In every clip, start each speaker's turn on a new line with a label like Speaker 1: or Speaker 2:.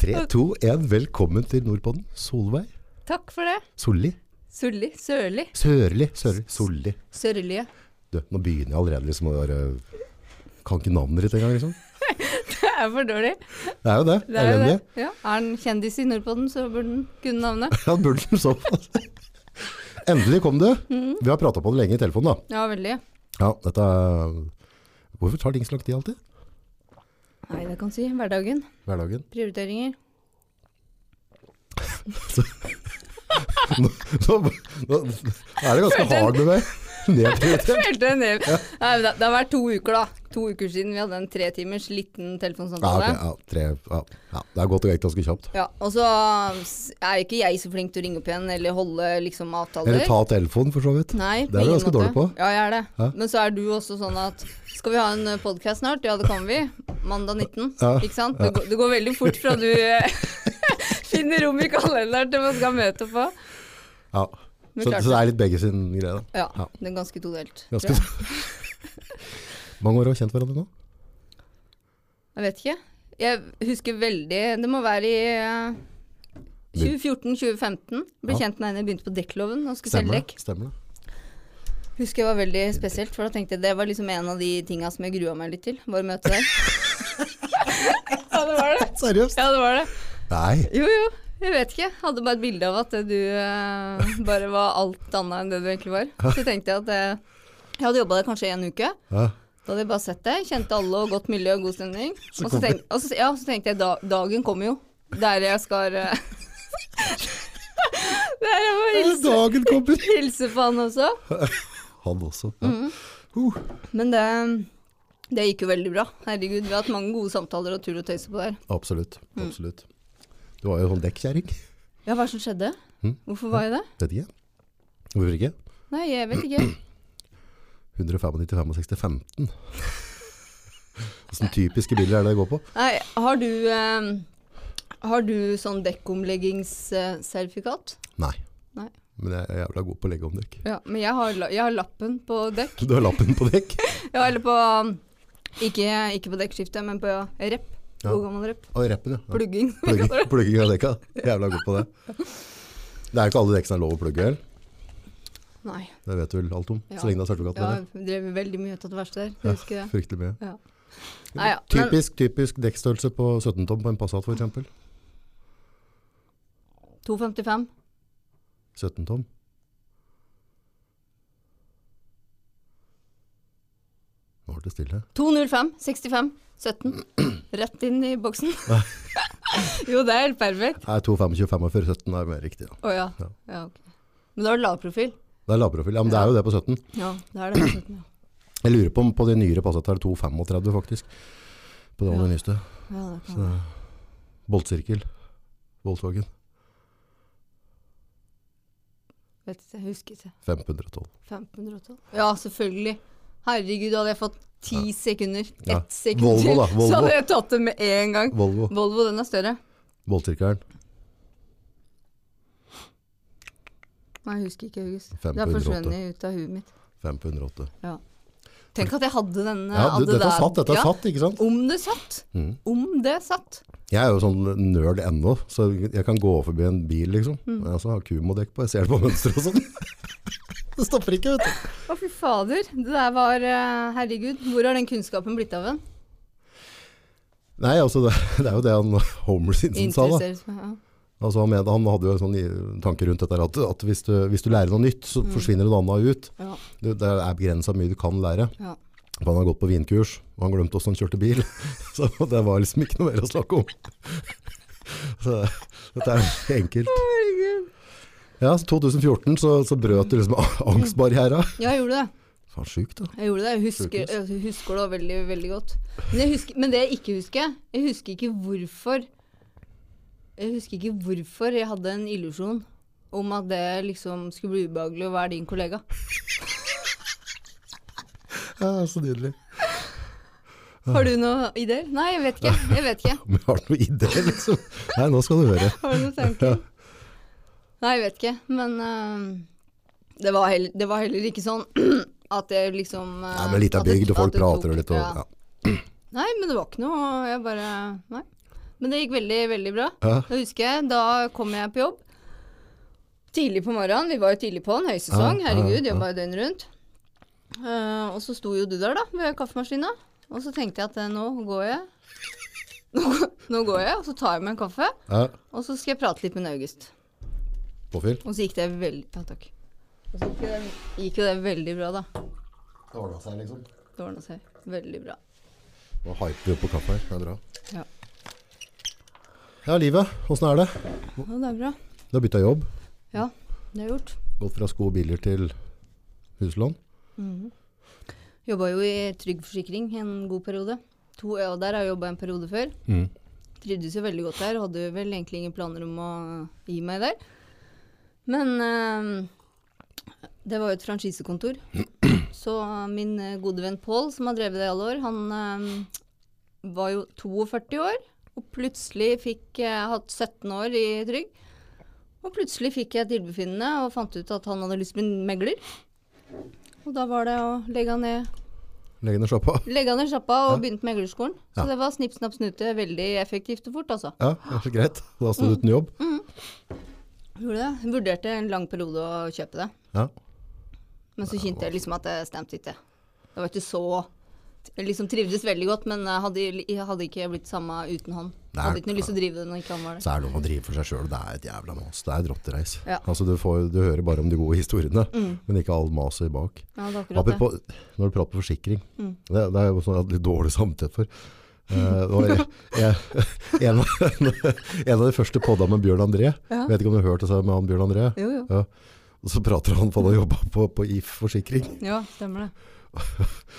Speaker 1: 3, 2, 1. Velkommen til Nordpodden. Solveig.
Speaker 2: Takk for det.
Speaker 1: Solli.
Speaker 2: Sørli. Sørli.
Speaker 1: Sørli. Sørli. Solli.
Speaker 2: Sørlige.
Speaker 1: Du, nå begynner jeg allerede liksom å være Kan ikke navnet ditt engang, liksom.
Speaker 2: Det er for dårlig.
Speaker 1: Det er jo det.
Speaker 2: Det er jo det.
Speaker 1: Elendig.
Speaker 2: Ja. Er han kjendis i Nordpolen, så burde han kunne navnet.
Speaker 1: Ja, burde som så. Endelig kom du.
Speaker 2: Mm.
Speaker 1: Vi har prata på det lenge i telefonen, da.
Speaker 2: Ja, veldig.
Speaker 1: Ja, dette er Hvorfor tar ting så lang tid alltid?
Speaker 2: Nei, det kan du si. Hverdagen.
Speaker 1: Hverdagen.
Speaker 2: Prioriteringer.
Speaker 1: Nå, nå, nå er det ganske hard med meg. Nedprioritert.
Speaker 2: Følte jeg ned. Nei, men det, det har vært to uker, da. To uker siden vi hadde en tre timers
Speaker 1: Ja,
Speaker 2: liten
Speaker 1: Ah, ok,
Speaker 2: telefonsamtale.
Speaker 1: ja, tre, ja, ja, det er godt og greit ganske kjapt.
Speaker 2: Ja, og så s- er ikke jeg så flink til å ringe opp igjen eller holde liksom avtaler.
Speaker 1: Eller ta telefonen, for så vidt.
Speaker 2: Nei,
Speaker 1: Det er du
Speaker 2: ingen
Speaker 1: ganske
Speaker 2: måte.
Speaker 1: dårlig på.
Speaker 2: Ja, jeg er det.
Speaker 1: Ja.
Speaker 2: Men så er du også sånn at skal vi ha en podkast snart? Ja, det kan vi. Mandag 19.
Speaker 1: Ja.
Speaker 2: Ikke sant? Det, går, det går veldig fort fra du eh, finner rom i kalenderen til man skal møte på.
Speaker 1: Ja.
Speaker 2: Men
Speaker 1: Så,
Speaker 2: klart
Speaker 1: så det er litt begge sin greie, da.
Speaker 2: Ja,
Speaker 1: Ja.
Speaker 2: det er ganske todelt. tror
Speaker 1: Ganske
Speaker 2: jeg.
Speaker 1: Mange år har vi kjent hverandre nå?
Speaker 2: jeg vet ikke. Jeg husker veldig Det må være i eh, 2014-2015. Ble
Speaker 1: Ja.
Speaker 2: kjent med henne, begynte på dekkloven og skulle
Speaker 1: Stemmer
Speaker 2: selge dekk.
Speaker 1: det? Stemmer det?
Speaker 2: Husker jeg var veldig spesielt, for da tenkte jeg det var liksom en av de tinga som jeg grua meg litt til. Bare møte deg. ja, det var det.
Speaker 1: Seriøst?
Speaker 2: Ja, det var det.
Speaker 1: Nei.
Speaker 2: Jo, jo. Jeg vet ikke. Jeg hadde bare et bilde av at du eh, bare var alt annet enn det du egentlig var. Så tenkte jeg at eh, jeg hadde jobba der kanskje en uke.
Speaker 1: Ja.
Speaker 2: Da hadde jeg bare sett deg, kjente alle og godt miljø og god stemning.
Speaker 1: Så
Speaker 2: Og så
Speaker 1: kom
Speaker 2: tenkte, og så, ja, så tenkte jeg da, dagen kommer jo. Der jeg skal eh, Der jeg må hilse,
Speaker 1: Dagen kommer.
Speaker 2: hilse på han også.
Speaker 1: Han også. Ja.
Speaker 2: Mm.
Speaker 1: Uh,
Speaker 2: Men det, det gikk jo veldig bra. Herregud, vi har hatt mange gode samtaler og tull og tøyse på der.
Speaker 1: absolutt.
Speaker 2: Mm.
Speaker 1: Absolutt. Du var jo sånn dekkjerring.
Speaker 2: Ja, hva er det som skjedde?
Speaker 1: Mm.
Speaker 2: Hvorfor var jeg det?
Speaker 1: Vet ikke. Hvorfor ikke?
Speaker 2: Nei, jeg vet ikke.
Speaker 1: 195, 65, 15. Åssen typiske biler er det det går på?
Speaker 2: Nei, har du, eh, har du sånn dekkomleggingssertifikat?
Speaker 1: Nei.
Speaker 2: Nei.
Speaker 1: Men jeg er jævla god på å legge om dekk.
Speaker 2: Ja, men jeg har, la- jeg har lappen på dekk.
Speaker 1: Du har lappen på dekk?
Speaker 2: Ja, eller på ehm, Ikke, ikke på dekkskiftet, men på rep.
Speaker 1: Ja.
Speaker 2: God gammel rep.
Speaker 1: Og rappen, ja. ja.
Speaker 2: Plugging. som vi
Speaker 1: Plugging,
Speaker 2: kaller det.
Speaker 1: plugging av dekka. Jævla god på det. Det er jo ikke alle dekk som er lov å plugge, vel?
Speaker 2: Nei.
Speaker 1: Det vet du vel alt om?
Speaker 2: Ja.
Speaker 1: Så lenge det er sertifikat
Speaker 2: Ja,
Speaker 1: med det.
Speaker 2: jeg drev veldig mye ut av det verste der.
Speaker 1: Ja,
Speaker 2: Jeg husker det.
Speaker 1: Fryktelig mye.
Speaker 2: Ja. Nei, ja. Men,
Speaker 1: Typisk, typisk dekkstørrelse på 17 tom på en Passat for eksempel.
Speaker 2: 255.
Speaker 1: 17 tom. Nå ble det stille.
Speaker 2: 205. 65. 17. Rett inn i boksen. jo, det er helt perfekt.
Speaker 1: Nei, 2, 25, 45, 17 er mer riktig. Da.
Speaker 2: Å ja.
Speaker 1: Ja.
Speaker 2: ja ok. Men da har du lavprofil.
Speaker 1: Det er lavprofil. Ja, men det er jo det på 17.
Speaker 2: Ja, det er det. Ja.
Speaker 1: Jeg lurer på om på de nyere Passat er det 2,35 faktisk. På det aller nyeste.
Speaker 2: Ja, det kan
Speaker 1: Så, Boltsirkel. Volkswagen.
Speaker 2: Vet ikke, jeg husker ikke.
Speaker 1: 512.
Speaker 2: 1512. Ja, selvfølgelig. Herregud, hadde jeg fått ti sekunder. Ett
Speaker 1: Ja.
Speaker 2: sekund
Speaker 1: Volvo, da,
Speaker 2: til,
Speaker 1: Volvo.
Speaker 2: så hadde jeg tatt det med en gang.
Speaker 1: Volvo.
Speaker 2: Volvo, den er større.
Speaker 1: Boltsirkelen.
Speaker 2: Nei, jeg husker ikke, August. Det har
Speaker 1: 508.
Speaker 2: forsvunnet ut av huet mitt.
Speaker 1: 508.
Speaker 2: Ja. Tenk at jeg hadde denne.
Speaker 1: Ja, du,
Speaker 2: hadde
Speaker 1: dette
Speaker 2: der-
Speaker 1: satt, dette
Speaker 2: Ja,
Speaker 1: satt, Mm. ikke sant?
Speaker 2: Om det satt. Om det satt.
Speaker 1: Jeg er jo sånn nerd ennå, så jeg kan gå forbi en bil, liksom. Men Jeg også har kumodekk på, jeg ser det på mønsteret og sånn. Det stopper ikke, vet du.
Speaker 2: Å, fy fader. Det der var eh, Herregud, hvor har den kunnskapen blitt av en?
Speaker 1: Nei, altså, det, det er jo det han Homer Simpson sa, da.
Speaker 2: Interesseres meg. Ja.
Speaker 1: Altså, han, mente- han hadde jo en sånn i- tanke rundt dette her, at, at hvis, du, hvis du lærer noe nytt, så forsvinner det noe annet ut.
Speaker 2: Ja.
Speaker 1: Det, det er begrensa mye du kan lære.
Speaker 2: Ja.
Speaker 1: For han har gått på vinkurs, og han glemte hvordan han kjørte bil. Så det var liksom ikke noe mer å snakke om. Så dette er jo enkelt.
Speaker 2: Herregud.
Speaker 1: Ja, så 2014 så, så brøt du liksom angstbarriera.
Speaker 2: Ja, jeg gjorde det.
Speaker 1: Faen, sjukt, da.
Speaker 2: Jeg gjorde det. Jeg husker,
Speaker 1: Sjukehus.
Speaker 2: jeg husker det veldig, veldig godt. Men, jeg husker, men det jeg ikke husker Jeg husker ikke hvorfor Jeg husker ikke hvorfor jeg hadde en illusjon om at det liksom skulle bli ubehagelig å være din kollega.
Speaker 1: Ja, så nydelig.
Speaker 2: Har du noen ideer? Nei, jeg vet ikke. Jeg vet ikke.
Speaker 1: Om jeg har noen ideer, liksom. Nei, nå skal du høre.
Speaker 2: Har du noen tanker? Nei, jeg vet ikke. Men eh, det, var heller, det var heller ikke sånn at jeg liksom eh,
Speaker 1: Ja, men litt av
Speaker 2: at det-
Speaker 1: bygd, og
Speaker 2: at
Speaker 1: folk
Speaker 2: det tok-
Speaker 1: prater og litt og
Speaker 2: ja.
Speaker 1: ja.
Speaker 2: Nei, men det var ikke noe Jeg bare Nei. Men det gikk veldig, veldig bra.
Speaker 1: Ja.
Speaker 2: Da husker jeg, da kom jeg på jobb. Tidlig på morgenen. Vi var jo tidlig på den,
Speaker 1: Ja,
Speaker 2: høysesong.
Speaker 1: ja,
Speaker 2: Herregud,
Speaker 1: ja.
Speaker 2: jobba jo døgnet rundt. Eh, og så sto jo du der, da, ved kaffemaskina. Og så tenkte jeg at eh, nå går jeg. Nå, går- nå går jeg, og så tar jeg meg en kaffe.
Speaker 1: Ja.
Speaker 2: Og så skal jeg prate litt med August.
Speaker 1: Påfyll.
Speaker 2: Og så gikk det veldig Ja, takk. Og så gikk jo det, gikk jo det veldig bra, da.
Speaker 1: Det ordna seg, liksom.
Speaker 2: Det ordna seg veldig bra.
Speaker 1: Nå hyper vi opp på kaffe her. Det er bra.
Speaker 2: Ja.
Speaker 1: Ja, livet. Åssen er det?
Speaker 2: ja, det er bra.
Speaker 1: Du har bytta jobb.
Speaker 2: Ja, det er gjort.
Speaker 1: Gått fra sko og biler til huslån.
Speaker 2: Jobba jo i Trygg Forsikring en god periode. To år der har jeg jobba en periode før.
Speaker 1: Mm.
Speaker 2: Trivdes jo veldig godt der. Hadde vel egentlig ingen planer om å gi meg der. Men eh, det var jo et franchisekontor. Så eh, min eh, gode venn Pål, som har drevet det i alle år, han eh, var jo 42 år. Og plutselig fikk jeg hatt 17 år i Trygg. Og plutselig fikk jeg tilbefinnende og fant ut at han hadde lyst til å bli megler. Og da var det å legge han ned
Speaker 1: Legg ned sjappa.
Speaker 2: Legga ned sjappa og begynte med meglerskolen. Så
Speaker 1: Ja.
Speaker 2: det var snipp, snapp, snute. Veldig effektivt og fort, altså.
Speaker 1: Ja, det er så greit. Da står du uten jobb.
Speaker 2: Gjorde det. Vurderte en lang periode å kjøpe det.
Speaker 1: Ja.
Speaker 2: Men så kjente jeg liksom at det stemte ikke. Det var ikke så Jeg liksom trivdes veldig godt, men jeg hadde, jeg hadde ikke blitt samme uten han.
Speaker 1: Nei.
Speaker 2: Hadde ikke noe lyst til å drive det når ikke han var der.
Speaker 1: Så er det noe å drive for seg sjøl. Det er et jævla mas. Det er et rottereis.
Speaker 2: Ja.
Speaker 1: Altså, du, får, du hører bare om de gode historiene, men ikke all maset bak.
Speaker 2: Ja, det er akkurat det. Mm.
Speaker 1: Apropos, når du prater forsikring, det, det er jo sånn jeg har hatt litt dårlig samtidig for. Eh, det var jeg, jeg, en, av- en av de første podda med Bjørn André,
Speaker 2: Ja.
Speaker 1: vet ikke om du har hørt det sa jeg med han Bjørn André?
Speaker 2: Jo, jo.
Speaker 1: Ja. Og så prater han om at han har jobba på, på IF forsikring.
Speaker 2: Ja, stemmer det.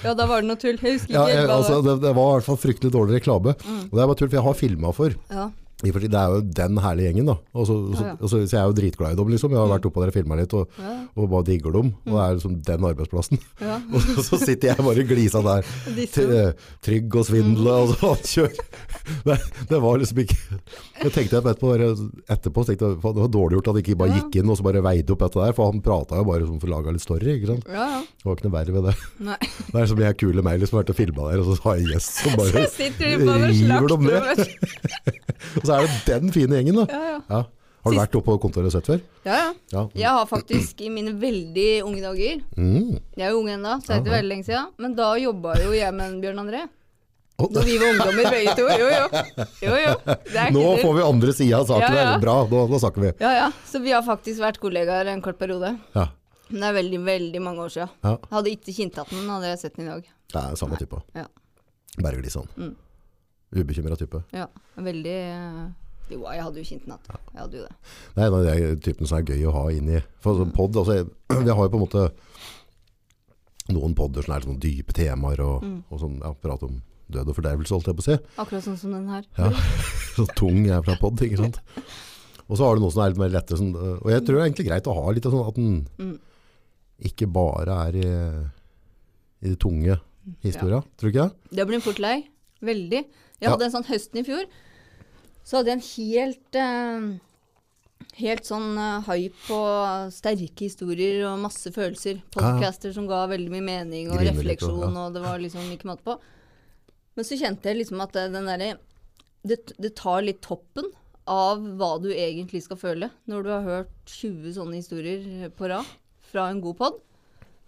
Speaker 2: Ja, da var det noe tull. Jeg husker
Speaker 1: Ja,
Speaker 2: ikke Mm.
Speaker 1: jeg,
Speaker 2: helt hva det
Speaker 1: altså,
Speaker 2: var.
Speaker 1: det, det var i hvert fall fryktelig dårlig reklame. Og det er bare tull, for jeg har filma for.
Speaker 2: Ja.
Speaker 1: I og for seg, Det er jo den herlige gjengen, da. Og så, og så,
Speaker 2: Ja, ja.
Speaker 1: og så, så jeg er jo dritglad i dem, liksom. Jeg har vært oppå der og filma litt, og,
Speaker 2: Ja. Mm.
Speaker 1: og bare digger dem. Og det er liksom den arbeidsplassen.
Speaker 2: Ja.
Speaker 1: Og så- så sitter jeg bare og glisa der.
Speaker 2: Disse.
Speaker 1: Til, eh, Trygg og svindel
Speaker 2: Mm.
Speaker 1: og sånn. Kjør. Det, det var liksom ikke Jeg tenkte jeg etterpå, bare, etterpå tenkte jeg, faen, det var dårlig gjort at jeg ikke bare
Speaker 2: Ja.
Speaker 1: gikk inn og så bare veide opp dette der, for han prata jo bare som for å lage litt story. ikke sant?
Speaker 2: ja, ja.
Speaker 1: Det var ikke noe verre ved det.
Speaker 2: Nei.
Speaker 1: Det er som jeg kule meg liksom, har vært og filma der, og så har jeg en gjest som
Speaker 2: Så
Speaker 1: bare
Speaker 2: sitter de bare og
Speaker 1: river dem ned.
Speaker 2: slakter. over.
Speaker 1: Og så er det den fine gjengen, da.
Speaker 2: Ja, ja.
Speaker 1: Ja. Har du vært oppe på kontoret og sett før?
Speaker 2: Ja, ja.
Speaker 1: Ja.
Speaker 2: Jeg har faktisk i mine veldig unge dager
Speaker 1: Mm.
Speaker 2: Jeg er jo ung ennå, så det er ikke veldig lenge siden. Men da jobba jo jeg med en Bjørn André.
Speaker 1: Å,
Speaker 2: Når vi var ungdommer begge to. Jo, jo. jo, jo. Det er ikke
Speaker 1: nå
Speaker 2: tull.
Speaker 1: får vi andre sida av saken
Speaker 2: Ja, ja.
Speaker 1: her. Bra, nå, nå snakker vi.
Speaker 2: Ja, ja. Så vi har faktisk vært kollegaer en kort periode.
Speaker 1: Ja.
Speaker 2: Men det er veldig, veldig mange år siden.
Speaker 1: ja.
Speaker 2: Hadde ikke kjent at den, hadde jeg sett den i dag.
Speaker 1: Det er samme type.
Speaker 2: Ja.
Speaker 1: Bare glisson.
Speaker 2: Mm.
Speaker 1: Ubekymra type.
Speaker 2: ja. Veldig eh, Jo, jeg hadde jo kjent den igjen. Jeg hadde jo det.
Speaker 1: Det er en av de typene som er gøy å ha inn i For sånn pod, altså, jeg- vi har jo på en måte noen podder som er sånn dype temaer og,
Speaker 2: Mm.
Speaker 1: og sånn, ja, prate om død og fordervelse, holdt jeg på å si.
Speaker 2: Akkurat sånn som den her.
Speaker 1: Ja. Så tung jeg er fra pod, ikke sant. Og så har du noe som er litt mer lette. Sånn, og jeg tror det er egentlig greit å ha litt av sånn at den ikke bare er i, i de tunge historia, tror du ikke det?
Speaker 2: Det blir en fort lei. Veldig. Jeg
Speaker 1: Ja.
Speaker 2: hadde en sånn høsten i fjor. Så hadde jeg en helt eh, Helt sånn eh, hype og sterke historier og masse følelser. Podcaster som ga veldig mye mening og
Speaker 1: Griner litt
Speaker 2: refleksjon,
Speaker 1: og- Ah. ja.
Speaker 2: og det var liksom ikke måte på. Men så kjente jeg liksom at eh, den derre det, det tar litt toppen av hva du egentlig skal føle når du har hørt 20 sånne historier på rad fra en god pod.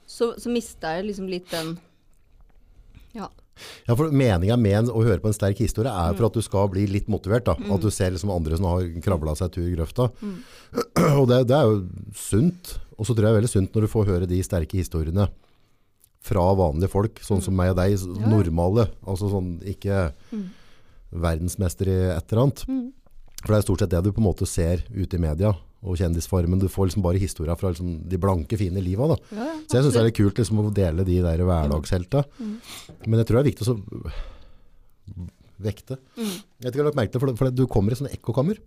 Speaker 2: Så, så mista jeg liksom litt den Ja.
Speaker 1: Ja, for Meninga med en- å høre på en sterk historie er for at du skal bli litt motivert. da. At du ser liksom andre som har kravla seg tur i grøfta. Og det, det er jo sunt. Og så tror jeg det er veldig sunt når du får høre de sterke historiene fra vanlige folk, sånn som meg og deg, s-
Speaker 2: Ja.
Speaker 1: normale. Altså sånn ikke verdensmester i et eller annet. For det er stort sett det du på en måte ser ute i media og kjendisfarmen. Du får liksom bare historier fra liksom de blanke, fine liva. da.
Speaker 2: Ja, ja,
Speaker 1: Så jeg syns det er litt kult liksom, å dele de der hverdagshelta. Men jeg tror det er viktig å så- vekte. Jeg vet ikke om du har lagt merke til, for, det- for det- du kommer i sånne ekkokammer.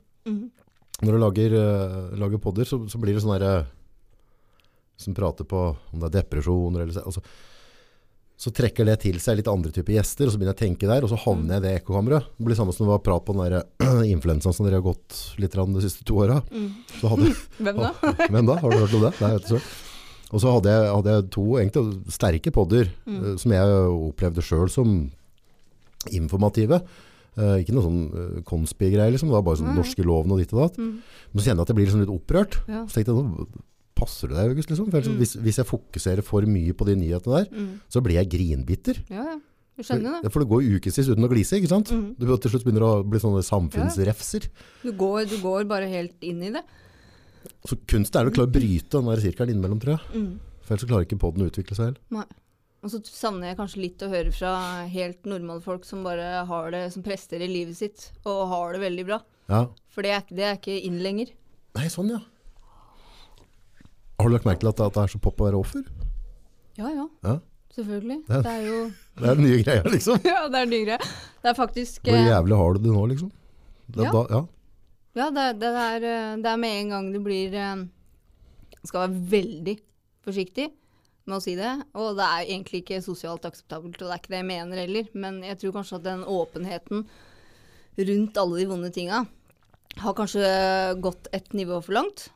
Speaker 1: Når du lager, eh, lager podder, så, så blir det sånne der, eh, som prater på om det er depresjoner eller så- altså, så trekker det til seg litt andre typer gjester, og så begynner jeg å tenke der, og så havner jeg i det ekkokammeret. Det blir samme som det var prat på den der influensaen som dere har gått litt grann de siste to åra. Så hadde,
Speaker 2: Hvem da?
Speaker 1: Hvem da? Har du hørt om det? Nei, jeg vet ikke. Og så hadde jeg, hadde jeg to egentlig
Speaker 2: Mm.
Speaker 1: sterke podder eh, som jeg opplevde sjøl som informative. Eh, ikke noe sånn eh, konspi-greie, liksom. Det var bare sånn
Speaker 2: Nei.
Speaker 1: norske loven og ditt og datt.
Speaker 2: Mm.
Speaker 1: Men så kjenner jeg at jeg blir liksom litt opprørt.
Speaker 2: Ja.
Speaker 1: Så tenkte jeg, nå passer det deg, August, liksom. For ellers,
Speaker 2: Mm.
Speaker 1: hvis, hvis jeg fokuserer for mye på de nyhetene der,
Speaker 2: Mm.
Speaker 1: så blir jeg grinbitter.
Speaker 2: Ja, ja. Jeg skjønner det.
Speaker 1: For, for det går ukesis uten å glise, ikke sant?
Speaker 2: Mm.
Speaker 1: Du til slutt begynner å bli sånne samfunnsrefser.
Speaker 2: Du går, du går bare helt inn i det.
Speaker 1: Så kunsten er å klare å bryte den der sirkelen innimellom, tror jeg.
Speaker 2: Mm.
Speaker 1: For ellers så klarer ikke podden å utvikle seg helt.
Speaker 2: Nei. Og så savner jeg kanskje litt å høre fra helt normale folk som bare har det som prester i livet sitt, og har det veldig bra.
Speaker 1: Ja.
Speaker 2: For det er, ikke- det er ikke inn lenger.
Speaker 1: Nei, sånn, ja. Har du lagt merke til at, at det er så pop å være offer?
Speaker 2: Ja ja,
Speaker 1: Ja.
Speaker 2: selvfølgelig.
Speaker 1: Ja.
Speaker 2: Det er jo
Speaker 1: Det er den nye greia, liksom.
Speaker 2: Ja, det er dyre. Det er faktisk
Speaker 1: Hvor
Speaker 2: eh,
Speaker 1: jævlig har du det nå, liksom? Det,
Speaker 2: Ja.
Speaker 1: Da, ja.
Speaker 2: Ja, det, er- det, er, eh, det er med en gang du blir eh, Skal være veldig forsiktig med å si det. Og det er egentlig ikke sosialt akseptabelt, og det er ikke det jeg mener heller. Men jeg tror kanskje at den åpenheten rundt alle de vonde tinga har kanskje gått et nivå for langt.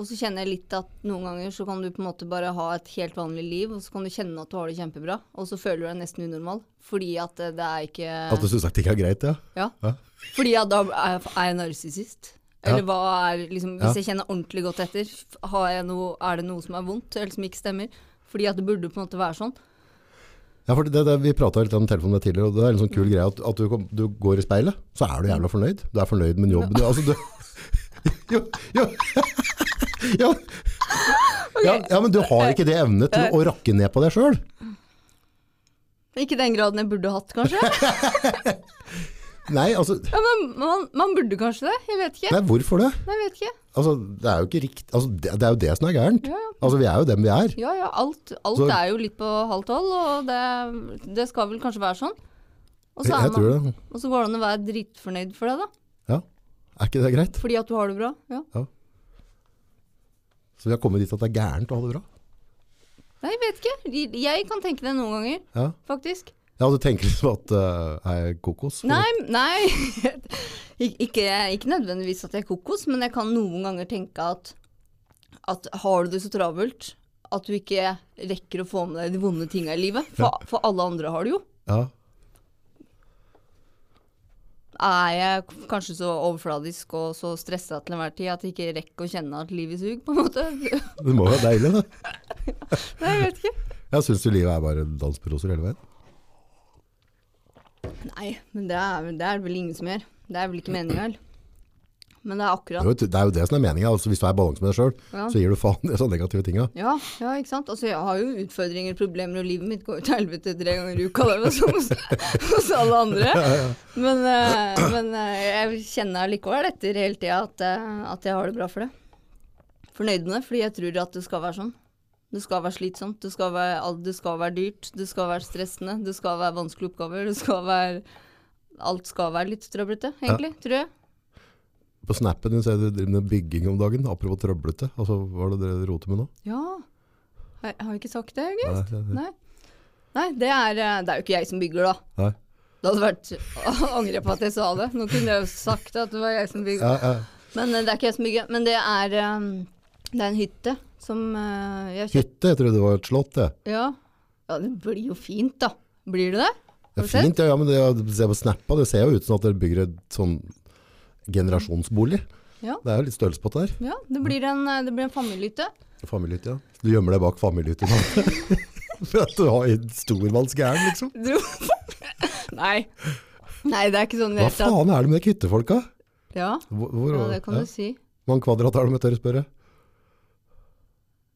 Speaker 2: Og så kjenner jeg litt at noen ganger så kan du på en måte bare ha et helt vanlig liv, og så kan du kjenne at du har det kjempebra, og så føler du deg nesten unormal. Fordi at eh, det er ikke
Speaker 1: At du syns det ikke er greit, ja.
Speaker 2: ja.
Speaker 1: Ja.
Speaker 2: Fordi at da er jeg- er jeg narsissist. Eller hva er liksom, Hvis jeg kjenner ordentlig godt etter, f- har jeg noe, er det noe som er vondt eller som ikke stemmer? Fordi at det burde på en måte være sånn.
Speaker 1: ja for det, det, vi prata litt om telefonen med tidligere, og det er en sånn
Speaker 2: Mm.
Speaker 1: kul greie at, at du, kom- du går i speilet, så er du jævla fornøyd. Du er fornøyd med jobben. Du, altså, du, jo, jo. ja. Ja, ja, men du har ikke det evnet til å rakke ned på deg sjøl.
Speaker 2: Ikke den graden jeg burde hatt, kanskje.
Speaker 1: Nei, altså
Speaker 2: Ja, men man, man burde kanskje det. Jeg vet ikke.
Speaker 1: Nei, hvorfor det?
Speaker 2: Nei, jeg vet ikke.
Speaker 1: Altså, det er jo ikke riktig altså, det, det er jo det som er gærent.
Speaker 2: Ja, ja.
Speaker 1: Altså, vi er jo dem vi er.
Speaker 2: Ja, ja, alt, alt
Speaker 1: Så-
Speaker 2: er jo litt på halv tolv, og det, det skal vel kanskje være sånn. Og
Speaker 1: Jeg,
Speaker 2: så, er
Speaker 1: jeg tror
Speaker 2: man,
Speaker 1: det.
Speaker 2: og så går det an å være dritfornøyd for det, da.
Speaker 1: Ja. Er ikke det greit?
Speaker 2: Fordi at du har det bra. Ja.
Speaker 1: Så vi har kommet dit at det er gærent å ha det bra.
Speaker 2: Nei, jeg vet ikke. Jeg kan tenke det noen ganger,
Speaker 1: Ja,
Speaker 2: faktisk.
Speaker 1: ja du tenker liksom at uh, er jeg kokos?
Speaker 2: Nei, nei. Ik ikke, ikke nødvendigvis at jeg er kokos, men jeg kan noen ganger tenke at, at har du det så travelt at du ikke rekker å få med deg de vonde tinga i livet? For, for alle andre har det jo.
Speaker 1: Ja.
Speaker 2: Er jeg k- kanskje så overfladisk og så stressa til enhver tid at jeg ikke rekker å kjenne at livet suger, på en måte?
Speaker 1: Det må jo være deilig, det.
Speaker 2: Nei, jeg vet ikke.
Speaker 1: Jeg syns jo livet er bare en dans på roser hele veien.
Speaker 2: Nei, men det er, det er det vel ingen som gjør. Det er vel ikke meninga, heller. Men det er
Speaker 1: Det
Speaker 2: akkurat
Speaker 1: er jo, det, er jo det som er meninga. Altså, hvis du er i balanse med deg sjøl,
Speaker 2: Ja.
Speaker 1: så gir du faen i de sånne negative tinga.
Speaker 2: Ja, ja, ikke sant. Altså, jeg har jo utfordringer, problemer, og livet mitt går jo til helvete tre ganger i uka, det var som hos, hos alle andre. Men, eh, men eh, jeg kjenner likevel etter hele tida at, eh, at jeg har det bra for det. Fornøyd med det, fordi jeg tror at det skal være sånn. Det skal være slitsomt, det skal være, alt- det skal være dyrt, det skal være stressende, det skal være vanskelige oppgaver, det skal være Alt skal være litt trøblete, egentlig, tror jeg.
Speaker 1: På snappen din så er du driver med bygging om dagen. Apropos trøblete. Altså, hva er det dere roter med nå?
Speaker 2: Ja. Har jeg har jeg ikke sagt det, Jørgen?
Speaker 1: Nei, nei, nei.
Speaker 2: Nei. Nei, det er, eh, det er jo ikke jeg som bygger, da.
Speaker 1: Nei.
Speaker 2: Det hadde vært Å, Angrer på at jeg sa det. Nå kunne jeg jo sagt at det var jeg som bygde.
Speaker 1: Ja, ja.
Speaker 2: Men eh, det er ikke jeg som bygger. Men det er, eh, det er en hytte som eh, jeg har kjøpt.
Speaker 1: Hytte, jeg trodde det var et slott, det.
Speaker 2: Ja. ja, det blir jo fint, da. Blir det det?
Speaker 1: Det er
Speaker 2: Har du
Speaker 1: fint, ja, ja, men det, jeg ser på snappa, det ser jo ut som at dere bygger et sånn generasjonsbolig.
Speaker 2: Ja.
Speaker 1: Det er jo litt størrelse på det der.
Speaker 2: Ja, det blir en, eh, det blir en familiehytte.
Speaker 1: Familiehytte, ja. Du gjemmer deg bak familiehytte. nå. For at du har en stormannsgæren, liksom.
Speaker 2: Dro- Nei. Nei, det er ikke sånn vi
Speaker 1: Hva
Speaker 2: er tatt.
Speaker 1: faen er det med de hyttefolka?
Speaker 2: Ja,
Speaker 1: Hvor, hvor,
Speaker 2: ja, det kan
Speaker 1: ja.
Speaker 2: du si.
Speaker 1: Mange kvadrat er det med tørre spørre?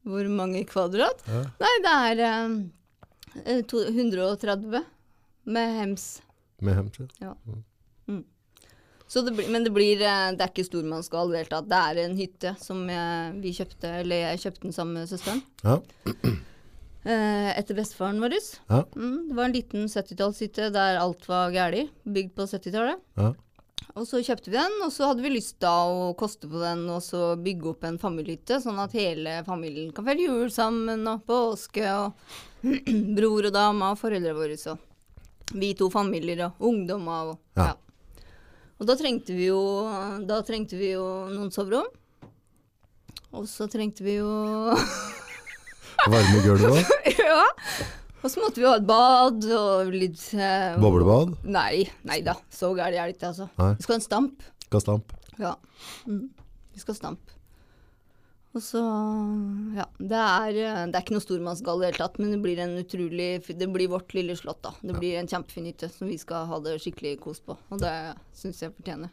Speaker 2: Hvor mange kvadrat?
Speaker 1: Ja.
Speaker 2: Nei, det er eh, to- 130 med hems.
Speaker 1: Med hemse.
Speaker 2: Så det blir, men det blir eh, Det er ikke stormannsgal i det hele tatt. Det er en hytte som jeg, vi kjøpte, eller jeg kjøpte den sammen med søsteren.
Speaker 1: Ja.
Speaker 2: Eh, etter bestefaren vår.
Speaker 1: Ja.
Speaker 2: Mm, det var en liten 70-tallshytte der alt var gæli. Bygd på 70-tallet.
Speaker 1: Ja.
Speaker 2: Og så kjøpte vi den, og så hadde vi lyst da å koste på den og så bygge opp en familiehytte, sånn at hele familien kan feire jul sammen og påske og bror og dame og foreldrene våre og vi to familier og ungdommer og
Speaker 1: Ja.
Speaker 2: ja. Og da trengte vi jo, da trengte vi jo noen soverom. Og så trengte vi jo
Speaker 1: Varme gulvet òg.
Speaker 2: Ja. Og så måtte vi ha et bad og litt eh,
Speaker 1: Boblebad,
Speaker 2: Nei, nei da. Så gæren er det ikke, altså.
Speaker 1: Nei.
Speaker 2: Vi skal ha en stamp.
Speaker 1: gastamp.
Speaker 2: Ja. Mm. Vi skal ha stamp. Og så Ja. Det er, eh, det er ikke noe stormannsgall i det hele tatt, men det blir en utrolig fi- Det blir vårt lille slott, da. Det blir en kjempefin hytte som vi skal ha det skikkelig kos på. Og det syns jeg fortjener.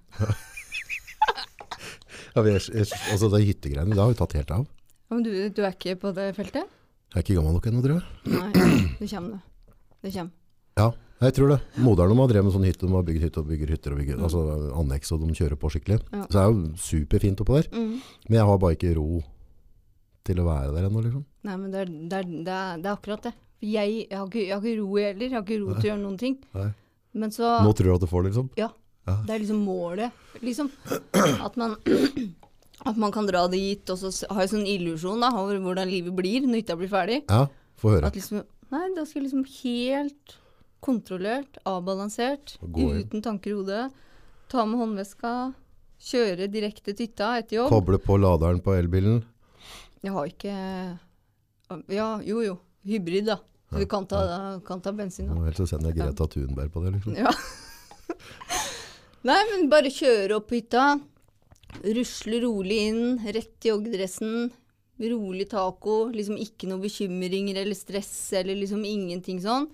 Speaker 1: Ja, vi er, jeg, altså, det hyttegreiene, det har vi tatt helt av.
Speaker 2: Ja, men du, du er ikke på det feltet?
Speaker 1: Jeg er ikke gammel nok ennå, tror jeg.
Speaker 2: Nei. Det kommer, det. Det kommer.
Speaker 1: Ja, jeg tror det. Moderne har drevet med sånn hytte, de har bygget hytte og bygger hytter og bygger, altså anneks, og de kjører på skikkelig.
Speaker 2: Mm. Ja.
Speaker 1: Så det er jo superfint oppå der,
Speaker 2: Mm.
Speaker 1: men jeg har bare ikke ro til å være der ennå, liksom.
Speaker 2: Nei, men det er, det er, det er, det er akkurat det. For Jeg, jeg, har ikke, jeg har ikke ro heller. Jeg har ikke ro til å gjøre noen ting.
Speaker 1: Nei.
Speaker 2: Men så
Speaker 1: Nå tror du at du får det, liksom.
Speaker 2: Ja.
Speaker 1: Ja.
Speaker 2: Det er liksom målet. Liksom. At man, at man kan dra dit, og så s- har jeg sånn illusjon da, over hvordan livet blir når hytta blir ferdig.
Speaker 1: Ja, få høre.
Speaker 2: At liksom, nei, da skal jeg liksom helt kontrollert, avbalansert,
Speaker 1: Gå inn.
Speaker 2: uten tanker i hodet, ta med håndveska, kjøre direkte til hytta etter jobb.
Speaker 1: Koble på laderen på elbilen.
Speaker 2: Jeg har ikke Ja, jo jo. Hybrid, da. Så du kan ta, kan ta bensin.
Speaker 1: Nå
Speaker 2: da.
Speaker 1: må jeg helst sende Greta Thunberg på det, liksom.
Speaker 2: Ja. Nei, men bare kjøre opp på hytta. Rusle rolig inn, rett i joggedressen. Rolig taco. Liksom ikke noe bekymringer eller stress eller liksom ingenting sånn.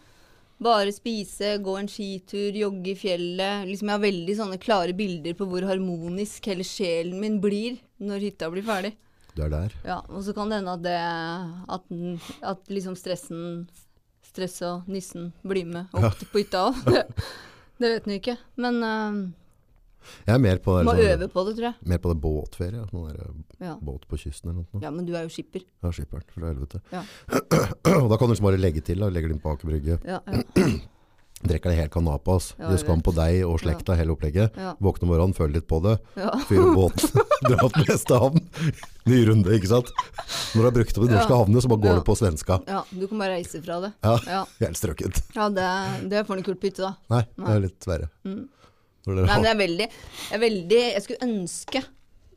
Speaker 2: Bare spise, gå en skitur, jogge i fjellet. Liksom Jeg har veldig sånne klare bilder på hvor harmonisk hele sjelen min blir når hytta blir ferdig.
Speaker 1: Du er der.
Speaker 2: Ja, og så kan det hende at det At, den- at liksom stressen Stress og nissen blir med opp på hytta òg. Det, det vet en jo ikke. Men eh,
Speaker 1: Jeg er mer på det,
Speaker 2: må
Speaker 1: liksom,
Speaker 2: øve på det, tror jeg.
Speaker 1: mer på det båtferie, ja. sånn der, eh,
Speaker 2: Ja,
Speaker 1: båt på kysten eller noe.
Speaker 2: ja men du er jo skipper.
Speaker 1: Ja, skipperen fra helvete.
Speaker 2: Ja.
Speaker 1: og da kan du liksom bare legge til, da. Legger din på akebrygge.
Speaker 2: Ja, ja,
Speaker 1: Drikker det helt kanapas.
Speaker 2: Ja,
Speaker 1: Gjør
Speaker 2: jeg
Speaker 1: skam på deg og slekta, hele opplegget.
Speaker 2: ja,
Speaker 1: Våkne om morgenen, føle litt på det.
Speaker 2: ja.
Speaker 1: Fyre opp båten, dra til neste havn. Ny runde, ikke sant? Når du har brukt opp de norske havnene, så bare går
Speaker 2: Ja.
Speaker 1: du på svenska.
Speaker 2: ja du kan bare reise fra det.
Speaker 1: Ja,
Speaker 2: Ja,
Speaker 1: helt strøkket.
Speaker 2: ja det, det får du kult på hytte, da.
Speaker 1: Nei, det er litt verre. Når dere
Speaker 2: Mm. Nei, men
Speaker 1: har-
Speaker 2: det er veldig, jeg er veldig Jeg skulle ønske,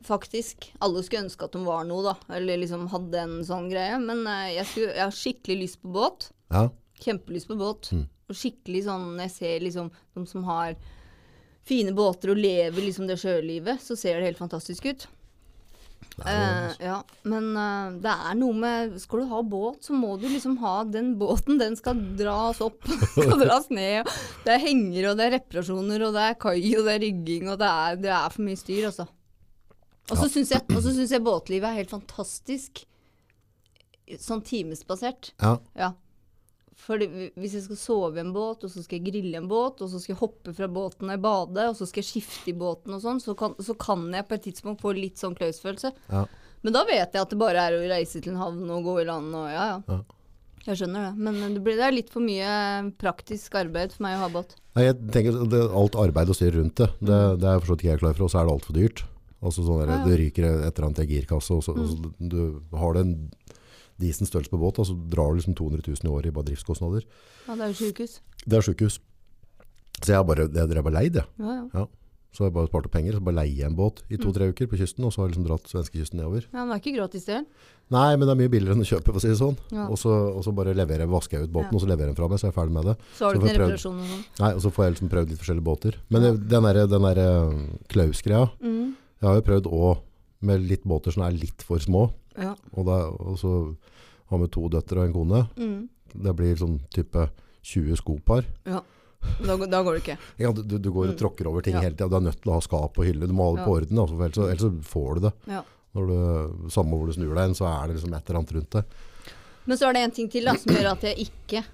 Speaker 2: faktisk Alle skulle ønske at de var noe, da. Eller liksom hadde en sånn greie. Men eh, jeg, skulle, jeg har skikkelig lyst på båt.
Speaker 1: Ja,
Speaker 2: Kjempelyst på båt.
Speaker 1: Mm.
Speaker 2: Og skikkelig sånn Jeg ser liksom de som har fine båter og lever liksom det sjølivet, så ser det helt fantastisk ut.
Speaker 1: det er altså. jo-
Speaker 2: Eh, ja, men eh, det er noe med Skal du ha båt, så må du liksom ha den båten. Den skal dras opp, skal dras ned. og Det er henger, og det er reparasjoner, og det er kai, og det er rygging, og det er, det er for mye styr, altså. Og så syns jeg, og så syns jeg båtlivet er helt fantastisk sånn timesbasert.
Speaker 1: ja.
Speaker 2: Ja. Fordi hvi- hvis jeg skal sove i en båt, og så skal jeg grille i en båt, og så skal jeg hoppe fra båten når jeg bader, og så skal jeg skifte i båten og sånn, så kan, så kan jeg på et tidspunkt få litt sånn klausfølelse.
Speaker 1: Ja.
Speaker 2: Men da vet jeg at det bare er å reise til en havn og gå i land og ja, ja.
Speaker 1: Ja.
Speaker 2: Jeg skjønner det. Men det, blir, det er litt for mye eh, praktisk arbeid for meg å ha båt.
Speaker 1: Nei, jeg tenker at det, alt arbeid og styr rundt det, det,
Speaker 2: Mm.
Speaker 1: det er jeg forstått ikke jeg er klar for, og så er det alt for dyrt. Altså sånn der, det ryker et eller annet i en girkasse, og så,
Speaker 2: Mm.
Speaker 1: og så du har det en disen størrelse på båt, og så drar du liksom 200 000 i året i bare driftskostnader.
Speaker 2: Ja, det er jo sykehus.
Speaker 1: Det er sykehus. Så jeg er bare, jeg drev bare leid, jeg.
Speaker 2: Ja, ja.
Speaker 1: Ja. Så har jeg bare spart opp penger, så bare leier jeg en båt i
Speaker 2: Mm.
Speaker 1: to-tre uker på kysten, og så har jeg liksom dratt svenskekysten nedover.
Speaker 2: ja men det er ikke gratis, det.
Speaker 1: Nei, men det er mye billigere enn å kjøpe, for å si det sånn.
Speaker 2: Ja.
Speaker 1: Og, så, og så bare leverer, jeg- vasker jeg ut båten,
Speaker 2: Ja.
Speaker 1: og så leverer jeg den fra meg, så er jeg ferdig med det.
Speaker 2: Så
Speaker 1: Så
Speaker 2: har du
Speaker 1: får
Speaker 2: ikke
Speaker 1: jeg
Speaker 2: en
Speaker 1: prøvd.
Speaker 2: reparasjon og sånn.
Speaker 1: Nei, og så får jeg liksom prøvd litt forskjellige båter. Men det- den der, den der eh, klaus-greia,
Speaker 2: Mm.
Speaker 1: jeg har jo prøvd også med litt båter som er litt for små,
Speaker 2: Ja.
Speaker 1: og, da, og så har vi to døtter og en kone.
Speaker 2: Mm.
Speaker 1: Det blir sånn type 20 skopar.
Speaker 2: ja. Da, går- da går det ikke.
Speaker 1: Ja, du, du du går og tråkker over ting
Speaker 2: Mm. Ja.
Speaker 1: hele tiden, og du er nødt til å ha skap og hylle. Du må ha det på orden, altså, for ellers, så- ellers så får du det.
Speaker 2: Ja.
Speaker 1: Når du, samme hvor du snur deg, hen, så er det liksom et eller annet rundt deg.
Speaker 2: Men så er det en ting til da, som gjør at jeg ikke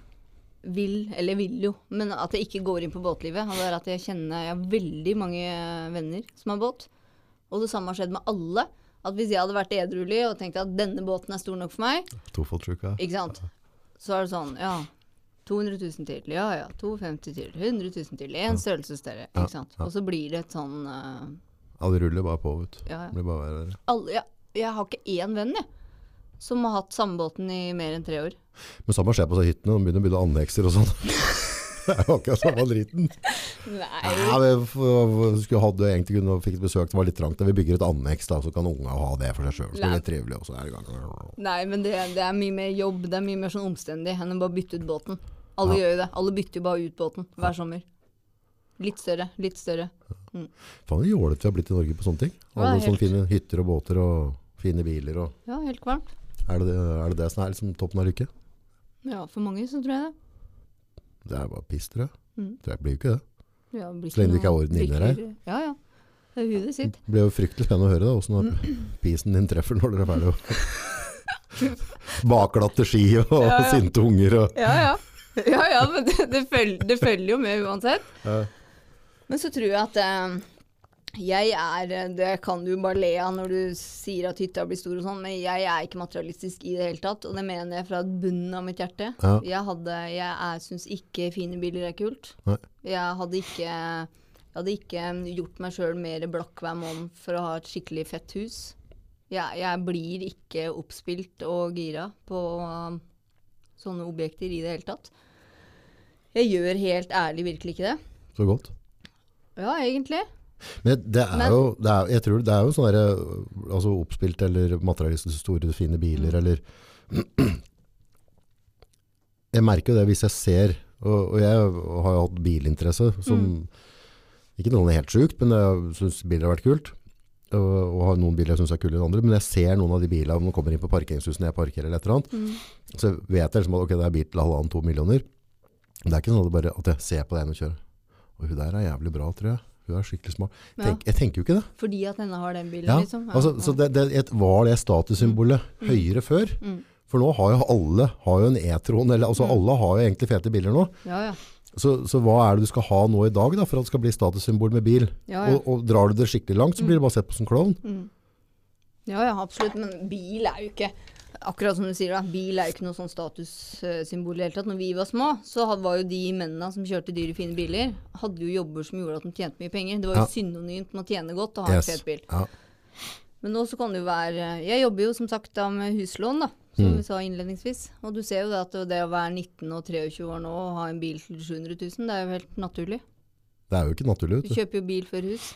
Speaker 2: vil, eller vil jo, men at jeg ikke går inn på båtlivet. Og det er at jeg kjenner jeg har veldig mange venner som har båt. Og det samme har skjedd med alle. At hvis jeg hadde vært edruelig og tenkt at denne båten er stor nok for meg,
Speaker 1: Tofotsjuka.
Speaker 2: ikke sant? Så er det sånn, ja. 200 000 til, ja ja. 250 000 til, 100 000 til. En størrelsesstørre.
Speaker 1: Ja,
Speaker 2: Ikke sant. Og så blir det et sånn eh,
Speaker 1: Ja, det ruller bare på, vet du.
Speaker 2: Ja, ja.
Speaker 1: Det blir bare verre. og verre.
Speaker 2: alle, jeg, jeg har ikke én venn, jeg, som har hatt samme båten i mer enn tre år.
Speaker 1: Men samme skjer på seg hyttene, de begynner å bygge annekser og sånn. Det er jo akkurat samme driten.
Speaker 2: Nei.
Speaker 1: Ja, vi f- f- skulle hatt det egentlig kunne fikk et besøk, det var litt trangt. men Vi bygger et anneks da, så kan unga ha det for seg selv. Så blir det trivelig, og så er det i gang.
Speaker 2: Nei, men det, det er mye mer jobb. Det er mye mer sånn omstendig enn å bare bytte ut båten. Alle gjør jo det. Alle bytter jo bare ut båten hver sommer. Litt større, litt større.
Speaker 1: Faen, det jålete vi har blitt i Norge på sånne ting. Alle
Speaker 2: Ja, helt.
Speaker 1: sånne fine hytter og båter og fine biler. Og
Speaker 2: Ja, helt kvalmt.
Speaker 1: er, det det, er det det som er liksom toppen av lykke?
Speaker 2: Ja, for mange så tror jeg det.
Speaker 1: Det er bare piss, tror jeg.
Speaker 2: Mm.
Speaker 1: Det blir jo ikke det.
Speaker 2: Ja, blir
Speaker 1: Så lenge det ikke er
Speaker 2: noe-
Speaker 1: orden inni
Speaker 2: blir
Speaker 1: der.
Speaker 2: ikke- Ja, ja. Det er hudet sitt.
Speaker 1: Det blir jo fryktelig spennende å høre da, hvordan
Speaker 2: Mm.
Speaker 1: pisen din treffer når dere er ferdig. og- Bakglatte ski og
Speaker 2: Ja, ja.
Speaker 1: sinte unger. Og,
Speaker 2: Ja, ja. Ja, ja, men det, det, følger, det følger jo med uansett.
Speaker 1: Ja.
Speaker 2: Men så tror jeg at eh, jeg er eh, Det kan du bare le av når du sier at hytta blir stor og sånn, men jeg er ikke materialistisk i det hele tatt. Og det mener jeg fra bunnen av mitt hjerte.
Speaker 1: Ja.
Speaker 2: Jeg, hadde, jeg syns ikke fine biler er kult.
Speaker 1: Nei.
Speaker 2: Jeg hadde ikke jeg hadde ikke gjort meg sjøl mer blakk hver måned for å ha et skikkelig fett hus. Jeg, jeg blir ikke oppspilt og gira på eh, sånne objekter i det hele tatt. Jeg gjør helt ærlig virkelig ikke det.
Speaker 1: så godt.
Speaker 2: Ja, egentlig.
Speaker 1: Men det er
Speaker 2: Men-
Speaker 1: jo, det er, jeg tror det er jo sånn der, øh, altså oppspilt eller materialistisk store, fine biler, eller Jeg merker jo det hvis jeg ser, og, og jeg har jo hatt bilinteresse, som ikke noen er helt sjukt, men jeg syns biler har vært kult. Og, og har noen biler jeg syns er kulere enn andre, men jeg ser noen av de bilene når de kommer inn på parkeringshusene jeg parkerer, eller et eller annet. Så vet jeg liksom at ok, det er bil til halvannen, to millioner. Men det er ikke sånn at, det bare, at jeg ser på det ene og kjører. Og hun der er jævlig bra, tror jeg. Hun er skikkelig smart. Tenk, Jeg tenker jo ikke det.
Speaker 2: Fordi at denne har den bilen,
Speaker 1: Ja.
Speaker 2: liksom. Mm.
Speaker 1: Altså, så det, det et, var det statussymbolet høyere før? For nå har jo alle har jo en e-tron, eller
Speaker 2: Mm.
Speaker 1: altså alle har jo egentlig fete biler nå.
Speaker 2: ja, ja.
Speaker 1: Så, så hva er det du skal ha nå i dag da, for at det skal bli statussymbol med bil?
Speaker 2: Ja, Mm. ja.
Speaker 1: Og, og drar du det skikkelig langt, så blir du bare sett på som klovn.
Speaker 2: ja, ja, absolutt. Men bil er jo ikke Akkurat som du sier, da. Bil er jo ikke noe sånn statussymbol i det hele tatt. Når vi var små, så ha- var jo de mennene som kjørte dyre, fine biler, hadde jo jobber som gjorde at de tjente mye penger. Det var jo
Speaker 1: Ja.
Speaker 2: synonymt med å tjene godt og ha
Speaker 1: Yes.
Speaker 2: en fet bil.
Speaker 1: Ja.
Speaker 2: Men nå så kan det jo være Jeg jobber jo som sagt da med huslån, da. Som vi sa innledningsvis. Og du ser jo det at det å være 19 og 23 år nå og ha en bil til 700 000, det er jo helt naturlig.
Speaker 1: Det er jo ikke naturlig.
Speaker 2: Du
Speaker 1: Vet du.
Speaker 2: kjøper jo bil før hus.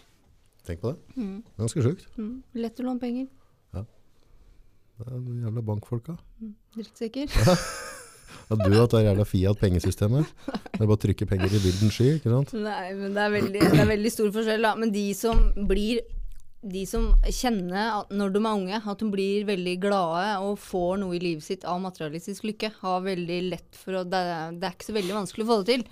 Speaker 1: Tenk på det. Det er ganske sjukt.
Speaker 2: Mm. Lett å låne penger.
Speaker 1: Det er de jævla bankfolka.
Speaker 2: Drittsekker.
Speaker 1: Ja, du har det jævla Fiat-pengesystemet. Det er bare å trykke penger i bildens sky, ikke sant?
Speaker 2: Nei, men det er, veldig, det er veldig stor forskjell, da. Men de som blir De som kjenner at når de er unge, at de blir veldig glade og får noe i livet sitt av materialistisk lykke, har veldig lett for å Det, er- det er ikke så veldig vanskelig å få det til.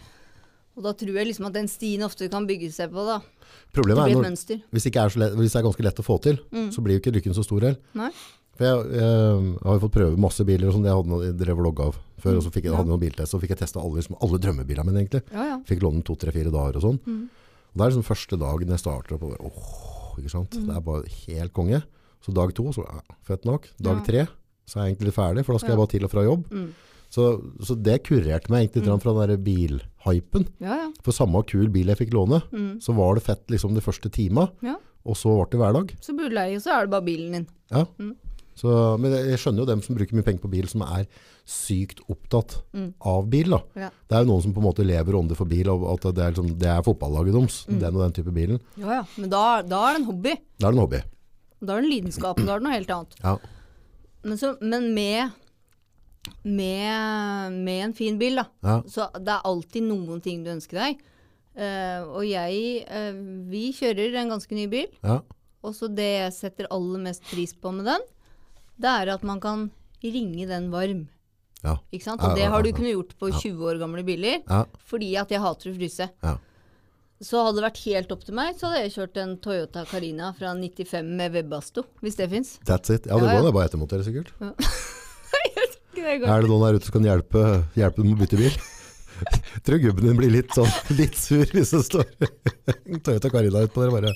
Speaker 2: Og da tror jeg liksom at den stien ofte kan bygge seg på, da. Det
Speaker 1: Problemet
Speaker 2: blir
Speaker 1: er
Speaker 2: et
Speaker 1: når,
Speaker 2: mønster.
Speaker 1: hvis, det ikke er så lett, hvis det er ganske lett å få til,
Speaker 2: Mm.
Speaker 1: så blir jo ikke lykken så stor heller.
Speaker 2: Nei?
Speaker 1: For jeg, jeg har jo fått prøve masse biler og sånn, det jeg hadde noe, jeg drev vlogg av før, og så fikk jeg, hadde jeg noen biltest, og fikk jeg testet alle, liksom, alle drømmebilene mine egentlig.
Speaker 2: Ja, ja.
Speaker 1: Fikk låne den to, tre, fire dager og sånn.
Speaker 2: Mm.
Speaker 1: Og det er liksom første dagen jeg starter opp, og bare, åh, ikke sant?
Speaker 2: Mm.
Speaker 1: Det er bare helt konge. Så dag to, så ja, fett nok. Dag
Speaker 2: Ja.
Speaker 1: tre, så er jeg egentlig litt ferdig, for da skal
Speaker 2: Ja.
Speaker 1: jeg bare til og fra jobb.
Speaker 2: Mm.
Speaker 1: Så, så det kurerte meg egentlig litt grann fra den der bilhypen.
Speaker 2: Ja, ja.
Speaker 1: For samme kul bil jeg fikk låne,
Speaker 2: Mm.
Speaker 1: så var det fett liksom de første tima,
Speaker 2: ja.
Speaker 1: og så ble det hverdag.
Speaker 2: Så blir du lei, og så er det bare bilen din.
Speaker 1: Ja.
Speaker 2: Mm.
Speaker 1: Så, men jeg jeg skjønner jo dem som bruker mye penger på bil, som er sykt opptatt
Speaker 2: Mm.
Speaker 1: av bil. Da.
Speaker 2: Ja.
Speaker 1: Det er jo noen som på en måte lever og ånder for bil, og at det er, liksom, det er fotballaget deres,
Speaker 2: Mm.
Speaker 1: den og den type bilen.
Speaker 2: Ja, ja. Men da, da er det en hobby.
Speaker 1: Da er det en hobby.
Speaker 2: Da er det en lidenskap, og da er det noe helt annet.
Speaker 1: Ja.
Speaker 2: Men, så, men med, med, med en fin bil, da.
Speaker 1: Ja.
Speaker 2: Så det er alltid noen ting du ønsker deg. Eh, og jeg eh, Vi kjører en ganske ny bil,
Speaker 1: Ja.
Speaker 2: og så det jeg setter aller mest pris på med den, det er at man kan ringe den varm.
Speaker 1: Ja.
Speaker 2: Ikke sant?
Speaker 1: Ja,
Speaker 2: Og det
Speaker 1: ja,
Speaker 2: har du
Speaker 1: ja, ja.
Speaker 2: kunnet gjort på 20 år gamle biler,
Speaker 1: Ja.
Speaker 2: fordi at jeg hater å fryse.
Speaker 1: Ja.
Speaker 2: Så hadde det vært helt opp til meg, så hadde jeg kjørt en Toyota Carina fra 95 med Webasto, hvis det fins.
Speaker 1: That's it. Ja, det
Speaker 2: Ja, ja.
Speaker 1: går da bare etter mot dere, sikkert.
Speaker 2: Det går
Speaker 1: Er det noen her ute som kan hjelpe, hjelpe dem å bytte bil? Jeg tror gubben din blir litt, sånn, litt sur hvis det står en Toyota Carina ut på dere bare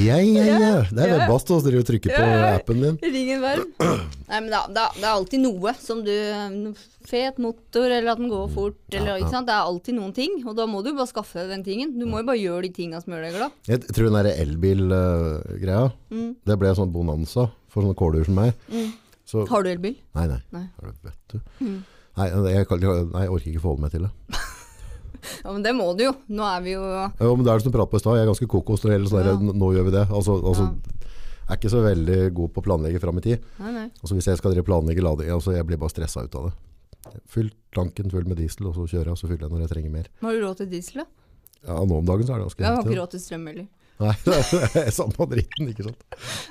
Speaker 1: Ja, ja, ja. Det er
Speaker 2: Ja.
Speaker 1: Webbast som driver og trykker på
Speaker 2: Ja.
Speaker 1: appen din.
Speaker 2: Ringen varm. Nei, men da, da, det er alltid noe som du Fet motor, eller at den går fort, eller ikke sant. Det er alltid noen ting, og da må du bare skaffe deg den tingen. Du må jo bare gjøre de tinga som gjør deg glad.
Speaker 1: Jeg tror den der elbil-greia, det ble en sånn bonanza for sånne kåler som meg. Så,
Speaker 2: Har du elbil?
Speaker 1: nei, nei.
Speaker 2: Nei.
Speaker 1: Har du- Vet du. Nei, jeg, kan- jeg orker ikke forholde meg til det.
Speaker 2: Ja, men det må du jo. Nå er vi jo
Speaker 1: Ja, men det er det som du pratet på i stad, jeg er ganske kokos når det gjelder sånn her,
Speaker 2: Ja.
Speaker 1: nå gjør vi det. Altså, altså, Jeg er ikke så veldig god på å planlegge fram i tid.
Speaker 2: Nei, nei.
Speaker 1: Altså, hvis jeg skal drive planlegge lading, altså, jeg blir bare stressa ut av det. Fyll tanken full med diesel, og så kjører jeg, og så fyller jeg når jeg trenger mer.
Speaker 2: Men Har du råd til diesel, da?
Speaker 1: Ja, nå om dagen så er det
Speaker 2: Jeg har
Speaker 1: ganske
Speaker 2: ikke
Speaker 1: ja.
Speaker 2: råd til strøm heller.
Speaker 1: Nei, det er samme dritten, ikke sant.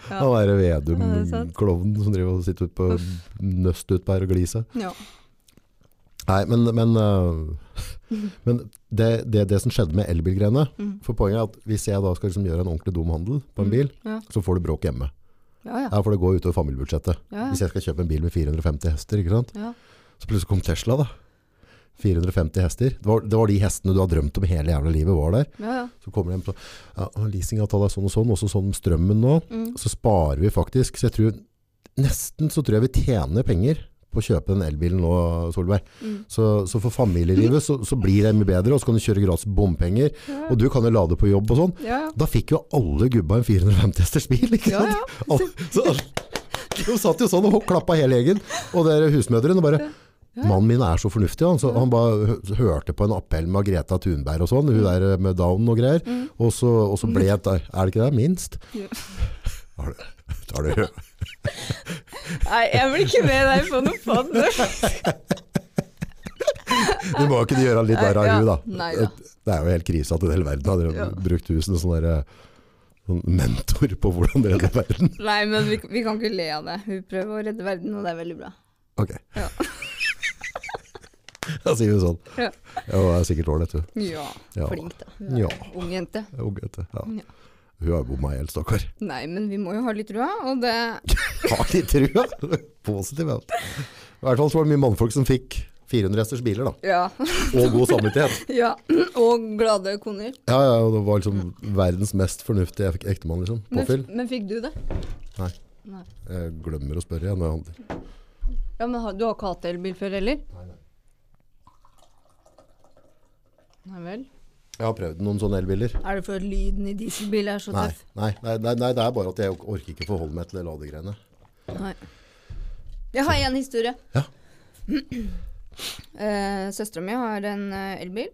Speaker 2: Ja.
Speaker 1: Han derre
Speaker 2: Ja, det er sant.
Speaker 1: Vedum-klovnen som driver og sitter på nøst utpå her og glir seg.
Speaker 2: Ja.
Speaker 1: Nei, men, men, øh, men det, det, det som skjedde med elbilgreiene
Speaker 2: Mm.
Speaker 1: For poenget er at hvis jeg da skal liksom gjøre en ordentlig dum handel på en bil,
Speaker 2: Ja.
Speaker 1: så får du bråk hjemme.
Speaker 2: Ja, ja.
Speaker 1: Her får det gå utover familiebudsjettet.
Speaker 2: Ja,
Speaker 1: Hvis
Speaker 2: ja.
Speaker 1: jeg skal kjøpe en bil med 450 hester, ikke sant?
Speaker 2: ja.
Speaker 1: så plutselig kom Tesla da. 450 hester. Det var, det var de hestene du har drømt om hele jævla livet var der.
Speaker 2: ja, ja.
Speaker 1: Så kommer de hjem og sier, ja, leasingavtale er sånn og sånn, også sånn om strømmen nå.
Speaker 2: Mm.
Speaker 1: Så sparer vi faktisk. Så jeg tror, nesten så tror jeg vi tjener penger på å kjøpe den elbilen nå, Solberg.
Speaker 2: Mm.
Speaker 1: Så, så for familielivet så, så blir det mye bedre, og så kan du kjøre gratis bompenger, og du kan jo lade på jobb og sånn.
Speaker 2: Ja, ja.
Speaker 1: Da fikk jo alle gubba en 450 hesters bil, ikke
Speaker 2: Ja,
Speaker 1: sant? Alle, så, de satt jo sånn og klappa hele gjengen, og dere husmødrene bare Mannen min er så fornuftig, han, så han bare hø- hørte på en appell med Greta Thunberg og sånn, hun der med down og greier, og, så, og så ble det, er det ikke det, minst?
Speaker 2: Mm. Ja.
Speaker 1: Har du, har du hørt?
Speaker 2: Nei, jeg blir ikke med deg på noe fond.
Speaker 1: Du må jo kunne gjøre litt verre av
Speaker 2: Ja,
Speaker 1: hun da.
Speaker 2: neida.
Speaker 1: Det er jo helt krise at hele verden har
Speaker 2: Ja.
Speaker 1: brukt tusen sånne der, eh, sånn mentor på hvordan redde verden.
Speaker 2: Nei, men vi, vi kan ikke le av det. Hun prøver å redde verden, og det er veldig bra.
Speaker 1: Ok.
Speaker 2: Ja.
Speaker 1: Da sier vi sånn.
Speaker 2: Ja.
Speaker 1: Ja, hun er sikkert ålreit, du.
Speaker 2: Ja,
Speaker 1: Ja.
Speaker 2: flink da. Hun er
Speaker 1: Ja.
Speaker 2: Ung jente.
Speaker 1: Hun vet det, ja.
Speaker 2: Ja.
Speaker 1: Hun har bomma helt, stakkar.
Speaker 2: Nei, men vi må jo ha litt trua, og det
Speaker 1: Har de trua? Positiv, ja. I hvert fall så var det mye mannfolk som fikk 400 hesters biler, da.
Speaker 2: Ja.
Speaker 1: Og god samvittighet.
Speaker 2: ja. Og glade koner.
Speaker 1: Ja, ja, og det var liksom verdens mest fornuftige ek- ektemann, liksom.
Speaker 2: Men,
Speaker 1: Påfyll.
Speaker 2: men fikk du det?
Speaker 1: Nei.
Speaker 2: Nei.
Speaker 1: Jeg glemmer å spørre igjen når jeg handler.
Speaker 2: Ja, men har, Du har ikke hatt elbil før heller?
Speaker 1: Nei, nei.
Speaker 2: Nei vel.
Speaker 1: Jeg har prøvd noen sånne elbiler.
Speaker 2: Er det for lyden i dieselbil er så
Speaker 1: Nei,
Speaker 2: tøff?
Speaker 1: nei, nei, nei, nei, det er bare at jeg ork- orker ikke forholde meg til det ladegreiene.
Speaker 2: Nei. Jeg har en historie.
Speaker 1: Ja.
Speaker 2: Eh, Søstera mi har en eh, elbil.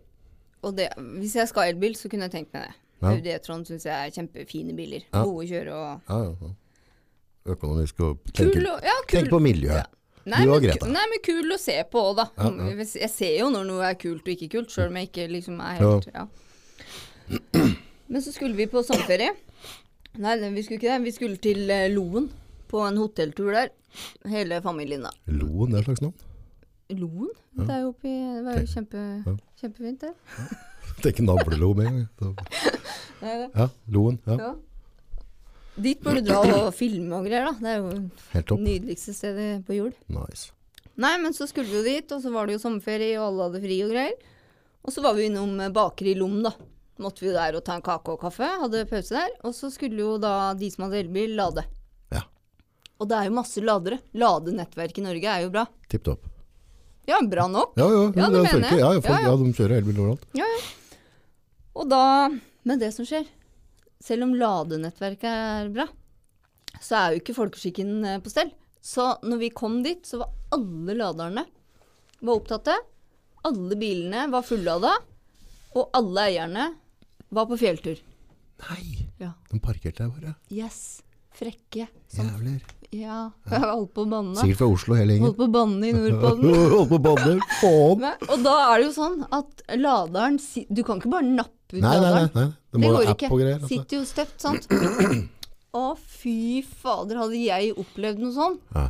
Speaker 2: Og det, hvis jeg skal ha elbil, så kunne jeg tenkt meg det.
Speaker 1: Ja.
Speaker 2: Audi E-tron syns jeg er kjempefine biler.
Speaker 1: Ja.
Speaker 2: Gode å kjøre og
Speaker 1: Ja, ja, ja. Økonomisk og
Speaker 2: Kul,
Speaker 1: tenke,
Speaker 2: å- ja, kul.
Speaker 1: tenk på miljøet.
Speaker 2: Nei,
Speaker 1: Du og
Speaker 2: men,
Speaker 1: Greta.
Speaker 2: ku- nei, men kul å se på òg, da.
Speaker 1: Ja, ja.
Speaker 2: Hvis- Jeg ser jo når noe er kult og ikke kult, sjøl om jeg ikke liksom er helt ja. Men så skulle vi på sommerferie. Nei, nei, vi skulle ikke det. Vi skulle til eh, Loen på en hotelltur der. Hele familien, da.
Speaker 1: Loen, det er et slags navn.
Speaker 2: Loen? Det er jo oppi Det var jo kjempe, kjempefint, det.
Speaker 1: Tenk navlelo med en gang.
Speaker 2: Nei, det.
Speaker 1: Ja, Loen. Ja,
Speaker 2: Ja. Dit bør du dra og filme og greier, da. Det er jo
Speaker 1: helt topp.
Speaker 2: nydeligste stedet på jord.
Speaker 1: Nice.
Speaker 2: Nei, men så skulle vi jo dit, og så var det jo sommerferie, og alle hadde fri og greier. Og så var vi innom eh, Bakeri Lom, da. Måtte vi jo der og ta en kake og kaffe, hadde pause der. Og så skulle jo da de som hadde elbil, lade.
Speaker 1: Ja,
Speaker 2: Og det er jo masse ladere. Ladenettverket i Norge er jo bra.
Speaker 1: tipp topp.
Speaker 2: Ja, bra nok.
Speaker 1: Ja, ja,
Speaker 2: Ja,
Speaker 1: ja,
Speaker 2: du
Speaker 1: det
Speaker 2: mener
Speaker 1: funker.
Speaker 2: det?
Speaker 1: Ja, ja, folk,
Speaker 2: Ja,
Speaker 1: ja,
Speaker 2: ja.
Speaker 1: de kjører elbil overalt.
Speaker 2: Ja, ja. Og da Men det som skjer, selv om ladenettverket er bra, så er jo ikke folkeskikken eh, på stell. Så når vi kom dit, så var alle laderne var opptatte. Alle bilene var fullada, og alle eierne var på fjelltur.
Speaker 1: Nei,
Speaker 2: Ja.
Speaker 1: de parkerte der bare.
Speaker 2: Yes. Frekke. Som,
Speaker 1: Jævler.
Speaker 2: ja. Jeg holdt på å banne.
Speaker 1: Sikkert fra Oslo hele gjengen.
Speaker 2: Holdt på å banne i Nordpolen.
Speaker 1: Holdt på bader, faen.
Speaker 2: Nei, Og da er det jo sånn at laderen si- Du kan ikke bare nappe ut
Speaker 1: Nei, nei,
Speaker 2: laderen.
Speaker 1: nei, nei. Det
Speaker 2: Det
Speaker 1: må
Speaker 2: går
Speaker 1: jo app
Speaker 2: ikke.
Speaker 1: og greier. altså.
Speaker 2: Sitter jo støpt, sant? Å, fy fader, hadde jeg opplevd noe sånn?
Speaker 1: Ja.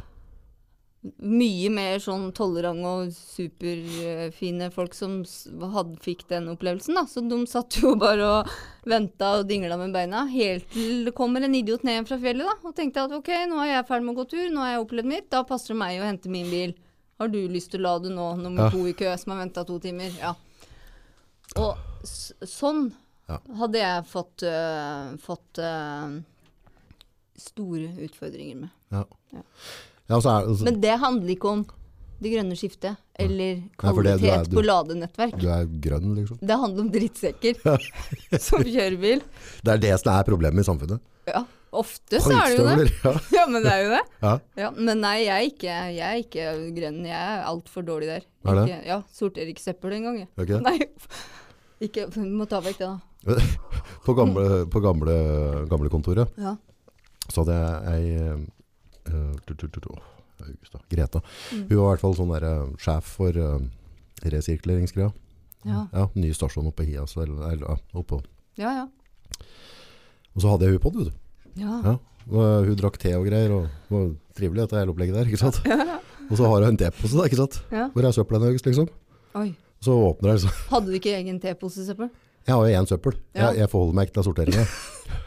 Speaker 2: Mye mer sånn tolerant og superfine folk som s- hadde, fikk den opplevelsen, da. Så de satt jo bare og venta og dingla med beina, helt til det kommer en idiot ned fra fjellet, da. Og tenkte at ok, nå er jeg ferdig med å gå tur, nå har jeg opplevd mitt, da passer det meg å hente min bil. Har du lyst til å lade nå, nummer
Speaker 1: Ja.
Speaker 2: to i kø, som har venta to timer? Ja. Og s sånn
Speaker 1: Ja.
Speaker 2: hadde jeg fått, øh, fått øh, store utfordringer med.
Speaker 1: Ja.
Speaker 2: Ja.
Speaker 1: Ja, så er, altså,
Speaker 2: Men det handler ikke om det grønne skiftet eller
Speaker 1: for det-
Speaker 2: kvalitet
Speaker 1: du er- du-
Speaker 2: på ladenettverk.
Speaker 1: du er grønn, liksom.
Speaker 2: Det handler om drittsekker som kjører bil.
Speaker 1: Det er det som er problemet i samfunnet.
Speaker 2: Ja. Ofte så er det jo det.
Speaker 1: ja.
Speaker 2: Ja, men det er jo det.
Speaker 1: ja.
Speaker 2: Ja, men nei, jeg er ikke, jeg er ikke grønn. Jeg er altfor dårlig der.
Speaker 1: Er det?
Speaker 2: Ikke, ja, Sorterikssøppel en gang, jeg.
Speaker 1: er ikke det?
Speaker 2: Nei, ikke, du må ta vekk det, da.
Speaker 1: På, gamle, på gamle, gamle kontoret
Speaker 2: Ja.
Speaker 1: så hadde jeg ei eh, tu, tu, tu, tu, åh, August da, Greta.
Speaker 2: Mm.
Speaker 1: Hun var i hvert fall sånn der, eh, sjef for uh, resirkuleringsgreia.
Speaker 2: Ja,
Speaker 1: Ja, ny stasjon oppe i Hias. Eller, eller, ja, oppå.
Speaker 2: ja. ja.
Speaker 1: Og så hadde jeg hun på det, vet du.
Speaker 2: ja.
Speaker 1: Ja. Og, eh, hun drakk te og greier, og det var trivelig dette hele opplegget der, ikke sant? Og så har hun en tepose, da, ikke sant?
Speaker 2: Ja.
Speaker 1: Hvor er søpla hennes, liksom?
Speaker 2: Oi.
Speaker 1: Så åpner jeg, så
Speaker 2: Hadde du ikke egen teposesøppel?
Speaker 1: Jeg har jo én søppel.
Speaker 2: Ja.
Speaker 1: Jeg, jeg forholder meg ikke til sorteringa.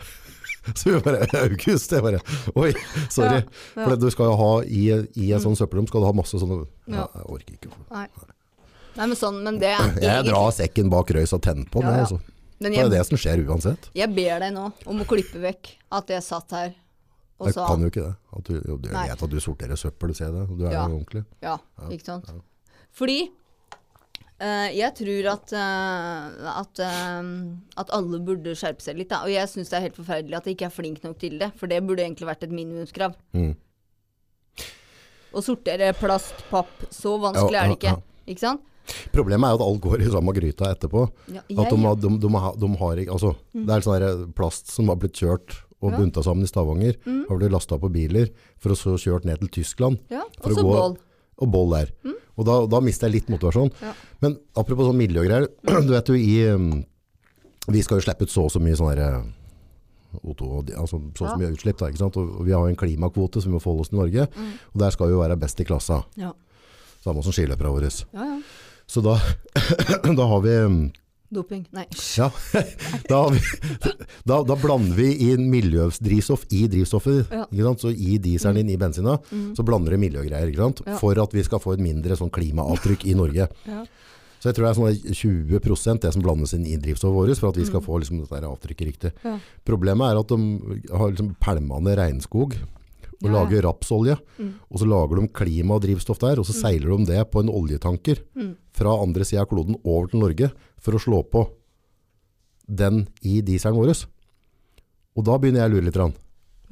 Speaker 1: Så vi bare August, jeg bare Oi, sorry.
Speaker 2: Ja, ja.
Speaker 1: For du skal jo ha i, i en sånn søppelrom skal du ha masse sånne
Speaker 2: Ja.
Speaker 1: ja. Jeg orker ikke.
Speaker 2: Nei. Nei, men sånn, men det er
Speaker 1: Jeg drar sekken bak røys og tenner på den.
Speaker 2: Ja, ja.
Speaker 1: Altså.
Speaker 2: Men
Speaker 1: Det er
Speaker 2: jeg,
Speaker 1: det som skjer uansett.
Speaker 2: jeg ber deg nå om å klippe vekk at jeg satt her og
Speaker 1: Jeg
Speaker 2: sa
Speaker 1: kan jo ikke det. At du, jo, du jeg
Speaker 2: Nei.
Speaker 1: vet at du sorterer søppel, ser jeg det. og Du er
Speaker 2: Ja.
Speaker 1: jo ordentlig.
Speaker 2: Ja, ikke sant? Fordi eh, jeg tror at, eh, at, eh, at alle burde skjerpe seg litt. Da. Og jeg syns det er helt forferdelig at jeg ikke er flink nok til det. For det burde egentlig vært et minimumskrav.
Speaker 1: Mm.
Speaker 2: Å sortere plast, papp, så vanskelig
Speaker 1: Ja,
Speaker 2: er det
Speaker 1: ja,
Speaker 2: ikke. Ikke sant?
Speaker 1: Problemet er jo at alt går i samme gryta etterpå.
Speaker 2: Ja,
Speaker 1: At de,
Speaker 2: jeg- Mm.
Speaker 1: har- de, de, har- de har ikke Altså, det er sånn der plast som har blitt kjørt og
Speaker 2: Ja. Mm.
Speaker 1: bunta sammen i Stavanger. Har blitt lasta på biler, for å så kjørt ned til Tyskland.
Speaker 2: Ja,
Speaker 1: for
Speaker 2: og
Speaker 1: å
Speaker 2: så
Speaker 1: gå-
Speaker 2: bål.
Speaker 1: Og boll der. Og da, da mister jeg litt motivasjon.
Speaker 2: Mm. Ja.
Speaker 1: Men apropos sånn miljøgreier. Du vet jo i um, Vi skal jo slippe ut så og så mye sånn derre O2, og de- altså så og så
Speaker 2: Ja.
Speaker 1: mye utslipp, da, ikke sant? Og, og vi har jo en klimakvote som vi må forholde oss til i Norge.
Speaker 2: Mm.
Speaker 1: Og der skal vi jo være best i klassa.
Speaker 2: Ja.
Speaker 1: Samme som skiløperne våre.
Speaker 2: ja, ja.
Speaker 1: Så da, da har vi um,
Speaker 2: Doping. Nei. hysj.
Speaker 1: Ja. Da, har vi, da, da blander vi inn miljødrivstoff i drivstoffet.
Speaker 2: Ja. Mm.
Speaker 1: Ikke sant? Så i dieselen din, i bensina, så blander du miljøgreier. Ikke sant?
Speaker 2: Ja.
Speaker 1: For at vi skal få et mindre sånn klimaavtrykk i Norge.
Speaker 2: Ja.
Speaker 1: Så jeg tror det er sånn 20 det som blandes inn i drivstoffet vårt, for at vi skal få liksom, dette her avtrykket riktig.
Speaker 2: Mm. Ja.
Speaker 1: Problemet er at de har liksom pælma ned regnskog og
Speaker 2: Ja, Mm. ja.
Speaker 1: lager rapsolje. Og så lager de klima og drivstoff der, og
Speaker 2: Mm.
Speaker 1: så seiler de det på en oljetanker fra andre sida av kloden over til Norge for å slå på den i dieselen vår. Og da begynner jeg å lure litt. grann.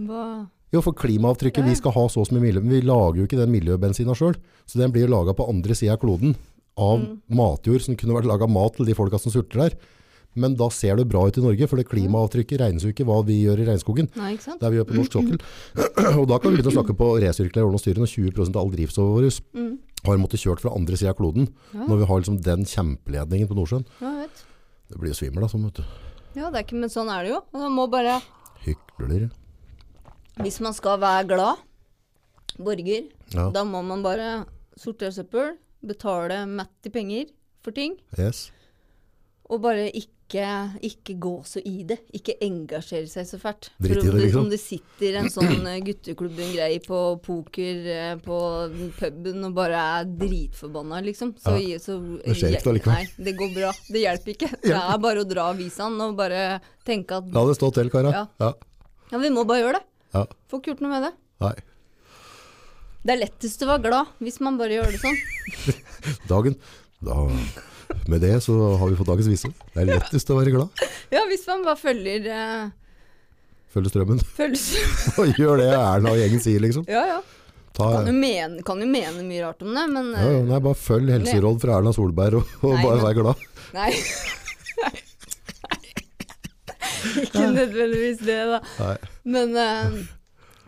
Speaker 2: Hva?
Speaker 1: Jo, for klimaavtrykket vi skal ha så som i miljø, men vi lager jo ikke den miljøbensina sjøl. Så den blir jo laga på andre sida av kloden av matjord som kunne vært laga mat til de folka som sulter der. Men da ser det bra ut i Norge, for det klimaavtrykket regnes jo ikke hva vi gjør i regnskogen.
Speaker 2: Nei, ikke sant?
Speaker 1: Der vi gjør på norsk sokkel. Og da kan vi begynne å snakke på resirkulere og styre når 20 av all drivstoffet vårt har måttet kjørt fra andre sida av kloden. Når vi har liksom den kjempeledningen på Nordsjøen.
Speaker 2: Ja, jeg vet.
Speaker 1: Det blir jo svimmel, da. Som, vet du.
Speaker 2: Ja, det er ikke, men sånn er det jo. Man må bare
Speaker 1: Hykler.
Speaker 2: Hvis man skal være glad borger,
Speaker 1: Ja.
Speaker 2: da må man bare sortere søppel, betale matt i penger for ting,
Speaker 1: Yes.
Speaker 2: og bare ikke, ikke gå så i det. Ikke engasjere seg så fælt. For
Speaker 1: Drit i
Speaker 2: om
Speaker 1: det,
Speaker 2: du-
Speaker 1: liksom.
Speaker 2: Om det sitter en sånn eh, gutteklubb-greie på poker eh, på puben og bare er dritforbanna, liksom, så, så
Speaker 1: Det skjer ikke da likevel.
Speaker 2: Nei, det går bra. Det hjelper ikke. Det er bare å dra avisene og bare tenke at
Speaker 1: La det stå til, kara.
Speaker 2: Ja.
Speaker 1: Ja.
Speaker 2: ja, vi må bare gjøre det.
Speaker 1: ja.
Speaker 2: Får ikke gjort noe med det.
Speaker 1: Nei.
Speaker 2: Det er lettest å være glad hvis man bare gjør det sånn.
Speaker 1: dagen. Da, med det så har vi fått dagens vise. Det er lettest å være glad.
Speaker 2: Ja, hvis man bare følger uh,
Speaker 1: Følge strømmen.
Speaker 2: følelser.
Speaker 1: Og gjør det Erna og gjengen sier, liksom.
Speaker 2: ja, ja.
Speaker 1: Ta,
Speaker 2: Kan jo, mene, kan jo mene mye rart om det, men
Speaker 1: ja, ja,
Speaker 2: eh,
Speaker 1: nei, bare følg helseråd fra Erna Solberg, og, og
Speaker 2: Nei,
Speaker 1: bare
Speaker 2: men-
Speaker 1: vær glad.
Speaker 2: Nei. Ikke nødvendigvis det, da.
Speaker 1: Nei.
Speaker 2: Men eh,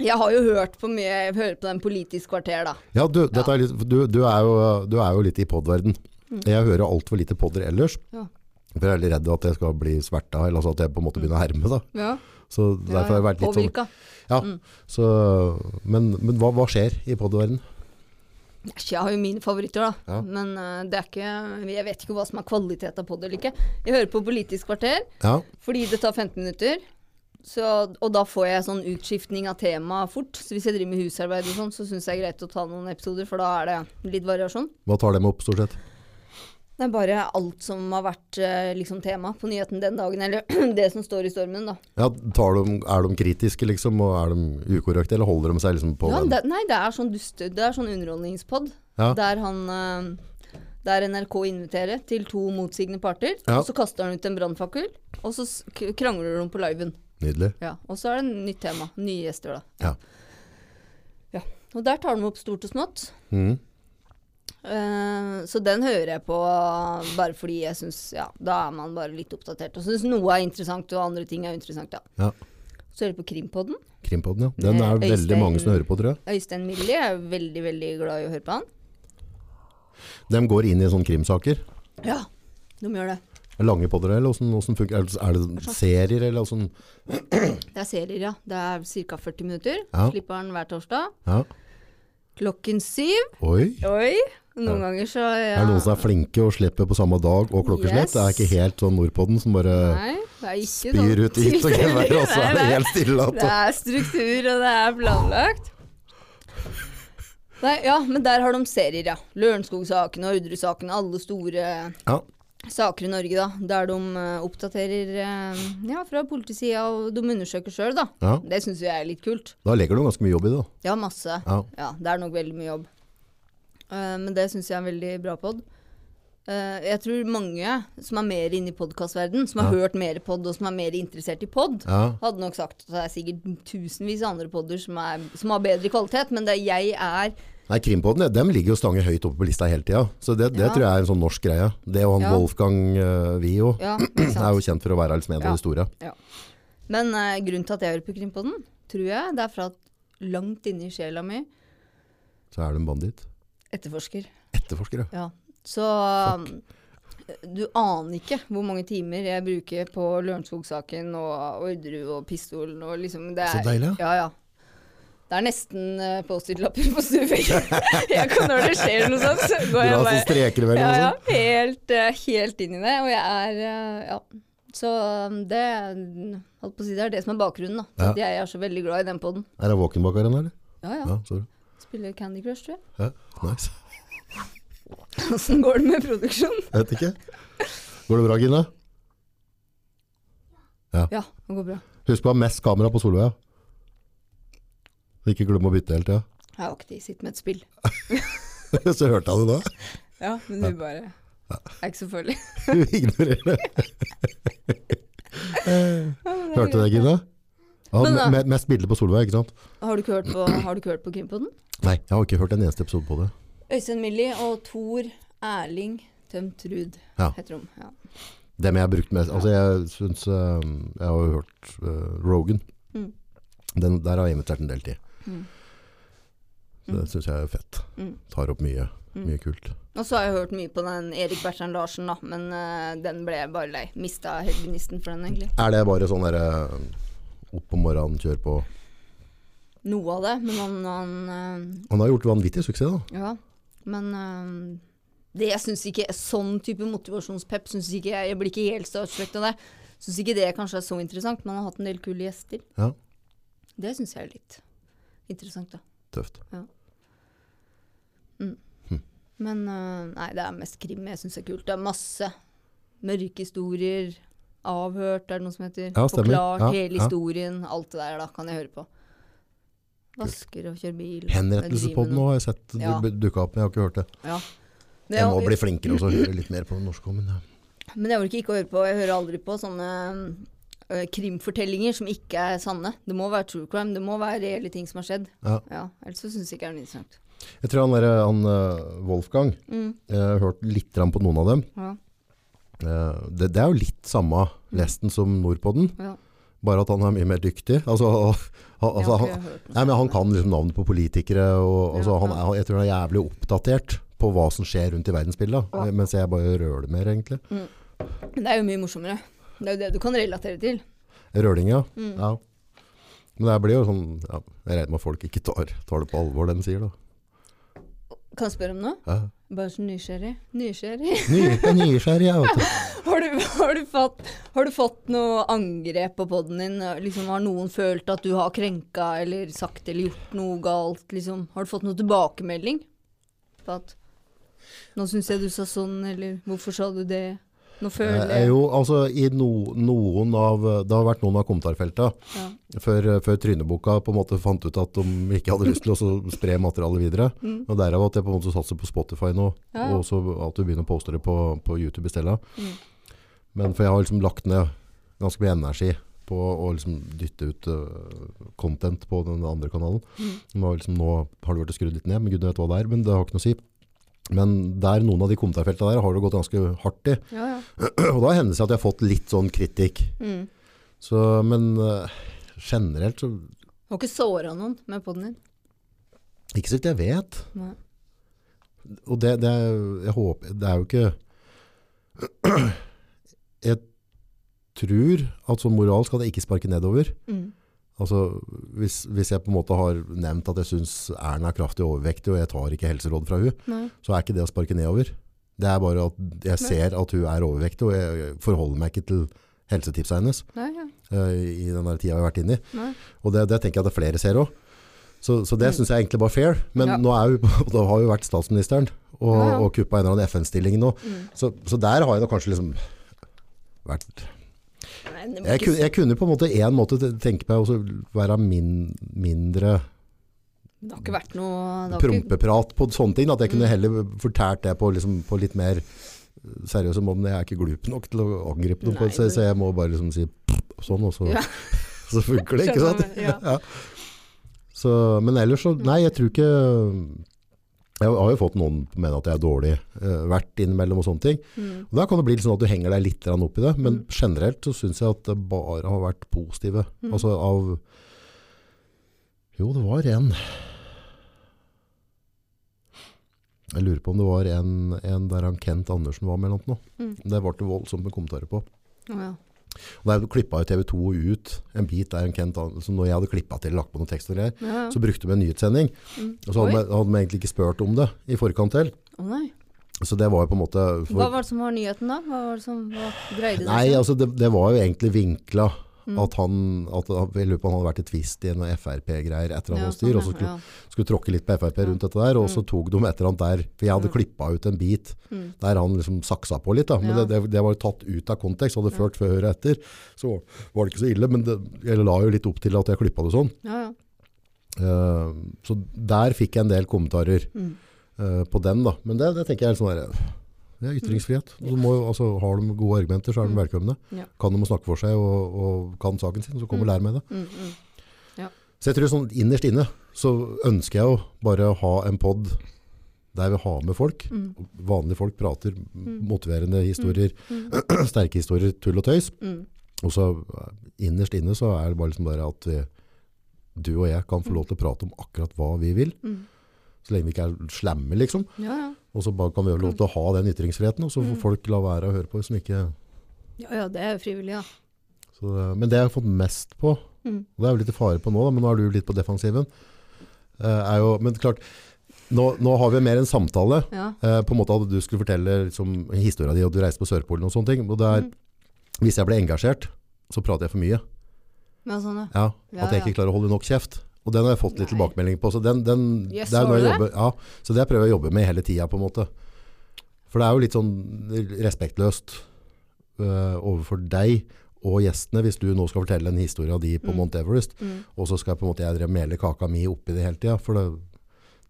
Speaker 2: jeg har jo hørt på mye Jeg hører på den Politisk kvarter, da.
Speaker 1: Ja, du, dette er litt, du, du, er jo, du er jo litt i podverden. Jeg hører altfor lite podder ellers.
Speaker 2: Mm. Ja.
Speaker 1: For jeg er litt redd at jeg skal bli sverta, eller altså at jeg på en måte
Speaker 2: Mm.
Speaker 1: begynner å herme. Da.
Speaker 2: Ja,
Speaker 1: Så derfor har jeg vært litt sånn.
Speaker 2: Påvirka.
Speaker 1: Ja,
Speaker 2: Mm.
Speaker 1: så, men men hva, hva skjer i podverden?
Speaker 2: Æsj, jeg har jo mine favoritter, da.
Speaker 1: Ja.
Speaker 2: Men eh, det er ikke Jeg vet ikke hva som er kvaliteten på det eller ikke. Jeg hører på Politisk kvarter.
Speaker 1: Ja,
Speaker 2: Fordi det tar 15 minutter. Så, og da får jeg sånn utskiftning av tema fort. Så hvis jeg driver med husarbeid og sånn, så syns jeg det er greit å ta noen episoder, for da er det litt variasjon.
Speaker 1: hva tar dem opp stort sett?
Speaker 2: Det er bare alt som har vært eh, liksom tema på nyheten den dagen, eller det som står i stormen, da.
Speaker 1: Ja, tar de, er de kritiske liksom, og er de ukorrekte, eller holder de seg liksom på
Speaker 2: Ja,
Speaker 1: den?
Speaker 2: det, nei, det er sånn duste, det er sånn underholdningspod
Speaker 1: Ja.
Speaker 2: der han eh, der NRK inviterer til to motsigende parter,
Speaker 1: Ja.
Speaker 2: og så kaster han ut en brannfakkel, og så s- k- krangler de på liven.
Speaker 1: Nydelig.
Speaker 2: Ja, og så er det nytt tema. Nye gjester,
Speaker 1: Ja.
Speaker 2: da. Ja, Og der tar de opp stort og smått.
Speaker 1: Mm.
Speaker 2: Eh, så den hører jeg på bare fordi jeg syns Ja, da er man bare litt oppdatert. Og syns noe er interessant, og andre ting er interessant, da.
Speaker 1: Ja.
Speaker 2: Så hører jeg på Krimpodden.
Speaker 1: Krimpodden, ja. Den
Speaker 2: Med
Speaker 1: er veldig
Speaker 2: Øystein-
Speaker 1: mange som hører på, tror jeg.
Speaker 2: Øystein Millie er jo veldig, veldig glad i å høre på han.
Speaker 1: De går inn i sånne krimsaker.
Speaker 2: Ja, de gjør det.
Speaker 1: Er Lange podder, eller hvordan, hvordan funker Er det, er det serier, eller hvordan
Speaker 2: Det er serier, ja. Det er ca. 40 minutter.
Speaker 1: Ja.
Speaker 2: Slipper han hver torsdag.
Speaker 1: Ja.
Speaker 2: Klokken syv.
Speaker 1: Oi.
Speaker 2: Oi! Noen ganger så ja.
Speaker 1: Er det noen som er flinke og slipper på samme dag og klokkeslett?
Speaker 2: Yes.
Speaker 1: Det er ikke helt sånn Nordpodden som bare
Speaker 2: Nei, det er ikke sånn.
Speaker 1: byr ut hit og altså. gevær, og så
Speaker 2: Nei,
Speaker 1: er det
Speaker 2: nei.
Speaker 1: helt stille.
Speaker 2: Det
Speaker 1: at-
Speaker 2: er struktur, og det er planlagt. Nei, ja, men der har de serier, ja. Lørenskog-saken og Udre-saken. Alle store
Speaker 1: Ja.
Speaker 2: saker i Norge, da. Der de eh, oppdaterer eh, ja, fra politisida, og de undersøker sjøl, da.
Speaker 1: Ja.
Speaker 2: Det syns jeg er litt kult.
Speaker 1: Da legger du ganske mye jobb i det. da.
Speaker 2: Ja, masse.
Speaker 1: Ja.
Speaker 2: Ja, det er nok veldig mye jobb. Eh, men det syns jeg er en veldig bra pod. Eh, jeg tror mange som er mer inne i podkastverdenen, som har hørt mer pod, og som er mer interessert i pod,
Speaker 1: Ja.
Speaker 2: hadde nok sagt at det er sikkert tusenvis av andre podder som, er, som har bedre kvalitet, men det jeg er
Speaker 1: Nei, Krimpodden ja, dem ligger jo stange høyt oppe på lista hele tida. Så det, det
Speaker 2: Ja.
Speaker 1: tror jeg er en sånn norsk greie. Det og han
Speaker 2: Ja.
Speaker 1: Wolfgang uh, Vio
Speaker 2: Ja, ikke
Speaker 1: er jo kjent
Speaker 2: sant.
Speaker 1: for å være liksom en av
Speaker 2: Ja.
Speaker 1: de store.
Speaker 2: Ja. Men eh, grunnen til at jeg hører på Krimpodden, tror jeg, det er fra at langt inni sjela mi
Speaker 1: Så er du en banditt.
Speaker 2: etterforsker.
Speaker 1: Etterforsker, ja.
Speaker 2: Ja. Så eh, du aner ikke hvor mange timer jeg bruker på Lørenskog-saken og Orderud og pistolen og liksom det
Speaker 1: Så
Speaker 2: er,
Speaker 1: deilig,
Speaker 2: Ja, ja. Det er nesten eh, Post-It-lapper på stueveggen. jeg kan når det skjer noe sånt, så går
Speaker 1: Dra
Speaker 2: jeg
Speaker 1: som
Speaker 2: bare
Speaker 1: streker imellom og
Speaker 2: Ja,
Speaker 1: sånn.
Speaker 2: ja. Helt, eh, helt inn i det. Og jeg er eh, Ja. Så um, det holdt på å si, det er det som er bakgrunnen. da. Så
Speaker 1: Ja.
Speaker 2: at Jeg er så veldig glad i den poden.
Speaker 1: Er det våken bak her, eller?
Speaker 2: Ja, ja.
Speaker 1: Ja, sorry.
Speaker 2: Spiller Candy Crush, tror jeg.
Speaker 1: Ja, nice.
Speaker 2: Åssen går det med produksjonen?
Speaker 1: Jeg vet ikke. Går det bra, Gine?
Speaker 2: Ja, det går bra.
Speaker 1: Husk på å ha mest kamera på Solveig. Ikke glem å bytte hele tida.
Speaker 2: Jeg har ikke tid. Sitter med et spill.
Speaker 1: Så hørte jeg det da.
Speaker 2: Ja, men du bare er ikke så farlig.
Speaker 1: Du ignorerer det. Hørte du det, Gine? Ja,
Speaker 2: Men da-
Speaker 1: me- mest bilder på Solveig, ikke sant?
Speaker 2: Har du ikke hørt på, har du ikke hørt på Krimpodden?
Speaker 1: Nei, jeg har ikke hørt en eneste episode på det.
Speaker 2: Øystein Millie og Tor Erling Tømtrud
Speaker 1: Ja.
Speaker 2: heter de. Ja.
Speaker 1: Dem jeg har brukt mest. Altså, jeg syns eh, Jeg har jo hørt eh, Rogan.
Speaker 2: Mm.
Speaker 1: Den, der har jeg invitert en del til.
Speaker 2: Mm.
Speaker 1: Så det syns jeg er fett.
Speaker 2: Mm.
Speaker 1: Tar opp mye,
Speaker 2: Mm.
Speaker 1: mye kult.
Speaker 2: Og så har jeg hørt mye på den Erik Bertrand Larsen, da, men eh, den ble jeg bare lei. Mista helt gnisten for den, egentlig.
Speaker 1: Er det bare sånn derre opp om morgenen, kjør på
Speaker 2: Noe av det, men han, han
Speaker 1: Han har gjort vanvittig suksess, da.
Speaker 2: eh, Ja. Men eh, det syns ikke Sånn type motivasjonspep syns ikke jeg Jeg blir ikke helt starstruck av det. Syns ikke det kanskje er så interessant, men han har hatt en del kule gjester.
Speaker 1: Ja,
Speaker 2: Det syns jeg er litt interessant, da.
Speaker 1: tøft.
Speaker 2: Men eh, nei, det er mest krim jeg syns er kult. Det er masse mørke historier. Avhørt, er det noe som heter.
Speaker 1: Ja, stemmer.
Speaker 2: Forklart
Speaker 1: Ja,
Speaker 2: hele
Speaker 1: ja.
Speaker 2: historien. Alt det der da kan jeg høre på. Vasker og kjører bil.
Speaker 1: Henrettelsespodden òg har jeg sett ja.
Speaker 2: Ja.
Speaker 1: dukka opp, men jeg har ikke hørt det.
Speaker 2: Ja. Men
Speaker 1: Jeg må
Speaker 2: jeg,
Speaker 1: bli flinkere og så høre litt mer på den norske. Men ja.
Speaker 2: men jeg orker ikke å høre på. Jeg hører aldri på sånne eh, krimfortellinger som ikke er sanne. Det må være true crime. Det må være reelle ting som har skjedd.
Speaker 1: Ja.
Speaker 2: Ellers så syns jeg ikke det er noe interessant.
Speaker 1: Jeg tror han, der, han eh, Wolfgang
Speaker 2: Mm,
Speaker 1: Jeg har hørt litt grann på noen av dem.
Speaker 2: ja,
Speaker 1: Eh, Det, det er jo litt samme
Speaker 2: Mm.
Speaker 1: lesten som Nordpodden,
Speaker 2: ja.
Speaker 1: bare at han er mye mer dyktig. Altså, han,
Speaker 2: Jeg
Speaker 1: altså,
Speaker 2: har ikke
Speaker 1: han,
Speaker 2: hørt noe
Speaker 1: nei, men han
Speaker 2: sånt.
Speaker 1: kan liksom navnet på politikere, og altså,
Speaker 2: Ja,
Speaker 1: han
Speaker 2: ja.
Speaker 1: er, jeg tror han er jævlig oppdatert på hva som skjer rundt i verdensbildet,
Speaker 2: Ja.
Speaker 1: eh, mens jeg bare røler mer, egentlig.
Speaker 2: Men det er jo mye morsommere. Det er jo det du kan relatere til.
Speaker 1: Rølinga,
Speaker 2: Mm.
Speaker 1: ja. Men det her blir jo sånn, ja, jeg regner med at folk ikke tar, tar det på alvor, det de sier da.
Speaker 2: Kan jeg spørre om noe?
Speaker 1: Ja.
Speaker 2: Bare så nysgjerrig. Nysgjerrig.
Speaker 1: Ny, jeg er nysgjerrig, jeg vet du.
Speaker 2: Har du, har du, fått, har du fått noe angrep på poden din? Liksom, har noen følt at du har krenka eller sagt eller gjort noe galt? Liksom? Har du fått noe tilbakemelding? På at Nå syns jeg du sa sånn, eller hvorfor sa du det? Nå føler
Speaker 1: Eh,
Speaker 2: jeg
Speaker 1: jo, altså, i no, noen av, det har vært noen av kommentarfeltene,
Speaker 2: ja.
Speaker 1: før, eh, før Tryneboka på en måte fant ut at de ikke hadde lyst til å så spre materialet videre. Og derav at jeg på en måte satser på Spotify nå,
Speaker 2: Mm. Ja, ja.
Speaker 1: og så at du begynner å poste det på, på YouTube i stedet.
Speaker 2: Mm.
Speaker 1: Men for jeg har liksom lagt ned ganske mye energi på å liksom dytte ut eh, content på den andre kanalen.
Speaker 2: Mm.
Speaker 1: Det var Liksom, nå har det vært skrudd litt ned, men gudene vet hva det er. Men det har ikke noe å si. Men der noen av de kommentarfeltene der har det gått ganske hardt i.
Speaker 2: Ja, ja.
Speaker 1: Og da hender det seg at jeg har fått litt sånn kritikk.
Speaker 2: Mm.
Speaker 1: Så, men eh, generelt så
Speaker 2: Har ikke såra noen med poden din.
Speaker 1: Ikke så vidt jeg vet.
Speaker 2: Nei.
Speaker 1: Og det, det, er jo- jeg håper, det er jo ikke Jeg tror at som moral skal det ikke sparke nedover.
Speaker 2: Mm.
Speaker 1: Altså, hvis, hvis jeg på en måte har nevnt at jeg syns Erna er kraftig overvektig, og jeg tar ikke helseråd fra hun,
Speaker 2: Nei.
Speaker 1: så er ikke det å sparke nedover. Det er bare at jeg ser at hun er overvektig, og jeg forholder meg ikke til helsetipsa hennes
Speaker 2: Nei, ja.
Speaker 1: eh, i den der tida vi har vært inne i.
Speaker 2: Nei.
Speaker 1: Og det, det tenker jeg at det er flere ser òg. Så, så det
Speaker 2: Mm.
Speaker 1: syns jeg egentlig bare fair. Men
Speaker 2: Ja.
Speaker 1: nå er jo, da har jo vært statsministeren og,
Speaker 2: Ja, ja.
Speaker 1: og kuppa en eller annen FN-stilling nå.
Speaker 2: Mm.
Speaker 1: Så, så der har jeg nok kanskje liksom vært
Speaker 2: Nei, det må
Speaker 1: Jeg
Speaker 2: ikke
Speaker 1: kunne, jeg kunne på en måte en måte te- tenke meg å være min, mindre
Speaker 2: Det har ikke vært noe det har ikke,
Speaker 1: prompeprat på sånne ting. da. At jeg
Speaker 2: Mm.
Speaker 1: kunne heller fortalt det på, liksom, på litt mer seriøse måte. Men jeg er ikke glup nok til å angripe noen på
Speaker 2: Nei,
Speaker 1: det, så,
Speaker 2: men-
Speaker 1: så jeg må bare liksom si sånn, og så,
Speaker 2: Ja.
Speaker 1: så funker det, ikke sant?
Speaker 2: Skjønner, ja.
Speaker 1: Ja. Så, men ellers så Nei, jeg tror ikke Jeg har jo fått noen som mener at jeg er dårlig eh, vært innimellom og sånne ting.
Speaker 2: Mm.
Speaker 1: Og Da kan det bli litt sånn at du henger deg litt grann opp i det, men generelt så syns jeg at det bare har vært positive.
Speaker 2: Mm.
Speaker 1: Altså av Jo, det var en Jeg lurer på om det var en, en der han Kent Andersen var med eller noe.
Speaker 2: Mm.
Speaker 1: Det ble det voldsomt med kommentarer på.
Speaker 2: Å, ja.
Speaker 1: Og Der klippa jo TV 2 ut en bit der en Kent Andersen, når jeg hadde klippa til lagt på noen tekst og greier,
Speaker 2: Ja, ja.
Speaker 1: så brukte vi en nyhetssending.
Speaker 2: Mm.
Speaker 1: Og så
Speaker 2: Oi.
Speaker 1: hadde vi- hadde vi egentlig ikke spurt om det i forkant til.
Speaker 2: Å, nei.
Speaker 1: Så det var jo på en måte for-
Speaker 2: Hva var det som var nyheten, da? Hva var det som hva dreide det
Speaker 1: Nei,
Speaker 2: seg om?
Speaker 1: altså det, det var jo egentlig vinkla
Speaker 2: liksom. Mm.
Speaker 1: at han, at han- jeg lurer på om han hadde vært i tvist i noen FRP-greier etter han
Speaker 2: Ja,
Speaker 1: var styr, og så
Speaker 2: sånn,
Speaker 1: skulle,
Speaker 2: ja.
Speaker 1: skulle tråkke litt på FRP rundt dette der, og så tok de etter han der, for jeg hadde
Speaker 2: Ja.
Speaker 1: klippet ut en bit
Speaker 2: Mm.
Speaker 1: der han liksom saksa på litt da, men
Speaker 2: Ja.
Speaker 1: det, det, det var jo tatt ut av kontekst, hadde
Speaker 2: Ja.
Speaker 1: ført før og etter, så var det ikke så ille, men det, jeg la jo litt opp til at jeg klippet det sånn.
Speaker 2: Ja, ja.
Speaker 1: Eh, så der fikk jeg en del kommentarer
Speaker 2: Mm.
Speaker 1: eh, på den da, men det, det tenker jeg er sånn der, det er ytringsfrihet. Og så må, jo- altså, har de gode argumenter, så er de velkomne.
Speaker 2: Mm. Ja.
Speaker 1: Kan de å snakke for seg og, og kan saken sin, så kom og lær meg det.
Speaker 2: Mm, mm.
Speaker 1: Så jeg tror sånn innerst inne, så ønsker jeg jo bare å ha en podd der vi har med folk.
Speaker 2: Mm.
Speaker 1: Vanlige folk prater, motiverende historier, sterke historier, tull og tøys.
Speaker 2: Mm.
Speaker 1: Og så eh, innerst inne så er det bare liksom bare at vi, du og jeg kan få lov til å prate om akkurat hva vi vil.
Speaker 2: Mm.
Speaker 1: Så lenge vi ikke er slemme liksom.
Speaker 2: Ja, ja.
Speaker 1: Og så bare kan vi jo lov til å ha den ytringsfriheten, og så får folk la være å høre på som ikke...
Speaker 2: ja, ja, det er jo frivillig, da.
Speaker 1: Så, det- men det jeg har fått mest på,
Speaker 2: Mm.
Speaker 1: og det er jo litt i fare på nå, da, men nå er du litt på defensiven, eh, er jo, men klart, nå, nå har vi mer en samtale,
Speaker 2: Ja.
Speaker 1: eh, på en måte at du skulle fortelle liksom, historien din, og du reiste på Sørpolen og sånne ting, og det er, hvis jeg ble engasjert, så prater jeg for mye.
Speaker 2: Men sånn, ja.
Speaker 1: Ja,
Speaker 2: Ja,
Speaker 1: at jeg ikke klarer å holde nok kjeft. Og den har jeg fått litt
Speaker 2: Nei.
Speaker 1: tilbakemelding på, så den, den
Speaker 2: Yes,
Speaker 1: det er jo
Speaker 2: har
Speaker 1: noe jeg
Speaker 2: du
Speaker 1: jobber, ja, så det prøver jeg å jobbe med hele tida på en måte. For det er jo litt sånn respektløst eh, overfor deg og gjestene, hvis du nå skal fortelle en historie av de på
Speaker 2: Mm.
Speaker 1: Mount Everest,
Speaker 2: Mm.
Speaker 1: og så skal jeg på en måte jeg drev mele kaka mi oppi det hele tida, for det,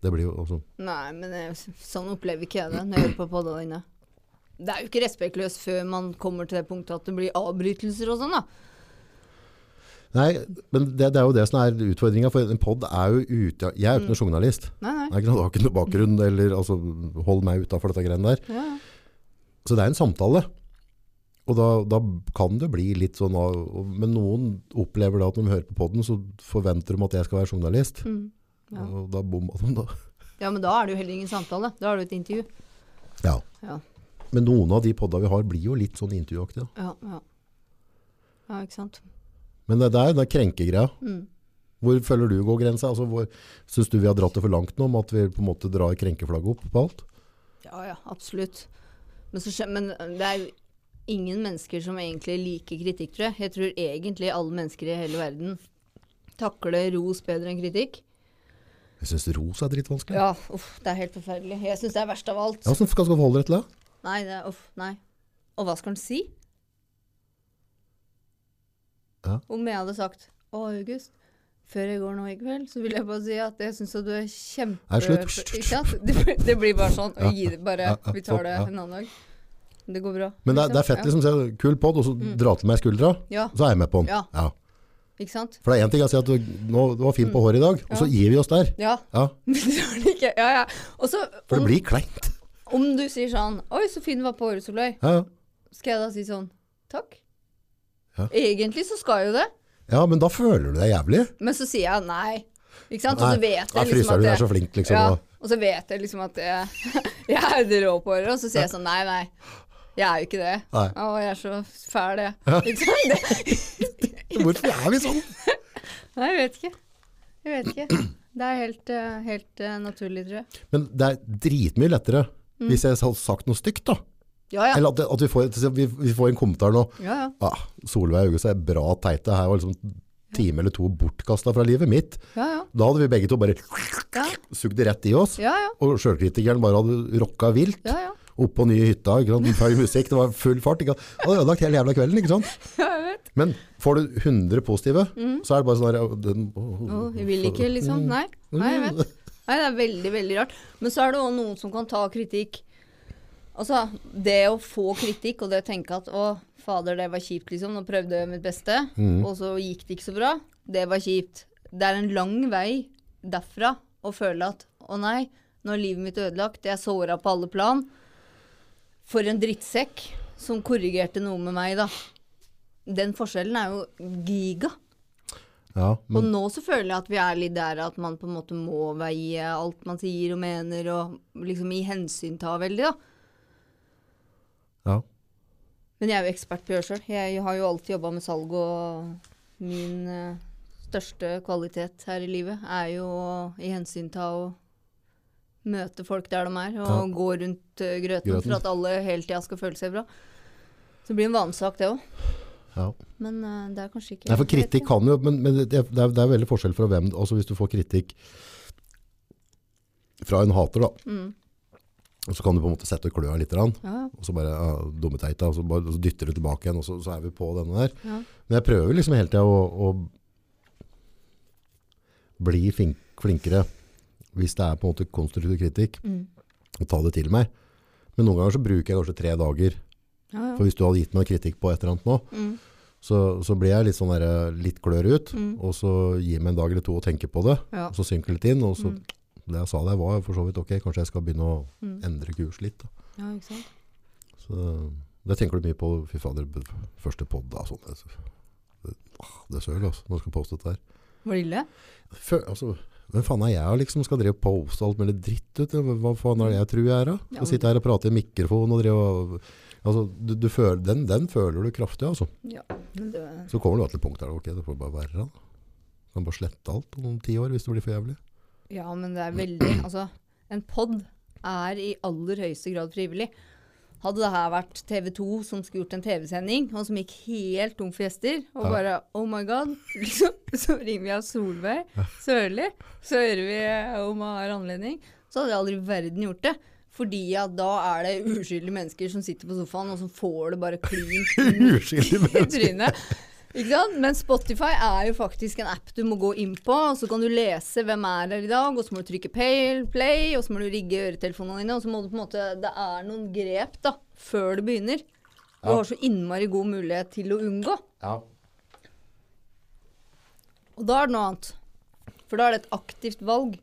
Speaker 1: det blir jo altså,
Speaker 2: Nei, men eh, sånn opplever ikke jeg det når jeg hører på podene dine. Det er jo ikke respektløst før man kommer til det punktet at det blir avbrytelser og sånn, da.
Speaker 1: Nei, men det, det er jo det som er utfordringa, for en pod er jo ute Jeg er jo ikke
Speaker 2: Mm.
Speaker 1: noen journalist.
Speaker 2: Nei,
Speaker 1: Jeg
Speaker 2: nei.
Speaker 1: har ikke noen- har ikke noen bakgrunn, eller altså, hold meg utafor dette greiene der.
Speaker 2: Ja, ja.
Speaker 1: Så det er en samtale. Og da, da kan det bli litt sånn av, og- Men noen opplever da at når de hører på podden, så forventer de at jeg skal være journalist.
Speaker 2: Mm. Ja.
Speaker 1: Og da bomma de, da.
Speaker 2: ja, men da er det jo heller ingen samtale. Da er det jo et intervju.
Speaker 1: Ja.
Speaker 2: Ja.
Speaker 1: Men noen av de podda vi har, blir jo litt sånn intervjuaktige. da.
Speaker 2: Ja, ja. ja ikke sant.
Speaker 1: Men det, det er den krenkegreia.
Speaker 2: Mm.
Speaker 1: Hvor føler du går grensa? Altså, hvor, Syns du vi har dratt det for langt nå, med at vi på en måte drar krenkeflagget opp på alt?
Speaker 2: Ja, ja, absolutt. Men, så, skje- men det er jo ingen mennesker som egentlig liker kritikk, tror jeg. Jeg tror egentlig alle mennesker i hele verden takler ros bedre enn kritikk.
Speaker 1: Jeg syns ros er dritvanskelig.
Speaker 2: Ja, uff, det er helt forferdelig. Jeg syns det er verst av alt.
Speaker 1: Ja, Hvordan skal du forholde deg til det?
Speaker 2: Nei, det er uff, nei. Og hva skal han si?
Speaker 1: Ja.
Speaker 2: Om jeg hadde sagt Å, August, før jeg går nå i kveld, så vil jeg bare si at jeg syns at du er kjempe...
Speaker 1: Nei, slutt.
Speaker 2: Ikke sant? Det, blir- det blir bare sånn.
Speaker 1: Ja,
Speaker 2: Vi gir det bare
Speaker 1: ja, ja,
Speaker 2: Vi tar
Speaker 1: topp,
Speaker 2: det
Speaker 1: ja.
Speaker 2: en annen dag. Det går bra.
Speaker 1: Men det, er- det er fett liksom, se, kul podd, og så dra til meg skuldra,
Speaker 2: Ja.
Speaker 1: så er jeg med på den.
Speaker 2: Mm. Ja.
Speaker 1: Ja.
Speaker 2: ja, ikke sant?
Speaker 1: For det er en ting jeg sier at du, nå, du var fin på håret i dag, og så gir vi oss der.
Speaker 2: Ja.
Speaker 1: Ja,
Speaker 2: Men så er det ikke Ja, ja. Og så,
Speaker 1: for det
Speaker 2: om,
Speaker 1: blir kleint.
Speaker 2: om du sier sånn Oi, så fin du var på Åre Soløy.
Speaker 1: Ja, ja.
Speaker 2: Skal jeg da si sånn Takk?
Speaker 1: Ja.
Speaker 2: Egentlig så skal jeg jo det,
Speaker 1: ja, men da føler du deg jævlig.
Speaker 2: men så sier jeg nei. Ikke sant? Og
Speaker 1: Nei,
Speaker 2: så vet
Speaker 1: da
Speaker 2: jeg liksom
Speaker 1: fryser
Speaker 2: at
Speaker 1: du
Speaker 2: det,
Speaker 1: deg så flink, liksom.
Speaker 2: ja,
Speaker 1: og-
Speaker 2: Og så vet jeg liksom at jeg, jeg er det rå på håret, og så sier jeg sånn nei, nei. Jeg er jo ikke det.
Speaker 1: Nei.
Speaker 2: Å, jeg er så fæl, jeg.
Speaker 1: Ja.
Speaker 2: Ikke sant? Det,
Speaker 1: Hvorfor er vi sånn?
Speaker 2: nei, jeg vet ikke. Jeg vet ikke. Det er helt, eh, helt eh, naturlig, tror jeg.
Speaker 1: Men det er dritmye lettere hvis jeg har sagt noe stygt, da.
Speaker 2: Mm. Ja, ja.
Speaker 1: Eller at, det- at vi, får, et- vi, vi får en kommentar nå.
Speaker 2: ja, ja.
Speaker 1: Ah, Solveig August er bra teite. Her var liksom en time eller to bortkasta fra livet mitt.
Speaker 2: ja, ja.
Speaker 1: Da hadde vi begge to bare
Speaker 2: Ja.
Speaker 1: sugd rett i oss.
Speaker 2: Ja, ja.
Speaker 1: Og sjølkritikeren bare hadde rocka vilt.
Speaker 2: Ja, ja.
Speaker 1: Opp på nye hytta, ikke sant? høy musikk, det var full fart. Ikke sant? Hadde ødelagt hele jævla kvelden, ikke sant?
Speaker 2: ja jeg vet.
Speaker 1: Men får du 100 positive, så er det bare sånn der ja, den,
Speaker 2: Mm. Å, jeg vil ikke, liksom. Nei. Nei, jeg vet. Nei, det er veldig, veldig rart. Men så er det òg noen som kan ta kritikk. Altså, det å få kritikk og det å tenke at å, fader, det var kjipt, liksom. Nå prøvde jeg mitt beste, og så gikk det ikke så bra. Det var kjipt. Det er en lang vei derfra å føle at å nei, nå er livet mitt ødelagt, jeg er såra på alle plan. For en drittsekk som korrigerte noe med meg, da. Den forskjellen er jo giga.
Speaker 1: Ja, men
Speaker 2: Og nå så føler jeg at vi er litt der at man på en måte må veie alt man sier og mener, og liksom i hensyn ta veldig, da.
Speaker 1: ja.
Speaker 2: Men jeg er jo ekspert på å gjøre sjøl. Jeg har jo alltid jobba med salg, og min eh, største kvalitet her i livet er jo å i hensyn ta og møte folk der de er, og
Speaker 1: Ja.
Speaker 2: gå rundt eh, grøten,
Speaker 1: Grøten.
Speaker 2: for at alle hele tida skal føle seg bra. Så det blir en vanesak, det òg.
Speaker 1: ja.
Speaker 2: Men eh, det er kanskje ikke
Speaker 1: Nei, for
Speaker 2: jeg vet
Speaker 1: kritikk
Speaker 2: ikke.
Speaker 1: kan jo, men, men det, er, det er- det er veldig forskjell fra hvem, altså hvis du får kritikk fra en hater da,
Speaker 2: Mm.
Speaker 1: og så kan du på en måte sette kløa litt, grann,
Speaker 2: Ja, ja.
Speaker 1: og så bare ja, dumme teita, og så, bare, og så dytter du tilbake igjen, og så, så er vi på denne der.
Speaker 2: Ja.
Speaker 1: Men jeg prøver liksom hele tiden å, å bli flink, flinkere, hvis det er på en måte konstruktiv kritikk,
Speaker 2: Mm.
Speaker 1: og ta det til meg. Men noen ganger så bruker jeg kanskje tre dager
Speaker 2: ja, ja. Mm.
Speaker 1: for hvis du hadde gitt meg kritikk på et eller annet nå, så, så blir jeg litt, sånn der, litt klør ut, og så gir meg en dag eller to å tenke på det,
Speaker 2: Ja. Mm.
Speaker 1: og så synker det litt inn, og så det jeg sa der var for så vidt, ok, kanskje jeg skal begynne å endre kurs litt. Da.
Speaker 2: ja, ikke sant.
Speaker 1: Så det tenker du mye på, fy fader, b- første podd da, sånn, det, det, ah, det søl, altså, når du skal poste dette her.
Speaker 2: Var det ille?
Speaker 1: Fø- altså, hvem faen er jeg liksom, skal drive og poste alt mulig dritt ut? Hva hva faen er det jeg tror jeg er da?
Speaker 2: Ja,
Speaker 1: Å sitte her og prate i mikrofon og drive og... Altså, du, du føler, den, den føler du kraftig, altså.
Speaker 2: Ja. Men det
Speaker 1: Så kommer du til et punkt der, ok, det får bare være da. Du kan bare slette alt om ti år hvis det blir for jævlig.
Speaker 2: Ja, men det er veldig Altså, en pod er i aller høyeste grad frivillig. Hadde det her vært TV 2 som skulle gjort en TV-sending, og som gikk helt tom for gjester, og
Speaker 1: Ja.
Speaker 2: bare Oh my God! Liksom, så ringer vi av Solveig Sørli, så hører vi eh, om hun har anledning. Så hadde jeg aldri i verden gjort det. Fordi at da er det uskyldige mennesker som sitter på sofaen, og som får det bare klint
Speaker 1: Uskyldig
Speaker 2: i
Speaker 1: menneske.
Speaker 2: trynet. Ikke sant? Men Spotify er jo faktisk en app du må gå inn på, og så kan du lese hvem er der i dag, og så må du trykke pay, play, og så må du rigge øretelefonene dine, og så må du på en måte Det er noen grep, da, før du begynner. Du
Speaker 1: Ja.
Speaker 2: har så innmari god mulighet til å unngå.
Speaker 1: Ja.
Speaker 2: Og da er det noe annet. For da er det et aktivt valg.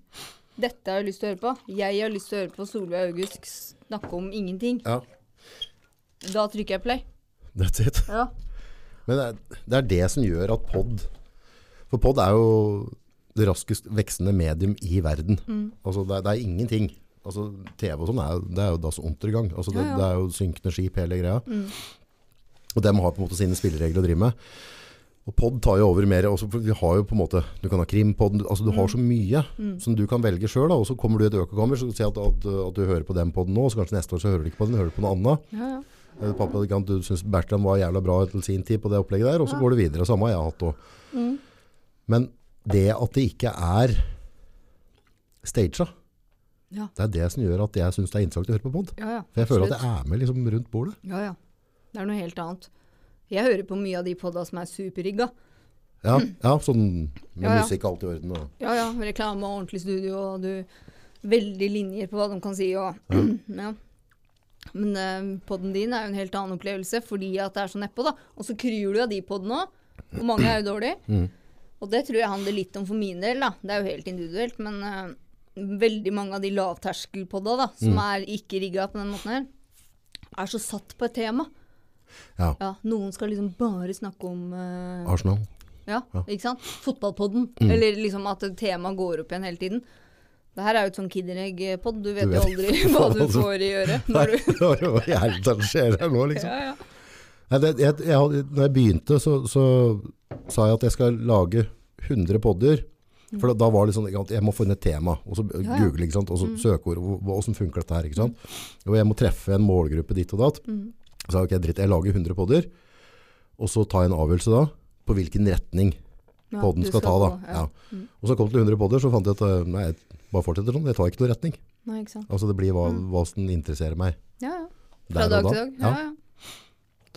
Speaker 2: Dette har jeg lyst til å høre på. Jeg har lyst til å høre på Solveig August snakke om ingenting.
Speaker 1: ja,
Speaker 2: Da trykker jeg play.
Speaker 1: that's it.
Speaker 2: Ja.
Speaker 1: Men det er, det er det som gjør at podd, for podd er jo det raskest veksende medium i verden.
Speaker 2: Mm.
Speaker 1: Altså, det er, det er ingenting. Altså, TV og sånn, er, jo- det er jo das untergang. Altså, det,
Speaker 2: Ja, Mm. ja.
Speaker 1: det er jo synkende skip hele greia. Og dem har på en måte sine spilleregler å drive med. Og podd tar jo over mer, også, for vi har jo på en måte, du kan ha krimpodden, altså du
Speaker 2: Mm.
Speaker 1: har så mye som du kan velge selv da, og så kommer du i et økokammer, så du sier at, at, at du hører på den podden nå, og så kanskje neste år så hører du ikke på den, hører du på noe annet.
Speaker 2: Ja, ja.
Speaker 1: Eh, Pappa, ikke sant, du syns Bertrand var jævla bra til sin tid på det opplegget der, og så går det videre. Samme har jeg hatt òg.
Speaker 2: Mm.
Speaker 1: Men det at det ikke er staged,
Speaker 2: Ja.
Speaker 1: det er det som gjør at jeg syns det er interessant å høre på pod.
Speaker 2: ja, ja.
Speaker 1: For jeg føler at
Speaker 2: Absolutt.
Speaker 1: jeg er med liksom rundt bordet.
Speaker 2: Ja, ja. Det er noe helt annet. Jeg hører på mye av de podda som er superrigga.
Speaker 1: Ja, ja sånn med
Speaker 2: Mm. Ja, ja.
Speaker 1: musikk alt i orden. Og,
Speaker 2: Ja, ja. Reklame og ordentlig studio, og du Veldig linjer på hva de kan si, og ja. Men eh, podden din er jo en helt annen opplevelse fordi at det er så nedpå, da. Og så kryr du av de podene òg. Og mange er jo dårlige. Og det tror jeg handler litt om for min del, da. Det er jo helt individuelt, men eh, veldig mange av de lavterskelpodda da, som er ikke rigga på den måten her, er så satt på et tema.
Speaker 1: Ja.
Speaker 2: Ja, noen skal liksom bare snakke om eh,
Speaker 1: Arsenal.
Speaker 2: ja, ikke sant? Fotballpodden.
Speaker 1: Mm.
Speaker 2: Eller liksom at temaet går opp igjen hele tiden. Det her er jo et sånn Kinderegg-podd. Du vet
Speaker 1: Du
Speaker 2: jo
Speaker 1: vet
Speaker 2: aldri
Speaker 1: ikke
Speaker 2: hva
Speaker 1: hva
Speaker 2: du
Speaker 1: du-
Speaker 2: får i øret.
Speaker 1: Nei,
Speaker 2: Når du,
Speaker 1: hva i helvete er det som skjer her nå, liksom?
Speaker 2: ja, ja.
Speaker 1: Nei, det, jeg, jeg, hadde- når jeg begynte, så, så sa jeg at jeg skal lage 100 podder. For da, da var det sånn at jeg må finne et tema, og så
Speaker 2: Ja, Mm. ja.
Speaker 1: google, ikke sant? og så søkeord, og hva- hvordan funker dette her, ikke sant? Og jeg må treffe en målgruppe ditt og datt.
Speaker 2: Mm.
Speaker 1: Så sa jeg, ok, dritt, jeg lager 100 podder, og så tar jeg en avgjørelse da, på hvilken retning
Speaker 2: Ja, Mm.
Speaker 1: podden
Speaker 2: du
Speaker 1: skal, ta da.
Speaker 2: gå,
Speaker 1: Ja. Og så kom det til 100 podder, så fant jeg at eh, nei, jeg bare fortsetter sånn, jeg tar ikke noen retning.
Speaker 2: Nei, ikke sant.
Speaker 1: Altså det blir hva, hva som interesserer meg.
Speaker 2: Ja, ja.
Speaker 1: der
Speaker 2: Mm. Fra
Speaker 1: og
Speaker 2: dag
Speaker 1: da.
Speaker 2: til dag. Ja, ja.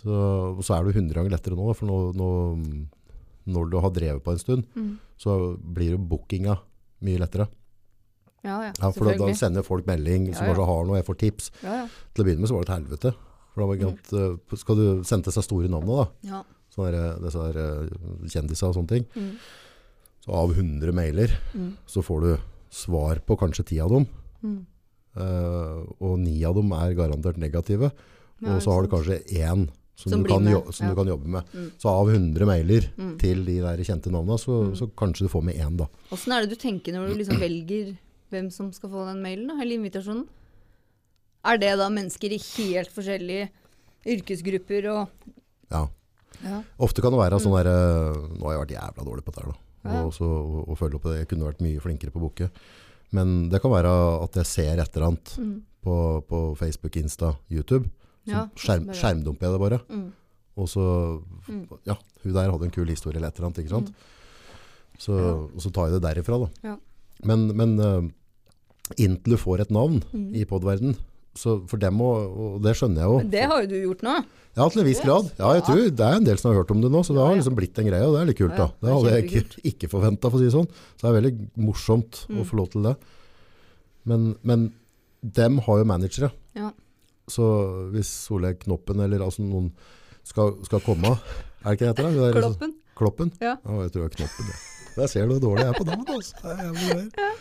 Speaker 1: Så, og så er det jo 100 ganger lettere nå, da, for nå, nå, når du har drevet på en stund,
Speaker 2: Mm.
Speaker 1: så blir jo bookinga mye lettere.
Speaker 2: ja, ja.
Speaker 1: Ja, for da, da
Speaker 2: Selvfølgelig.
Speaker 1: sender folk melding som
Speaker 2: Ja, ja.
Speaker 1: kanskje har noe, jeg får tips.
Speaker 2: Ja, ja.
Speaker 1: Til å begynne med så var det et helvete. For da var det
Speaker 2: Mm.
Speaker 1: ikke at, eh, skal du sende til seg store navn da,
Speaker 2: ja.
Speaker 1: sånne der, disse der eh, kjendiser og sånne ting.
Speaker 2: Mm.
Speaker 1: Så av 100 mailer
Speaker 2: Mm.
Speaker 1: så får du svar på kanskje 10 av dem,
Speaker 2: Mm.
Speaker 1: eh, og 9 av dem er garantert negative.
Speaker 2: Ja,
Speaker 1: og så har du
Speaker 2: ikke
Speaker 1: kanskje én som,
Speaker 2: Som
Speaker 1: du,
Speaker 2: blir
Speaker 1: kan
Speaker 2: med,
Speaker 1: jo, som
Speaker 2: ja.
Speaker 1: du kan jobbe med.
Speaker 2: Mm.
Speaker 1: Så av 100 mailer
Speaker 2: Mm.
Speaker 1: til de der kjente navnene, så, så kanskje du får med én da.
Speaker 2: Åssen er det du tenker når du liksom velger hvem som skal få den mailen, da, eller invitasjonen? Er det da mennesker i helt forskjellige yrkesgrupper og
Speaker 1: Ja.
Speaker 2: Ja.
Speaker 1: Ofte kan det være sånn der, eh, nå har jeg vært jævla dårlig på dette her da.
Speaker 2: Mm. Ja.
Speaker 1: Og, så, og, og følge opp det. Jeg kunne vært mye flinkere på boket. Men det kan være at jeg ser et eller annet
Speaker 2: Mm.
Speaker 1: på, på Facebook, Insta, YouTube. Så
Speaker 2: Ja,
Speaker 1: skjerm,
Speaker 2: bare-
Speaker 1: skjermdumper jeg det bare.
Speaker 2: Mm.
Speaker 1: Og så, ja, hun der hadde en kul historie eller et eller annet, ikke
Speaker 2: Mm.
Speaker 1: sant? Så, og så tar jeg det derifra da.
Speaker 2: Ja.
Speaker 1: Men, men eh, inntil du får et navn
Speaker 2: Mm.
Speaker 1: i podverden, så for dem, og, og det skjønner jeg jo.
Speaker 2: Det har jo du gjort nå.
Speaker 1: Ja, til en viss grad. Ja, jeg tror det er en del som har hørt om det nå, så det
Speaker 2: Ja,
Speaker 1: har
Speaker 2: ja.
Speaker 1: liksom blitt en greie, og det er litt kult
Speaker 2: Ja,
Speaker 1: da.
Speaker 2: ja,
Speaker 1: Det hadde jeg
Speaker 2: det er
Speaker 1: ikke, ikke forventet, for å si det sånn. Så det er veldig morsomt
Speaker 2: Mm.
Speaker 1: å få lov til det. Men, men dem har jo managere.
Speaker 2: Ja.
Speaker 1: Så hvis Solveig Knoppen eller altså noen skal, skal komme, er det ikke det heter? det? Det er- liksom
Speaker 2: Kloppen.
Speaker 1: Kloppen?
Speaker 2: Ja.
Speaker 1: jeg tror det er Knoppen. det. Der ser du hvor dårlig jeg er på damen, altså. Det er jævlig greier.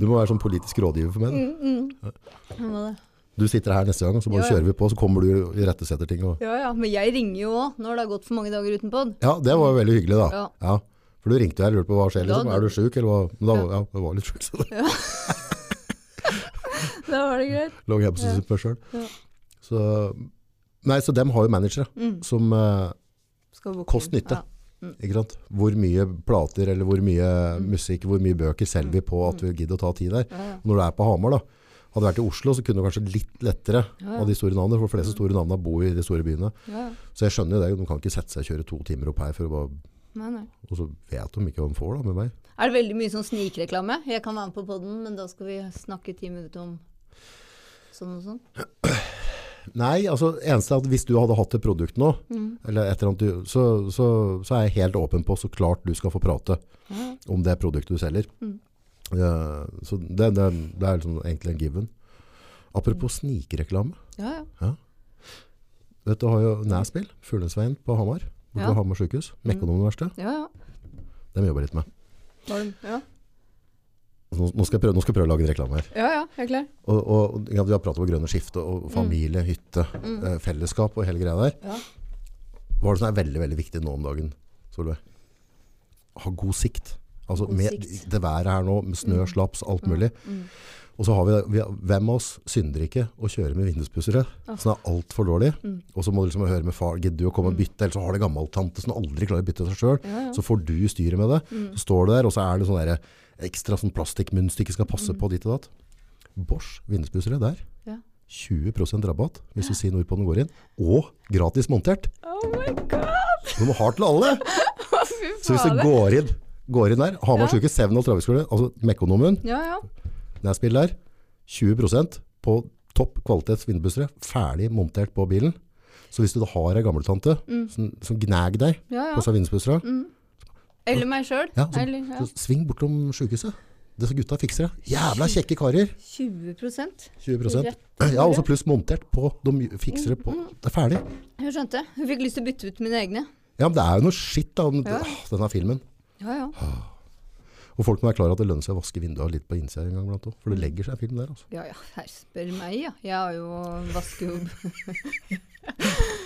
Speaker 1: Du må være sånn politisk rådgiver for meg. da.
Speaker 2: Ja, hva da?
Speaker 1: Du sitter her neste gang, og så bare
Speaker 2: Mm. Ja, ja.
Speaker 1: kjører vi på, så kommer du og rettesetter ting. Og...
Speaker 2: Ja, ja, men jeg ringer jo òg når det har gått for mange dager uten pod.
Speaker 1: Ja, det var jo veldig hyggelig, da.
Speaker 2: Ja.
Speaker 1: Ja. For du ringte her og lurte på hva skjer,
Speaker 2: Da-
Speaker 1: liksom. Er du sjuk, eller hva? Men da, ja, jeg var litt sjuk, så da
Speaker 2: Da var det greit.
Speaker 1: lå jeg på meg sjøl.
Speaker 2: Ja.
Speaker 1: Så Nei, så dem har jo managere som eh,
Speaker 2: Skal våkne.
Speaker 1: Kost-nytte.
Speaker 2: Mm. Ja. Mm.
Speaker 1: Ikke sant? Hvor mye plater, eller hvor mye musikk, hvor mye bøker selger vi på at
Speaker 2: Mm.
Speaker 1: du gidder å ta tid der.
Speaker 2: Ja, ja.
Speaker 1: Når du er på Hamar, da. Hadde du vært i Oslo, så kunne du kanskje litt lettere
Speaker 2: Ja, Mm. ja.
Speaker 1: av de store navnene, for de fleste store navnene bor i de store byene.
Speaker 2: Ja, ja.
Speaker 1: Så jeg skjønner jo det, de kan ikke sette seg og kjøre to timer opp her, for å bare,
Speaker 2: Nei, nei.
Speaker 1: og så vet de ikke hva de får da, med meg.
Speaker 2: Er det veldig mye sånn snikreklame? Jeg kan være med på poden, men da skal vi snakke ti minutter om sånn og sånn.
Speaker 1: Nei, altså eneste er at hvis du hadde hatt et produkt nå, eller et eller annet, du- så, så, så er jeg helt åpen på så klart du skal få prate
Speaker 2: Ja.
Speaker 1: om det produktet du selger. Ja, så det, det, det er liksom egentlig en given. Apropos snikreklame.
Speaker 2: Ja, ja.
Speaker 1: Vet du, har jo Næsbil, Fuglesveien på Hamar, borte
Speaker 2: Ja.
Speaker 1: ved Hamar sykehus, Mekonomuniversitetet,
Speaker 2: ja, ja.
Speaker 1: dem jobber jeg litt med.
Speaker 2: Var det- ja.
Speaker 1: Så Nå, nå, skal jeg prøve, nå skal jeg prøve å lage en reklame her.
Speaker 2: ja, ja, jeg er klar.
Speaker 1: Og, og, og, ja, vi har pratet om grønne skifte, og familie, hytte, eh, fellesskap og hele greia der.
Speaker 2: Ja.
Speaker 1: Hva er det som er veldig, veldig viktig nå om dagen, Solveig? Ha god sikt. Altså,
Speaker 2: God
Speaker 1: med
Speaker 2: sikt. Mm.
Speaker 1: det været her nå, med snø, slaps, alt mulig. Og så har vi, vi har- hvem av oss synder ikke å kjøre med vindusspussere som er altfor dårlige?
Speaker 2: Mm.
Speaker 1: Og så må du liksom høre med far, gidder du å komme og bytte, eller så har du gammeltante som aldri klarer å bytte seg sjøl.
Speaker 2: Ja, Mm. ja.
Speaker 1: Så får du styret med det. Så står du der, og så er det sånn derre ekstra sånn plastikkmønster ikke skal passe på ditt og datt. Bosch vinduspussere der.
Speaker 2: Mm. Ja.
Speaker 1: 20 rabatt hvis du sier nordpå den går inn. Og gratis montert.
Speaker 2: Oh my god!
Speaker 1: Så De har til alle!
Speaker 2: Fy faen.
Speaker 1: Så hvis du går inn, går inn der, Hamar sykehus, Sevn og Traveskole, altså Mekonomen,
Speaker 2: Ja, ja.
Speaker 1: Næsbil der, 20 på topp kvalitets vindbussere, ferdig montert på bilen. Så hvis du da har ei gamletante som, som gnager deg
Speaker 2: Mm. ja,
Speaker 1: på
Speaker 2: ja.
Speaker 1: seg vindbussere,
Speaker 2: Eller meg sjøl.
Speaker 1: ja, så,
Speaker 2: Eller ja.
Speaker 1: så sving bortom sykehuset. Det som gutta fikser det. Jævla kjekke karer.
Speaker 2: 20
Speaker 1: 20
Speaker 2: Rett Mm,
Speaker 1: Ja, og så pluss montert på. De fikser det på. Det er ferdig.
Speaker 2: Hun skjønte. Hun fikk lyst til å bytte ut mine egne.
Speaker 1: Ja, men det er jo noe skitt da, om
Speaker 2: Ja.
Speaker 1: Åh, denne filmen.
Speaker 2: Ja, ja.
Speaker 1: Og folk må være klar over at det lønner seg å vaske vinduet litt på innsida en gang iblant òg. For
Speaker 2: Mm.
Speaker 1: det legger seg film der, altså.
Speaker 2: ja, ja. Her spør meg, ja. Jeg har jo vaskejobb.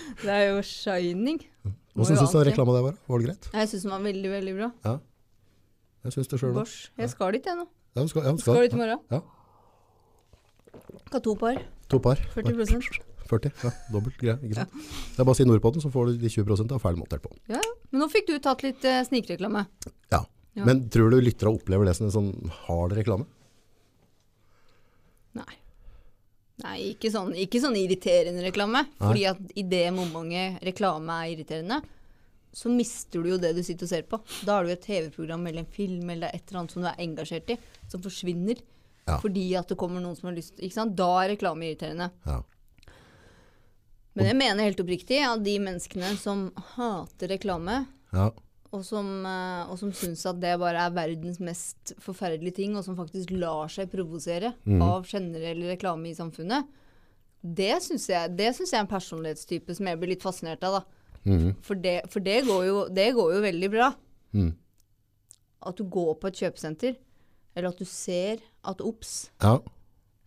Speaker 2: det er jo shining. Må
Speaker 1: Hvordan
Speaker 2: jo
Speaker 1: syns du den
Speaker 2: alltid-
Speaker 1: reklama der var? Var det greit?
Speaker 2: Nei, Jeg syns den var veldig, veldig bra.
Speaker 1: Ja. Jeg syns det sjøl òg.
Speaker 2: Bosch. Jeg skal dit, jeg nå.
Speaker 1: Ja, du skal, ja, du
Speaker 2: Skal dit i
Speaker 1: skal.
Speaker 2: morgen.
Speaker 1: Ja.
Speaker 2: Skal ha to par.
Speaker 1: To par.
Speaker 2: 40
Speaker 1: 40. Ja, dobbelt. Greit. greit. Det er bare å si nord på den, så får du de 20 av ferdig montert på.
Speaker 2: Ja, ja. Men nå fikk du tatt litt eh, snikreklame.
Speaker 1: Ja.
Speaker 2: Ja.
Speaker 1: Men tror du lyttere opplever det som en sånn hard reklame?
Speaker 2: Nei. Nei, ikke sånn, ikke sånn irriterende reklame. Fordi at i det momentet reklame er irriterende, så mister du jo det du sitter og ser på. Da har du et TV-program eller en film eller et eller annet som du er engasjert i, som forsvinner.
Speaker 1: Ja.
Speaker 2: Fordi at det kommer noen som har lyst ikke sant? Da er reklame irriterende.
Speaker 1: Ja.
Speaker 2: Men jeg mener helt oppriktig at de menneskene som hater reklame,
Speaker 1: ja.
Speaker 2: og som, eh, og som syns at det bare er verdens mest forferdelige ting, og som faktisk lar seg provosere
Speaker 1: Mhm.
Speaker 2: av generell reklame i samfunnet, det syns jeg, det synes jeg er en personlighetstype som jeg blir litt fascinert av. da.
Speaker 1: Mhm.
Speaker 2: For, det, for det, går jo, det går jo veldig bra.
Speaker 1: Mm.
Speaker 2: At du går på et kjøpesenter, eller at du ser at OBS
Speaker 1: Ja.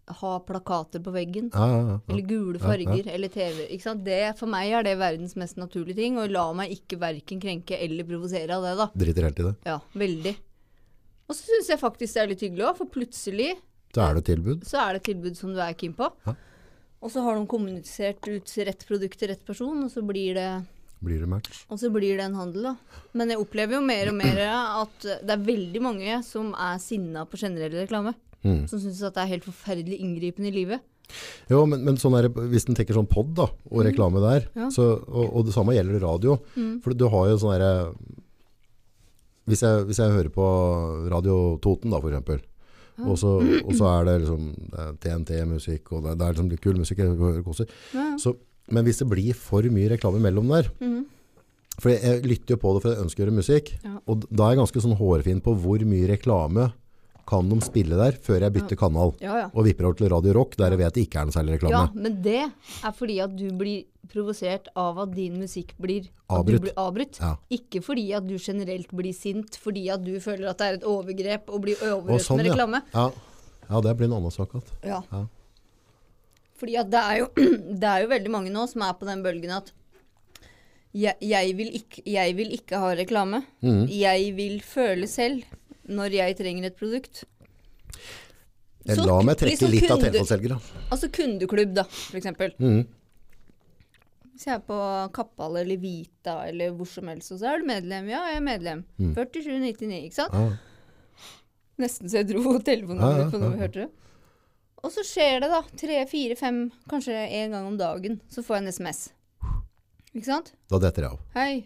Speaker 2: har plakater på veggen.
Speaker 1: Ja, ja, ja.
Speaker 2: Eller gule farger, eller TV. Ikke sant? Det, for meg er det verdens mest naturlige ting, og la meg ikke verken krenke eller provosere av det, da.
Speaker 1: Driter helt i det.
Speaker 2: Ja, veldig. Og så syns jeg faktisk det er litt hyggelig òg, for plutselig
Speaker 1: Så er det tilbud.
Speaker 2: så er det et tilbud som du er keen på.
Speaker 1: Ja.
Speaker 2: Og så har de kommunisert ut rett produkt til rett person, og så blir det,
Speaker 1: Blir det match?
Speaker 2: og så blir det en handel, da. Men jeg opplever jo mer og mer at det er veldig mange som er sinna på generell reklame. Som syns at det er helt forferdelig inngripende i livet.
Speaker 1: Jo, men, men sånn er, det- hvis en tenker sånn pod da, og reklame der,
Speaker 2: Mm. Ja. Mm.
Speaker 1: så, og, og det samme gjelder radio. For du har jo sånn derre hvis, jeg- hvis jeg hører på Radio Toten da, for eksempel, og så, og så er det liksom det er TNT-musikk, og det, det er liksom litt kul musikk, jeg hører koser.
Speaker 2: Ja, ja.
Speaker 1: Så, men hvis det blir for mye reklame mellom der, for jeg, jeg lytter jo på det for jeg ønsker å høre musikk,
Speaker 2: Ja.
Speaker 1: og da er jeg ganske sånn hårfin på hvor mye reklame kan de spille der før jeg bytter kanal.
Speaker 2: Ja, ja.
Speaker 1: Og vipper over til Radio Rock, der jeg vet det ikke er noe særlig reklame.
Speaker 2: Ja, men det er fordi at du blir provosert av at din musikk blir at
Speaker 1: Avbrutt.
Speaker 2: Du blir avbrutt.
Speaker 1: Ja.
Speaker 2: Ikke fordi at du generelt blir sint fordi at du føler at det er et overgrep å bli
Speaker 1: Og
Speaker 2: overrødt
Speaker 1: sånn,
Speaker 2: med
Speaker 1: ja.
Speaker 2: reklame.
Speaker 1: Ja. ja, det blir en annen sak. altså. At.
Speaker 2: Ja.
Speaker 1: Ja.
Speaker 2: Fordi at det er, jo, det er jo veldig mange nå som er på den bølgen at jeg, jeg, vil, ikke, jeg vil ikke ha reklame.
Speaker 1: Mm.
Speaker 2: Jeg vil føle selv når jeg trenger et produkt.
Speaker 1: Jeg
Speaker 2: Så
Speaker 1: la meg
Speaker 2: k-
Speaker 1: trekke
Speaker 2: liksom
Speaker 1: litt av
Speaker 2: kunde-
Speaker 1: telefonselgere.
Speaker 2: Altså kundeklubb, da, for eksempel.
Speaker 1: Mm.
Speaker 2: Hvis jeg er på Kappal eller Vita eller hvor som helst, og så er du medlem. Ja, jeg er medlem.
Speaker 1: Mm.
Speaker 2: 47,99, ikke sant?
Speaker 1: Ja.
Speaker 2: Nesten så jeg dro telefonnummeret
Speaker 1: Ja, ja,
Speaker 2: på noe
Speaker 1: ja,
Speaker 2: vi
Speaker 1: ja.
Speaker 2: hørte. det. Og så skjer det, da. Tre, fire, fem, kanskje en gang om dagen, så får jeg en SMS. Ikke sant?
Speaker 1: Da detter jeg av.
Speaker 2: Hei,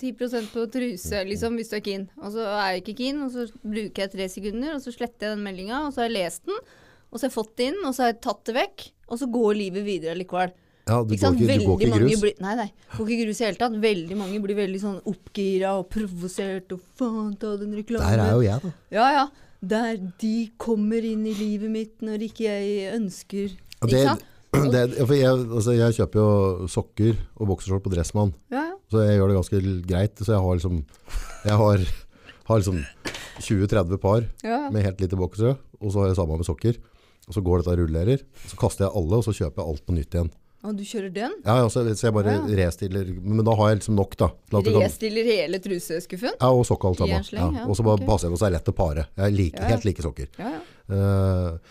Speaker 2: 10 på truse, liksom, hvis du er keen. Og så er jeg ikke keen, og så bruker jeg tre sekunder, og så sletter jeg den meldinga, og så har jeg lest den, og så har jeg fått det inn, og så har jeg tatt det vekk, og så går livet videre likevel.
Speaker 1: Ja, du, går ikke, du går ikke i
Speaker 2: mange
Speaker 1: grus.
Speaker 2: Blir, nei, nei. Går ikke i grus i det hele tatt. Veldig mange blir veldig sånn oppgira og provosert og faen ta den reklamen.
Speaker 1: Der er jo jeg, da.
Speaker 2: Ja, ja. Der de kommer inn i livet mitt når ikke jeg ønsker
Speaker 1: Ja,
Speaker 2: Ikke
Speaker 1: Det,
Speaker 2: sant?
Speaker 1: det, for jeg, altså, jeg kjøper jo sokker og boksershort på Dressmann,
Speaker 2: Ja, ja.
Speaker 1: så jeg gjør det ganske l- greit. Så jeg har liksom, jeg har, har liksom 20-30 par
Speaker 2: ja, ja.
Speaker 1: med helt lite boksere, og så har jeg samme med sokker. Og så går dette og rullerer, så kaster jeg alle, og så kjøper jeg alt på nytt igjen.
Speaker 2: Og du kjører den?
Speaker 1: Ja, ja, så, så jeg bare restiller, men da har jeg liksom nok da. til at det kan-
Speaker 2: Restiller hele truseskuffen?
Speaker 1: Ja, og sokk alt
Speaker 2: I en
Speaker 1: sammen.
Speaker 2: sleng,
Speaker 1: ja.
Speaker 2: ja,
Speaker 1: Og så bare
Speaker 2: ok.
Speaker 1: passer jeg på så det er lett å pare. Jeg er like,
Speaker 2: Ja, ja.
Speaker 1: helt like sokker.
Speaker 2: Ja, ja.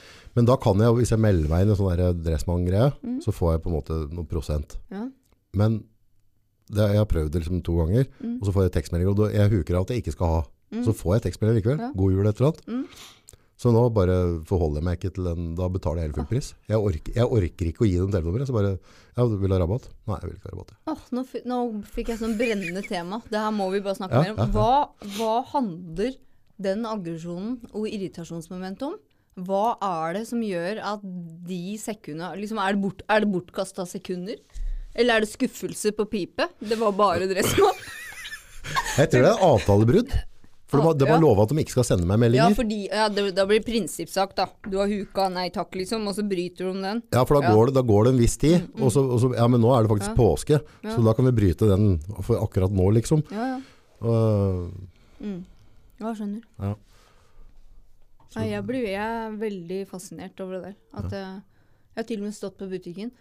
Speaker 1: Eh, men da kan jeg, jo, hvis jeg melder meg inn i en sånn der dressmann-greie,
Speaker 2: Mm.
Speaker 1: så får jeg på en måte noen prosent.
Speaker 2: ja.
Speaker 1: Men det, jeg har prøvd det liksom to ganger,
Speaker 2: Mm.
Speaker 1: og så får jeg tekstmeldinger, og da- jeg huker av at jeg ikke skal ha. Så får jeg tekstmeldinger likevel.
Speaker 2: Ja. Mm.
Speaker 1: God jul etter annet. Så nå bare forholder jeg meg ikke til den, da betaler jeg hele
Speaker 2: Ah.
Speaker 1: full pris. Jeg orker, jeg orker ikke å gi dem telenummeret, så bare, ja, du vil ha rabatt? Nei, jeg vil ikke ha rabatt.
Speaker 2: Åh, nå, fi- nå fikk jeg sånn brennende tema. Det her må vi bare snakke
Speaker 1: Ja,
Speaker 2: mer
Speaker 1: ja,
Speaker 2: om.
Speaker 1: ja.
Speaker 2: Hva, hva handler den aggresjonen og irritasjonsmomentet om? Hva er det som gjør at de sekundene liksom, Er det, bort, er det bortkasta sekunder? Eller er det skuffelse på pipe? Det var bare dressmann.
Speaker 1: Jeg tror det er avtalebrudd. For de har, de
Speaker 2: Ja.
Speaker 1: har lova at de ikke skal sende meg
Speaker 2: Ja,
Speaker 1: meldinger.
Speaker 2: fordi, ja, det, da blir det prinsippsak, da. Du har huka, nei takk, liksom, og så bryter du om den.
Speaker 1: Ja, for da
Speaker 2: Ja. Mm,
Speaker 1: går, det, da går det en viss tid, og, så, og så Ja, men nå er det faktisk
Speaker 2: Ja.
Speaker 1: påske,
Speaker 2: Ja.
Speaker 1: så da kan vi bryte den for akkurat nå, liksom.
Speaker 2: Ja, ja.
Speaker 1: Og,
Speaker 2: Ja, jeg skjønner.
Speaker 1: Ja.
Speaker 2: Nei, jeg, blir, jeg er veldig fascinert over det der. At eh, jeg har til og med stått på butikken,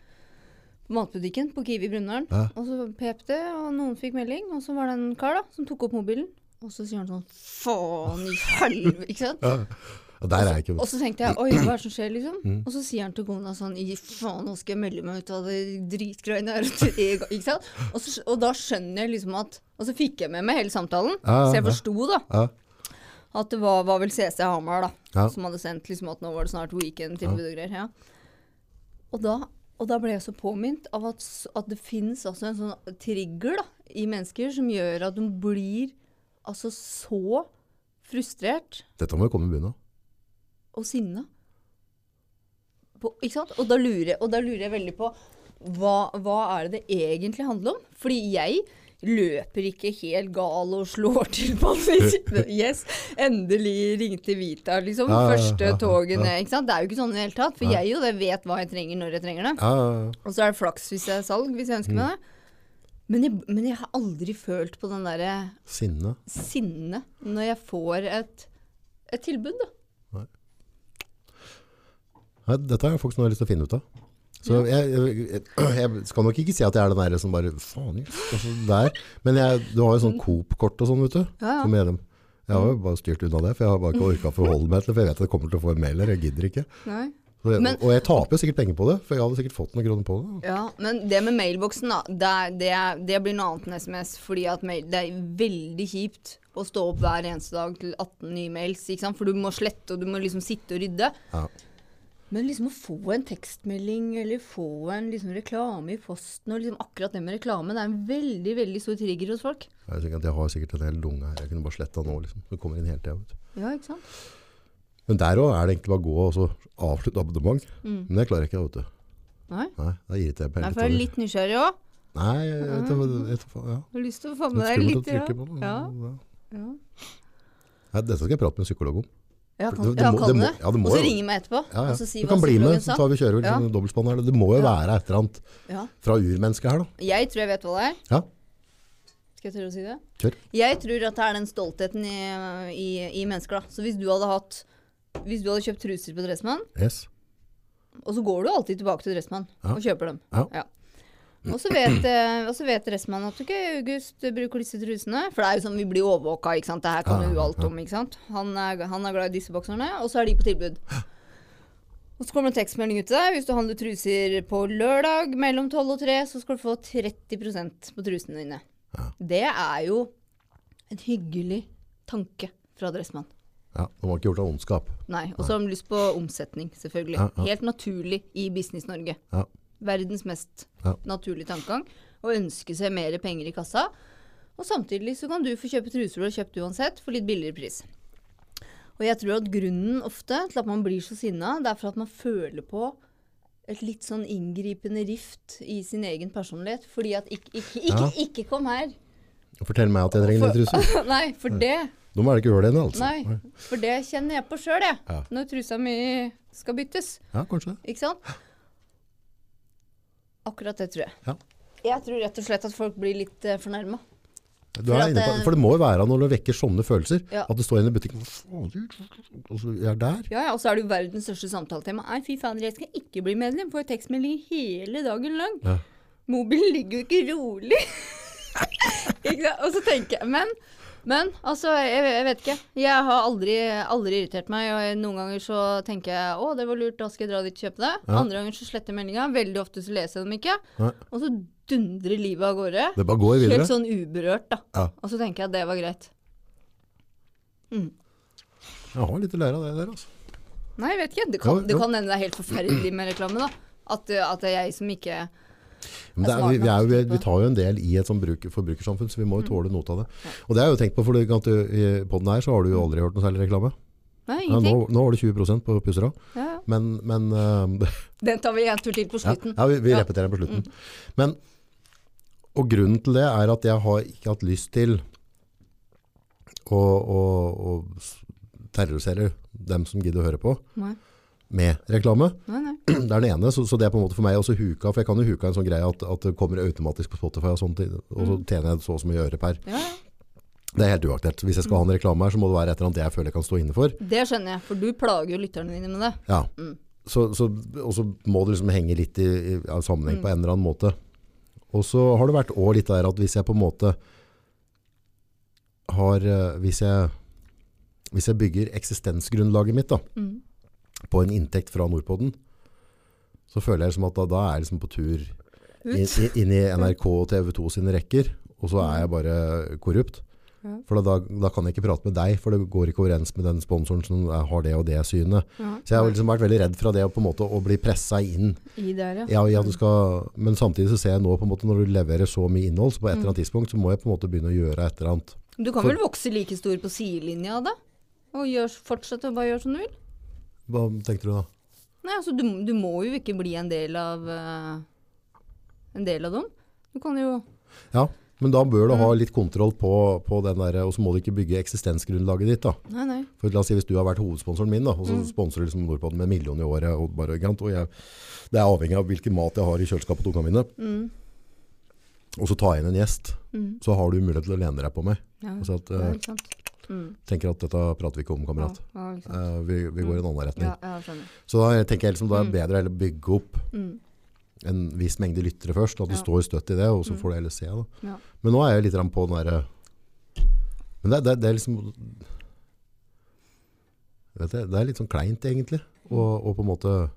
Speaker 2: på matbutikken på Kiwi Brunnaren,
Speaker 1: Ja.
Speaker 2: og så pep det, og noen fikk melding, og så var det en kar da, som tok opp mobilen, og så sier han sånn Faen i helvete! Ikke sant?
Speaker 1: ja. Og der er jeg ikke
Speaker 2: Og så tenkte jeg oi, hva er det som skjer, liksom?
Speaker 1: Mm.
Speaker 2: Og så sier han til kona sånn i faen, nå skal jeg melde meg ut av det dritgreiene her. til en gang», Ikke sant? Og, så, og da skjønner jeg liksom at Og så fikk jeg med meg hele samtalen,
Speaker 1: Ja,
Speaker 2: så jeg
Speaker 1: ja.
Speaker 2: forsto da
Speaker 1: ja.
Speaker 2: at det var, var vel CC Hamar da,
Speaker 1: Ja.
Speaker 2: som hadde sendt liksom at nå var det snart weekend-tilbud og greier. Ja. Og, da, og da ble jeg så påminnet av at, s- at det finnes altså en sånn trigger da, i mennesker som gjør at de blir altså så frustrert
Speaker 1: Dette må jo komme i bunnen av.
Speaker 2: og sinna. På, ikke sant? Og da, lurer, jeg- og da lurer jeg veldig på hva, hva er det det egentlig handler om? Fordi jeg løper ikke helt gal og slår til på den. Yes, endelig ringte Vita, liksom.
Speaker 1: Ja, ja, ja, ja,
Speaker 2: Første toget
Speaker 1: ja.
Speaker 2: ned. Ikke sant? Det er jo ikke sånn i det hele tatt. For jeg jo det vet hva jeg trenger når jeg trenger det.
Speaker 1: Ja, ja, ja.
Speaker 2: Og så er det flaks hvis jeg er salg, hvis jeg ønsker
Speaker 1: Mm.
Speaker 2: meg det. Men jeg, men jeg har aldri følt på den derre
Speaker 1: sinne.
Speaker 2: sinnet når jeg får et, et tilbud, da.
Speaker 1: Nei, dette har jeg faktisk noe jeg har lyst til å finne ut av. Så jeg, jeg, jeg skal nok ikke si at jeg er den der som bare Faen, jøss, altså der. Men jeg, du har jo sånn Coop-kort og sånn, vet du.
Speaker 2: Mm. Ja, Mm. ja.
Speaker 1: Som medlem. Jeg har jo bare styrt unna det, for jeg har bare ikke orka å forholde meg til det. For jeg vet at jeg kommer til å få en mail her, jeg gidder ikke.
Speaker 2: Nei.
Speaker 1: Så jeg,
Speaker 2: Men-
Speaker 1: og jeg taper jo sikkert penger på det, for jeg hadde sikkert fått noen kroner på det.
Speaker 2: Ja, men det med mailboksen, da, det, er- det, er- det blir noe annet enn SMS. Fordi at mail, det er veldig kjipt å stå opp hver eneste dag til 18 nye mails. Ikke sant? For du må slette, og du må liksom sitte og rydde.
Speaker 1: Ja.
Speaker 2: Men liksom å få en tekstmelding eller få en liksom reklame i posten, og liksom akkurat det med reklame, det er en veldig veldig stor trigger hos folk.
Speaker 1: Jeg, er sikker at jeg har sikkert en hel lunge her. Jeg kunne bare sletta nå, liksom. Det kommer inn hele tida. vet du.
Speaker 2: Ja, ikke sant?
Speaker 1: Men der òg er det egentlig bare å gå og så avslutte abonnement. Men det klarer jeg ikke, vet du.
Speaker 2: Nei,
Speaker 1: Nei, da irriterer jeg meg
Speaker 2: Mm. Nei
Speaker 1: litt
Speaker 2: for jeg er
Speaker 1: over.
Speaker 2: litt nysgjerrig òg.
Speaker 1: Nei, jeg, jeg, vet hva- jeg, vet hva- ja.
Speaker 2: Har lyst til å få med
Speaker 1: Litt
Speaker 2: deg litt.
Speaker 1: skummelt å trykke på den.
Speaker 2: Ja,
Speaker 1: Ja.
Speaker 2: ja.
Speaker 1: Nei, dette skal jeg prate med en psykolog om.
Speaker 2: ja kan
Speaker 1: Det- det
Speaker 2: ja,
Speaker 1: må-
Speaker 2: kan
Speaker 1: det
Speaker 2: du
Speaker 1: må-
Speaker 2: det?
Speaker 1: ja, det må
Speaker 2: Og så
Speaker 1: jo.
Speaker 2: ringe meg etterpå.
Speaker 1: Ja, ja.
Speaker 2: Og så si
Speaker 1: du
Speaker 2: hva
Speaker 1: kan bli med, så
Speaker 2: psykologen sa.
Speaker 1: tar vi kjører liksom,
Speaker 2: Ja.
Speaker 1: dobbeltspann her. Det må jo være et eller annet
Speaker 2: Ja.
Speaker 1: fra urmennesket her, da.
Speaker 2: Jeg tror jeg vet hva det er.
Speaker 1: Ja,
Speaker 2: Skal jeg tørre å si det?
Speaker 1: kjør.
Speaker 2: Jeg tror at det er den stoltheten i, i, i mennesker. da. Så hvis du hadde hatt Hvis du hadde kjøpt truser på Dressmann,
Speaker 1: Yes.
Speaker 2: og så går du alltid tilbake til Dressmann
Speaker 1: Ja.
Speaker 2: og kjøper dem.
Speaker 1: Ja.
Speaker 2: Og så vet, eh, og så vet Dressmann at ok, August bruker disse trusene. For det er jo sånn vi blir overvåka, ikke sant. Det her kan
Speaker 1: Ja,
Speaker 2: vi jo
Speaker 1: ja,
Speaker 2: alt om, ikke sant. Han er, han er glad i disse bokserne, og så er de på tilbud. Og så kommer det en tekstmelding ut til deg. Hvis du handler truser på lørdag mellom 12 og 3, så skal du få 30 på trusene dine. Det er jo en hyggelig tanke fra Dressmann.
Speaker 1: Ja, de har ikke gjort av ondskap.
Speaker 2: Nei. Og så har de lyst på omsetning, selvfølgelig.
Speaker 1: Ja, ja.
Speaker 2: Helt naturlig i Business-Norge.
Speaker 1: Ja.
Speaker 2: Verdens mest
Speaker 1: Ja.
Speaker 2: naturlige tankegang. Å ønske seg mer penger i kassa. Og samtidig så kan du få kjøpe truser du har kjøpt uansett, for litt billigere pris. Og jeg tror at grunnen ofte til at man blir så sinna, det er for at man føler på et litt sånn inngripende rift i sin egen personlighet. Fordi at ikke, ikke, ikke,
Speaker 1: Ja.
Speaker 2: ikke kom her!
Speaker 1: Fortell meg at jeg trenger nye truser.
Speaker 2: Nei, for det
Speaker 1: De er det ikke høl igjen, altså.
Speaker 2: Nei, for det kjenner jeg på sjøl, jeg.
Speaker 1: Ja.
Speaker 2: Når trusa mi skal byttes.
Speaker 1: Ja, kanskje det.
Speaker 2: Ikke sant? Akkurat det tror jeg.
Speaker 1: Ja.
Speaker 2: Jeg tror rett og slett at folk blir litt uh, fornærma.
Speaker 1: Du
Speaker 2: For
Speaker 1: er
Speaker 2: at
Speaker 1: inne på,
Speaker 2: det-
Speaker 1: for det må jo være når du vekker sånne følelser,
Speaker 2: Ja.
Speaker 1: at du står inne i butikken, «Hva faen, altså, jeg er der.
Speaker 2: Ja, ja, og så er det jo verdens største samtaletema. Nei, fy fader, jeg skal ikke bli medlem. Får tekstmeldinger hele dagen lang.
Speaker 1: Ja.
Speaker 2: Mobilen ligger jo ikke rolig. ikke sant? Og så tenker jeg Men, men altså, jeg, jeg vet ikke. Jeg har aldri, aldri irritert meg. Og jeg- noen ganger så tenker jeg å, det var lurt, da skal jeg dra dit og kjøpe det.
Speaker 1: Ja.
Speaker 2: Andre ganger så sletter jeg meldinga. Veldig ofte så leser jeg dem ikke.
Speaker 1: Nei.
Speaker 2: Og så dundrer livet av gårde.
Speaker 1: Det bare går videre.
Speaker 2: Helt sånn uberørt, da.
Speaker 1: Ja.
Speaker 2: Og så tenker jeg at det var greit. sånn.
Speaker 1: Jeg har litt å lære av det der, altså.
Speaker 2: Nei, jeg vet ikke. Det kan,
Speaker 1: Jo,
Speaker 2: det
Speaker 1: jo.
Speaker 2: kan hende det er helt forferdelig med reklame, da. At, uh, at det er jeg som ikke
Speaker 1: Men det er,
Speaker 2: Jeg
Speaker 1: vi, vi, er,
Speaker 2: smaker
Speaker 1: jo- vi,
Speaker 2: nok
Speaker 1: vi tar jo en del i et sånt bruk, forbrukersamfunn, så vi må jo tåle noe av det. Og det har jeg jo tenkt på, for det- at du- i podden her så har du jo aldri hørt noe særlig reklame.
Speaker 2: Nei,
Speaker 1: Ja,
Speaker 2: ingenting.
Speaker 1: nå, nå var det 20 på Pussera,
Speaker 2: Ja, ja.
Speaker 1: men, men eh,
Speaker 2: Den tar vi en tur til på
Speaker 1: ja,
Speaker 2: slutten.
Speaker 1: ja, vi, vi repeterer den på slutten. Men, og grunnen til det er at jeg har ikke hatt lyst til og, og, og s- terroriserer dem som gidder å høre på,
Speaker 2: Nei.
Speaker 1: med reklame.
Speaker 2: Nei, nei.
Speaker 1: Det er den ene, så, så det er på en måte for meg også huka, for jeg kan jo huka en sånn greie at, at det kommer automatisk på Spotify og sånt, og så tjener jeg så og så mye øre per.
Speaker 2: Ja, ja.
Speaker 1: Det er helt uaktuelt. Hvis jeg skal ha en reklame her, så må det være et eller annet jeg føler jeg kan stå inne for.
Speaker 2: Det skjønner jeg, for du plager jo lytterne dine med det.
Speaker 1: Ja.
Speaker 2: Mm.
Speaker 1: Så, så, og så må det liksom henge litt i, i av sammenheng på en eller annen måte. Og så har det vært også litt der at hvis jeg på en måte har eh, Hvis jeg, hvis jeg bygger eksistensgrunnlaget mitt da,
Speaker 2: Mm.
Speaker 1: på en inntekt fra Nordpodden, så føler jeg liksom at da, da er jeg liksom på tur inn,
Speaker 2: Ut.
Speaker 1: inn- inn i NRK og TV 2 sine rekker, og så er jeg bare korrupt.
Speaker 2: Mm. Ja.
Speaker 1: For da, da kan jeg ikke prate med deg, for det går ikke overens med den sponsoren som er- har det og det synet.
Speaker 2: Ja.
Speaker 1: Så jeg har liksom vært veldig redd fra det å på en måte å bli pressa inn.
Speaker 2: I der, ja.
Speaker 1: Ja, ja, du skal, men samtidig så ser jeg nå på en måte når du leverer så mye innhold, så på et eller annet tidspunkt så må jeg på en måte begynne å gjøre et eller annet.
Speaker 2: Du kan
Speaker 1: For-
Speaker 2: vel vokse like stor på sidelinja da? Og gjør, fortsette å bare gjøre som du vil?
Speaker 1: Hva tenkte du da?
Speaker 2: Nei, altså du, du må jo ikke bli en del av eh, En del av dem. Du kan jo
Speaker 1: Ja, men da bør du ha litt kontroll på, på den der, og så må du ikke bygge eksistensgrunnlaget ditt da.
Speaker 2: Nei, nei.
Speaker 1: For la oss si hvis du har vært hovedsponsoren min, da, og så sponsorer du liksom Nordpodden med en million i året, og, bare, ikke sant? og jeg, det er avhengig av hvilken mat jeg har i kjøleskapet til ungene mine, og så tar jeg inn en gjest, så har du mulighet til å lene deg på meg.
Speaker 2: Ja,
Speaker 1: Altså at,
Speaker 2: ja,
Speaker 1: eh,
Speaker 2: ikke sant. Mm.
Speaker 1: tenker at dette prater vi ikke om,
Speaker 2: Ja,
Speaker 1: kamerat.
Speaker 2: ja, ikke sant.
Speaker 1: Eh, vi, vi går i en annen retning.
Speaker 2: Ja, ja, skjønner.
Speaker 1: Så da tenker jeg liksom, da er det bedre å heller bygge opp
Speaker 2: Mm.
Speaker 1: en viss mengde lyttere først, at du
Speaker 2: Ja. Mm.
Speaker 1: står støtt i det, og så får du heller se. Da.
Speaker 2: Ja.
Speaker 1: Men nå er jeg litt grann på den der, eh, men det, det, det er liksom, vet jeg, det er litt sånn kleint egentlig, og, og på en måte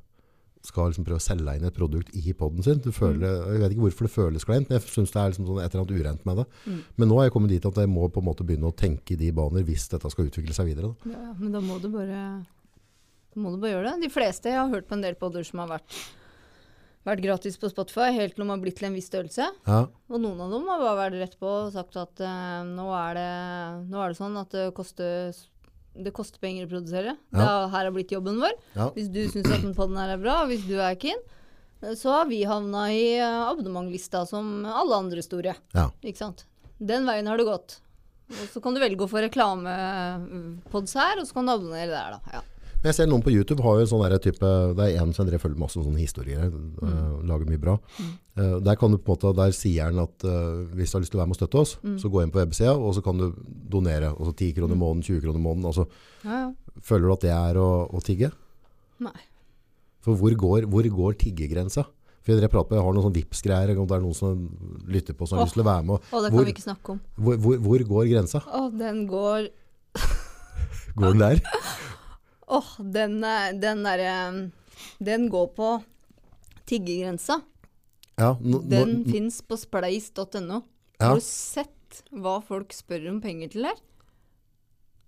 Speaker 1: skal liksom prøve å selge inn et produkt i podden sin. Du føler, Jeg vet ikke hvorfor det føles kleint, men jeg synes det er liksom sånn et eller annet urent med det.
Speaker 2: Mm.
Speaker 1: Men nå er jeg kommet dit at jeg må på en måte begynne å tenke i de baner hvis dette skal utvikle seg videre. Da.
Speaker 2: Ja, ja, men da må du bare da må du bare gjøre det. De fleste jeg har hørt på en del podder som har vært, vært gratis på Spotify, helt til de har blitt til en viss størrelse.
Speaker 1: Ja,
Speaker 2: Og noen av dem har bare vært rett på og sagt at eh, nå, er det, nå er det sånn at det koster, det koster penger å produsere.
Speaker 1: Ja.
Speaker 2: Det er, her har blitt jobben vår.
Speaker 1: ja,
Speaker 2: Hvis du syns at den podden her er bra, og hvis du er keen, eh, så har vi havna i eh, abonnementlista som alle andre store.
Speaker 1: ja.
Speaker 2: Ikke sant? Den veien har det gått. Og så kan du velge å få reklamepods her, og så kan du abonnere der, da. Ja.
Speaker 1: Men jeg ser noen på YouTube har jo en sånn der type, det er en som jeg følger masse sånne historier, øh,
Speaker 2: Mm.
Speaker 1: lager mye bra. Eh, der kan du på en måte, der sier han at øh, hvis du har lyst til å være med og støtte oss,
Speaker 2: Mm.
Speaker 1: så gå inn på websida, og så kan du donere, altså 10 kroner i måneden, 20 kroner i måneden, altså
Speaker 2: ja, ja.
Speaker 1: føler du at det er å, å tigge?
Speaker 2: Nei.
Speaker 1: For hvor går, hvor går tiggegrensa? For jeg prater på, jeg har noen sånne Vipps-greier, om det er noen som lytter på som har lyst til å være med.
Speaker 2: Å, det kan
Speaker 1: Hvor,
Speaker 2: vi ikke snakke om.
Speaker 1: hvor, hvor, hvor går grensa?
Speaker 2: Å, den går
Speaker 1: Går den der?
Speaker 2: Åh, den, eh, den derre Den går på tiggegrensa.
Speaker 1: Ja, nå, nå,
Speaker 2: Den fins på spleis.no.
Speaker 1: Ja.
Speaker 2: Har du sett hva folk spør om penger til her?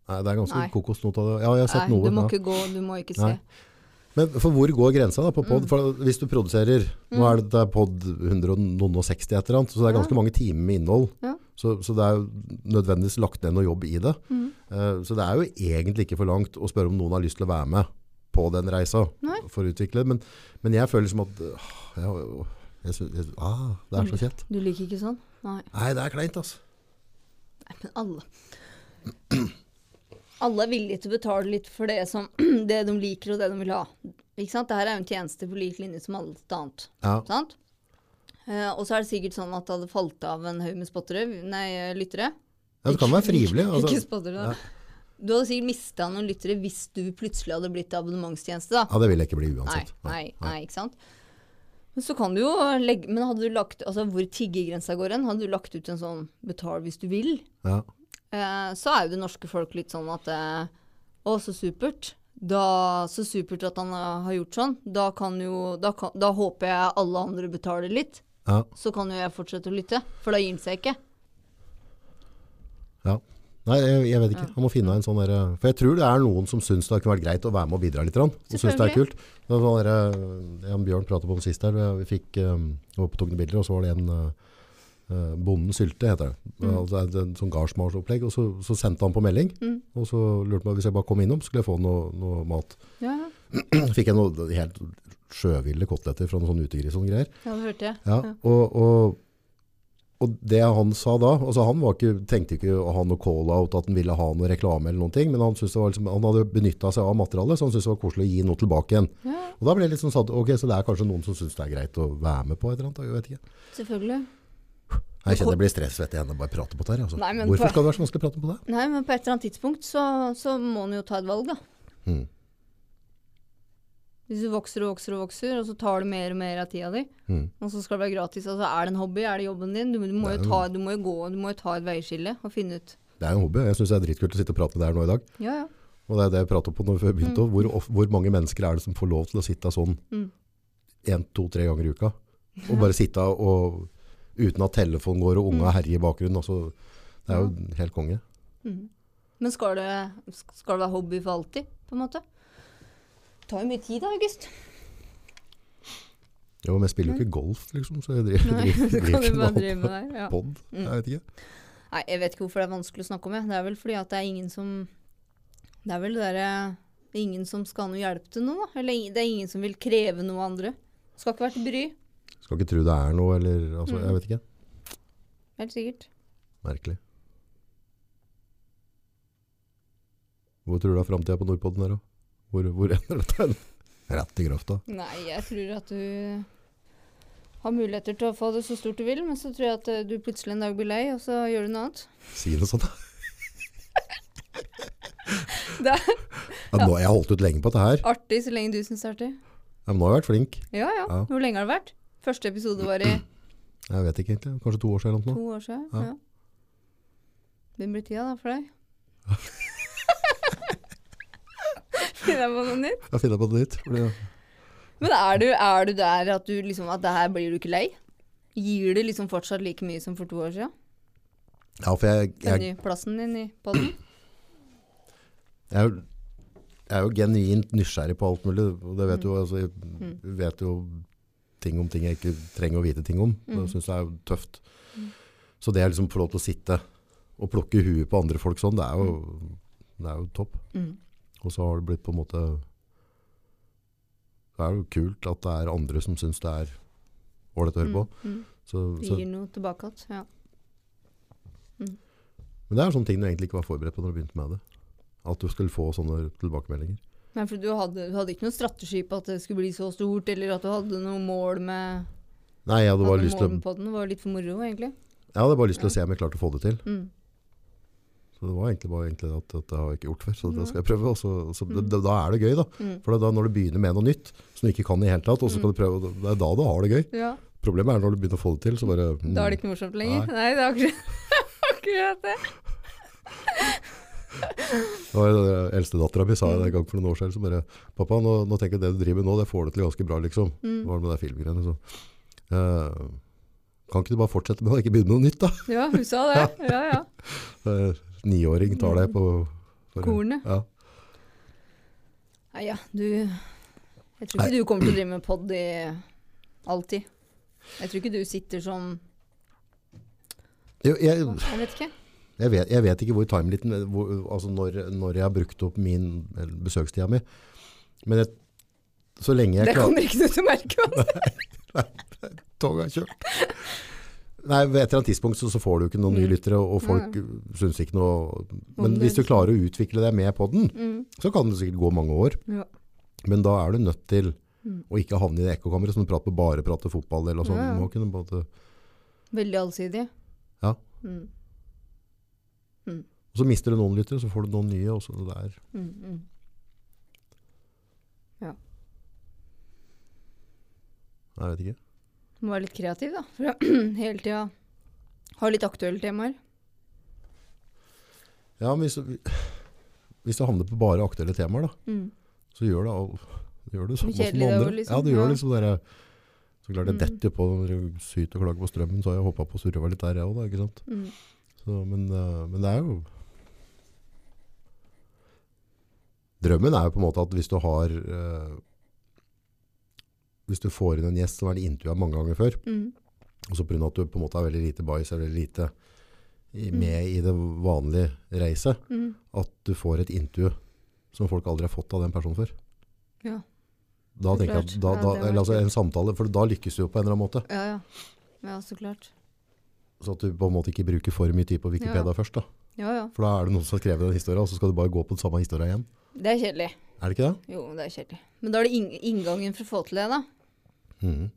Speaker 1: nei, det er ganske
Speaker 2: Nei.
Speaker 1: kokos noe av det. Ja, jeg har sett
Speaker 2: Nei,
Speaker 1: noe.
Speaker 2: du må
Speaker 1: ja.
Speaker 2: ikke gå, du må ikke se.
Speaker 1: Nei. Men for hvor går grensa da på pod?
Speaker 2: Mm.
Speaker 1: For hvis du produserer, nå er det, det er pod 160 et eller annet, så det er ganske mange timer med innhold.
Speaker 2: Ja.
Speaker 1: Så, så det er jo nødvendigvis lagt ned noe jobb i det.
Speaker 2: Mm.
Speaker 1: Eh, så det er jo egentlig ikke for langt å spørre om noen har lyst til å være med på den reisa
Speaker 2: Nei.
Speaker 1: for å utvikle. Men, men jeg føler som at åh, jeg, jeg, synes- jeg, ah, det er så kjent.
Speaker 2: Du liker ikke sånn? Nei.
Speaker 1: Nei, det er kleint altså.
Speaker 2: Nei, men alle Alle er villige til å betale litt for det, som, det de liker og det de vil ha. Ikke sant? Dette er jo en tjeneste på lik linje som alt annet.
Speaker 1: Ja,
Speaker 2: Sant? Eh, og så er det sikkert sånn at det hadde falt av en haug med spottere, nei, lyttere.
Speaker 1: ja det kan være frivillig.
Speaker 2: Ikke
Speaker 1: Altså.
Speaker 2: spottere, da. Du hadde sikkert mista noen lyttere hvis du plutselig hadde blitt abonnementstjeneste, da.
Speaker 1: Ja, det vil jeg ikke bli
Speaker 2: Nei,
Speaker 1: uansett.
Speaker 2: nei, nei, ikke sant? Men så kan du jo legge Men hadde du lagt Altså, hvor tiggegrensa går hen? Hadde du lagt ut en sånn 'betal hvis du vil'?
Speaker 1: Ja.
Speaker 2: eh, så er jo det norske folk litt sånn at eh, Å, så supert. Da, så supert at han eh, har gjort sånn. Da, kan jo, da, kan, da håper jeg alle andre betaler litt.
Speaker 1: Ja,
Speaker 2: Så kan jo jeg fortsette å lytte, for da gir han seg ikke.
Speaker 1: Ja. Nei, jeg, jeg vet ikke. Jeg må finne en sånn der, For jeg tror det er noen som syns det kunne vært greit å være med og bidra litt. grann, Og syns det er kult. Det var sånn der, eh, en Bjørn pratet på om sist her. Vi fikk um, opptok noen bilder, og så var det en eh, eh, Bonden Sylte, heter det. Altså, det er en sånn gardsmarsopplegg. Og så, så sendte han på melding. Og så lurte han på hvis jeg bare kom innom, skulle jeg få noe, noe mat.
Speaker 2: Ja,
Speaker 1: fikk jeg noe helt sjøville koteletter fra noen sånn utegris og sånne greier.
Speaker 2: ja, det hørte jeg.
Speaker 1: Ja, og, og Og det han sa da, altså han var ikke, tenkte ikke å ha noe call-out, at han ville ha noe reklame eller noen ting, men han, syntes det var liksom, han hadde benyttet seg av materialet, så han syntes det var koselig å gi noe tilbake igjen.
Speaker 2: Ja,
Speaker 1: Og da ble jeg litt sånn satt, ok, så det er kanskje noen som synes det er greit å være med på et eller annet, da, jeg vet ikke.
Speaker 2: selvfølgelig.
Speaker 1: Nei, Jeg kjenner jeg blir stressvett igjen av bare å prate på det her. Altså.
Speaker 2: Nei, men
Speaker 1: Hvorfor
Speaker 2: på-
Speaker 1: skal det være så vanskelig å prate på det?
Speaker 2: Nei, men på et eller annet tidspunkt så, så må han jo ta et valg, da.
Speaker 1: Mhm.
Speaker 2: Hvis du vokser og vokser og vokser, og så tar du mer og mer av tida di,
Speaker 1: Mhm.
Speaker 2: og så skal det være gratis. Altså, er det en hobby? Er det jobben din? Du, du, må,
Speaker 1: Det er
Speaker 2: jo
Speaker 1: jo-
Speaker 2: ta, du må jo gå, du må jo ta et veiskille og finne ut.
Speaker 1: Det er jo en hobby, og jeg synes det er dritkult å sitte og prate der nå i dag.
Speaker 2: Ja, ja.
Speaker 1: Og det er det jeg pratet på når vi begynte, også. hvor, of- hvor mange mennesker er det som får lov til å sitte sånn
Speaker 2: Mm.
Speaker 1: en, to, tre ganger i uka, og bare sitte og, uten at telefonen går og
Speaker 2: Mm.
Speaker 1: unga herjer i bakgrunnen, altså, det er jo helt konge.
Speaker 2: Men skal det, skal det være hobby for alltid, på en måte? Det tar jo mye tid, da, August.
Speaker 1: Jo, men jeg spiller jo ikke golf, liksom, så jeg driver,
Speaker 2: Nei,
Speaker 1: driver,
Speaker 2: du kan
Speaker 1: driver
Speaker 2: jo
Speaker 1: ikke
Speaker 2: bare
Speaker 1: med
Speaker 2: drive Mm. med det. her, Ja.
Speaker 1: podd, jeg vet ikke.
Speaker 2: Nei, jeg vet ikke hvorfor det er vanskelig å snakke om, jeg. Det er vel fordi at det er ingen som Det er vel det derre det er Ingen som skal ha noe hjelp til noe, da. Eller ing- det er ingen som vil kreve noe av andre. Skal ikke være til bry.
Speaker 1: Skal ikke tro det er noe, eller, altså,
Speaker 2: Mm.
Speaker 1: jeg vet ikke.
Speaker 2: Helt sikkert.
Speaker 1: Merkelig. Hvor tror du det er fremtiden på Nordpodden her, da? Hvor, hvor ender dette? hen? Rett i grøfta.
Speaker 2: Nei, jeg tror at du har muligheter til å få det så stort du vil, men så tror jeg at eh, du plutselig en dag blir lei, og så gjør du noe annet.
Speaker 1: Si noe sånt.
Speaker 2: Det er
Speaker 1: Ja, nå, jeg har holdt ut lenge på dette her.
Speaker 2: artig så lenge du syns det er artig.
Speaker 1: Ja, men nå har jeg vært flink.
Speaker 2: Ja, ja.
Speaker 1: Ja.
Speaker 2: Hvor lenge har det vært? Første episode var i
Speaker 1: Jeg vet ikke egentlig. Kanskje to år siden eller
Speaker 2: to
Speaker 1: noe.
Speaker 2: år siden.
Speaker 1: Ja.
Speaker 2: Ja. Hvem blir tida da for deg? Finner jeg på noe nytt?
Speaker 1: Jeg finner på det nytt. Fordi,
Speaker 2: Men er du, er du der at du liksom At det her blir du ikke lei? Gir du liksom fortsatt like mye som for to år siden?
Speaker 1: ja, for jeg,
Speaker 2: Den
Speaker 1: jeg,
Speaker 2: nye plassen din i podden?
Speaker 1: jeg, er jo- jeg er jo genuint nysgjerrig på alt mulig. Og det vet jo, altså, jeg vet jo ting om ting jeg ikke trenger å vite ting om. og Jeg synes det er jo tøft. Så det å liksom få lov til å sitte og plukke huet på andre folk sånn, det er jo, det er jo topp.
Speaker 2: Mm.
Speaker 1: Og så har det blitt på en måte Det er jo kult at det er andre som syns det er ålreit å høre på.
Speaker 2: Mm.
Speaker 1: Så,
Speaker 2: Det
Speaker 1: så,
Speaker 2: Gir noe tilbake igjen. Ja.
Speaker 1: men det er sånne ting du egentlig ikke var forberedt på når du begynte med det. At du skulle få sånne tilbakemeldinger.
Speaker 2: Nei, for du hadde, du hadde ikke noen strategi på at det skulle bli så stort, eller at du hadde noe mål med
Speaker 1: Nei, jeg hadde bare
Speaker 2: at
Speaker 1: lyst til,
Speaker 2: mål
Speaker 1: å-
Speaker 2: med podden. Det var jo litt for moro, egentlig.
Speaker 1: jeg hadde bare lyst til å se om jeg klarte å få det til.
Speaker 2: Mm.
Speaker 1: Så det var egentlig bare egentlig at, at det har jeg ikke gjort før, så det skal jeg prøve. Og så, så, da, da er det gøy, da.
Speaker 2: Mm.
Speaker 1: For da når du begynner med noe nytt som du ikke kan i det hele tatt, og så skal du prøve, og det er da du har det gøy.
Speaker 2: Ja,
Speaker 1: Problemet er når du begynner å få det til, så bare mm,
Speaker 2: Da er det ikke morsomt lenger.
Speaker 1: Nei.
Speaker 2: Nei, det er akkurat, akkurat det.
Speaker 1: Det var det eldstedattera mi sa en gang for noen år siden. Så bare 'Pappa, nå, nå tenker jeg det du driver med nå, det får du til ganske bra', liksom.
Speaker 2: Mm.
Speaker 1: Det var med de filmgreiene. Så. Eh, kan ikke du bare fortsette med det, ikke begynne med noe nytt, da?
Speaker 2: Ja, hun sa det. Ja, ja.
Speaker 1: Eh, Niåring tar deg på for-
Speaker 2: Kornet.
Speaker 1: Ja.
Speaker 2: Nei, ja, du Jeg tror ikke du kommer til å drive med pod i alltid. Jeg tror ikke du sitter som
Speaker 1: Jo, jeg,
Speaker 2: Jeg vet ikke.
Speaker 1: jeg, vet, jeg vet ikke hvor timeliten hvor, Altså når, når jeg har brukt opp min eller besøkstida mi. Men jeg, så lenge jeg
Speaker 2: Det
Speaker 1: klarer
Speaker 2: kommer ikke du til å merke. altså.
Speaker 1: Toget er kjørt. Nei, ved et eller annet tidspunkt så, så får du ikke noen
Speaker 2: Mm.
Speaker 1: nye lyttere, og folk syns ikke noe Men hvis du klarer å utvikle deg med podden,
Speaker 2: Mm.
Speaker 1: så kan det sikkert gå mange år.
Speaker 2: Ja.
Speaker 1: Men da er du nødt til å ikke havne i det ekkokammeret som du prater på bare prater fotball eller noe sånt.
Speaker 2: Ja, ja.
Speaker 1: Du må kunne både,
Speaker 2: Veldig allsidig.
Speaker 1: ja.
Speaker 2: Mm.
Speaker 1: Og så mister du noen lyttere, så får du noen nye. Og så det er.
Speaker 2: Mm, mm. Ja.
Speaker 1: Jeg vet ikke.
Speaker 2: Må være litt kreativ, da. For å hele tida ha litt aktuelle temaer.
Speaker 1: Ja, men hvis, du- hvis du havner på bare aktuelle temaer, da,
Speaker 2: Mm.
Speaker 1: så gjør det, al- gjør
Speaker 3: Hvor
Speaker 1: det samme som
Speaker 3: kjedelig
Speaker 1: andre.
Speaker 3: det var, liksom.
Speaker 1: Ja, det gjør
Speaker 3: Ja.
Speaker 1: liksom det der, Så klart det detter jo på når du syter og klager på strømmen, så har jeg hoppa på surva litt der, jeg òg, da. Ikke sant?
Speaker 2: Mm.
Speaker 1: Så, men, eh, men det er jo Drømmen er jo på en måte at hvis du har eh, Hvis du får inn en gjest som er intervjua mange ganger før,
Speaker 2: Mm.
Speaker 1: og så pga. at du på en måte har veldig lite bias eller lite i, med i det vanlige reiset,
Speaker 2: Mm.
Speaker 1: at du får et intervju som folk aldri har fått av den personen før.
Speaker 2: Ja.
Speaker 1: Da
Speaker 2: Det er
Speaker 1: tenker jeg at
Speaker 2: klart.
Speaker 1: da,
Speaker 2: Ja,
Speaker 1: da,
Speaker 2: det er
Speaker 1: eller altså
Speaker 2: merkelig.
Speaker 1: en samtale, for da lykkes du jo på en eller annen måte.
Speaker 2: Ja, ja. Ja, så klart.
Speaker 1: Så at du på en måte ikke bruker for mye tid på Wikipedia
Speaker 2: Ja.
Speaker 1: først. da.
Speaker 2: Ja, ja.
Speaker 1: For da er det noen som har skrevet den historien, og så skal du bare gå på den samme historien igjen.
Speaker 2: Det er kjedelig.
Speaker 1: Er det ikke det?
Speaker 2: Jo, det er kjedelig. Men da er det inn inngangen for å få til det, da.
Speaker 1: Mhm.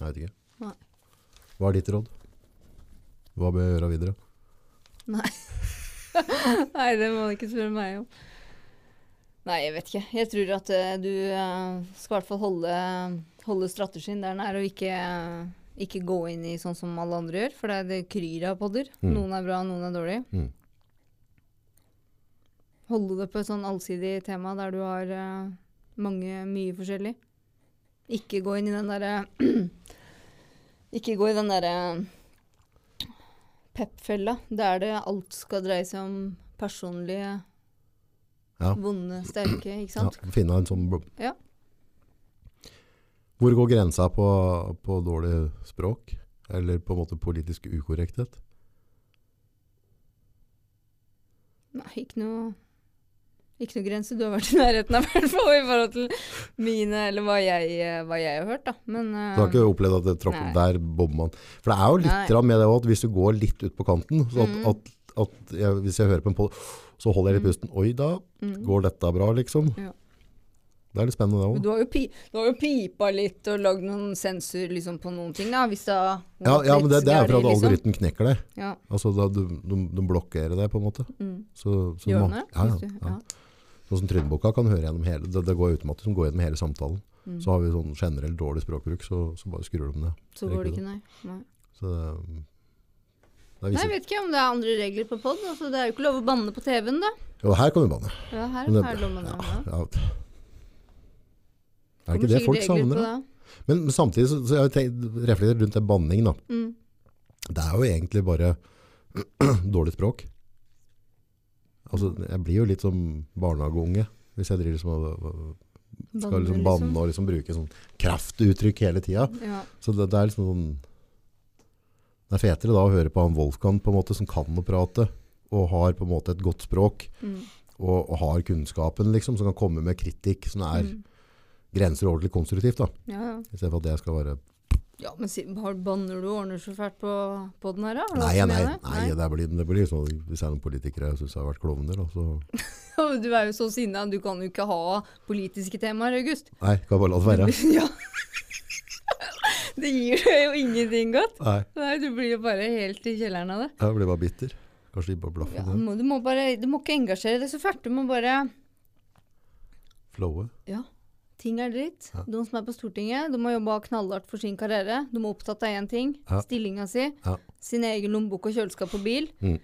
Speaker 1: Jeg vet ikke.
Speaker 2: Nei.
Speaker 1: Hva er ditt råd? Hva bør jeg gjøre videre?
Speaker 2: Nei, det må du ikke spørre meg om. Nei, jeg vet ikke. Jeg tror at eh, du eh, skal i hvert fall holde, holde strategien der den er, og ikke, eh, ikke gå inn i sånn som alle andre gjør, for det, er- det kryr av podder.
Speaker 1: Mm.
Speaker 2: Noen er bra, noen er dårlige.
Speaker 1: Mm.
Speaker 2: Holde det på et sånn allsidig tema der du har eh, mange, mye forskjellig. Ikke gå inn i den derre Ikke gå i den derre pep-fella, der det alt skal dreie seg om personlige,
Speaker 1: Ja.
Speaker 2: vonde, sterke, ikke
Speaker 1: Ja,
Speaker 2: sant?
Speaker 1: finne en sånn... bl-
Speaker 2: Ja.
Speaker 1: Hvor går grensa på, på dårlig språk? Eller på en måte politisk ukorrekthet?
Speaker 2: Nei, ikke noe ikke noe grense du har vært i nærheten av, i hvert fall i forhold til mine, eller hva jeg, eh, hva jeg har hørt, da. Men eh,
Speaker 1: Du har ikke opplevd at det tråkker
Speaker 2: Nei.
Speaker 1: der bommer man. For det er jo litt
Speaker 2: Nei.
Speaker 1: grann med det også, at hvis du går litt ut på kanten, så at,
Speaker 2: Mm.
Speaker 1: at, at jeg, hvis jeg hører på en podd, så holder jeg litt pusten. Oi da,
Speaker 2: Mm.
Speaker 1: går dette bra liksom?
Speaker 2: Ja.
Speaker 1: Det er litt spennende det også.
Speaker 2: Men du har, jo pi du har jo pipa litt og lagd noen sensur liksom, på noen ting, da. Hvis det har
Speaker 1: Ja,
Speaker 2: gått
Speaker 1: ja, men det,
Speaker 2: litt
Speaker 1: det er for at
Speaker 2: gærlig, liksom.
Speaker 1: algoritmen knekker det.
Speaker 2: Ja.
Speaker 1: Altså, da, du, de, de blokkerer det på en måte.
Speaker 2: Mm.
Speaker 1: Så, så
Speaker 2: Gjør
Speaker 1: man-
Speaker 2: den det?
Speaker 1: Ja,
Speaker 2: Hvis
Speaker 1: ja.
Speaker 2: du-
Speaker 1: ja. Sånn som Trøndeboka kan høre gjennom hele, det, det går automatisk, som går gjennom hele samtalen.
Speaker 2: Mm.
Speaker 1: Så har vi sånn generell dårlig språkbruk, så, så bare skrur de ned.
Speaker 2: Så går det ikke, nei. nei.
Speaker 1: Så det, det er
Speaker 2: Nei, jeg
Speaker 1: visse.
Speaker 2: vet ikke om det er andre regler på pod. Altså, det er jo ikke lov å banne på TV-en, da.
Speaker 1: Jo, her kan vi banne.
Speaker 2: Ja, her
Speaker 1: Men det-
Speaker 2: er det lov å banne. Ja.
Speaker 1: Ja. Er
Speaker 2: Kommer
Speaker 1: ikke det
Speaker 2: sikkert
Speaker 1: folk
Speaker 2: regler
Speaker 1: savner?
Speaker 2: på
Speaker 1: da? Men men samtidig så, så jeg tenker, reflekterer rundt det banning da.
Speaker 2: det. Mm.
Speaker 1: Det er jo egentlig bare dårlig språk. Altså, jeg blir jo litt som barnehageunge hvis jeg driver som skal liksom banne og liksom bruke sånn kraftuttrykk hele tida.
Speaker 2: liksom. Ja.
Speaker 1: Så det, det er liksom sånn Det er fetere da å høre på han Wolfgang på en måte som kan å prate og har på en måte et godt språk
Speaker 2: Mm.
Speaker 1: og, og har kunnskapen liksom som kan komme med kritikk som er
Speaker 2: Mm.
Speaker 1: grenser over til konstruktivt da.
Speaker 2: Ja, ja.
Speaker 1: I stedet for at jeg skal være
Speaker 2: ja, men si, har- banner du og ordner så fælt på poden her, da? Har du
Speaker 1: Nei,
Speaker 2: hatt
Speaker 1: nei, nei,
Speaker 2: med det? Nei.
Speaker 1: Det, blir, det blir liksom Hvis det er noen politikere jeg syns har vært klovner, da, så
Speaker 2: Du er jo så sinna, du kan jo ikke ha politiske temaer, August.
Speaker 1: Nei, kan jeg bare la det være.
Speaker 2: ja. det gir deg jo ingenting godt.
Speaker 1: Nei,
Speaker 2: Nei, du blir jo bare helt i kjelleren av det.
Speaker 1: jeg blir bare bitter. Kanskje de bare blaffer
Speaker 2: Ja,
Speaker 1: det.
Speaker 2: må, du, må bare, du må ikke engasjere deg så fælt. Du må bare
Speaker 1: Flowet.
Speaker 2: Ja. Ting er dritt.
Speaker 1: Ja.
Speaker 2: De som er på Stortinget, de har jobba knallhardt for sin karriere. De er opptatt av én ting,
Speaker 1: Ja.
Speaker 2: stillinga si,
Speaker 1: Ja.
Speaker 2: sin egen lommebok og kjøleskap og bil.
Speaker 1: Mm.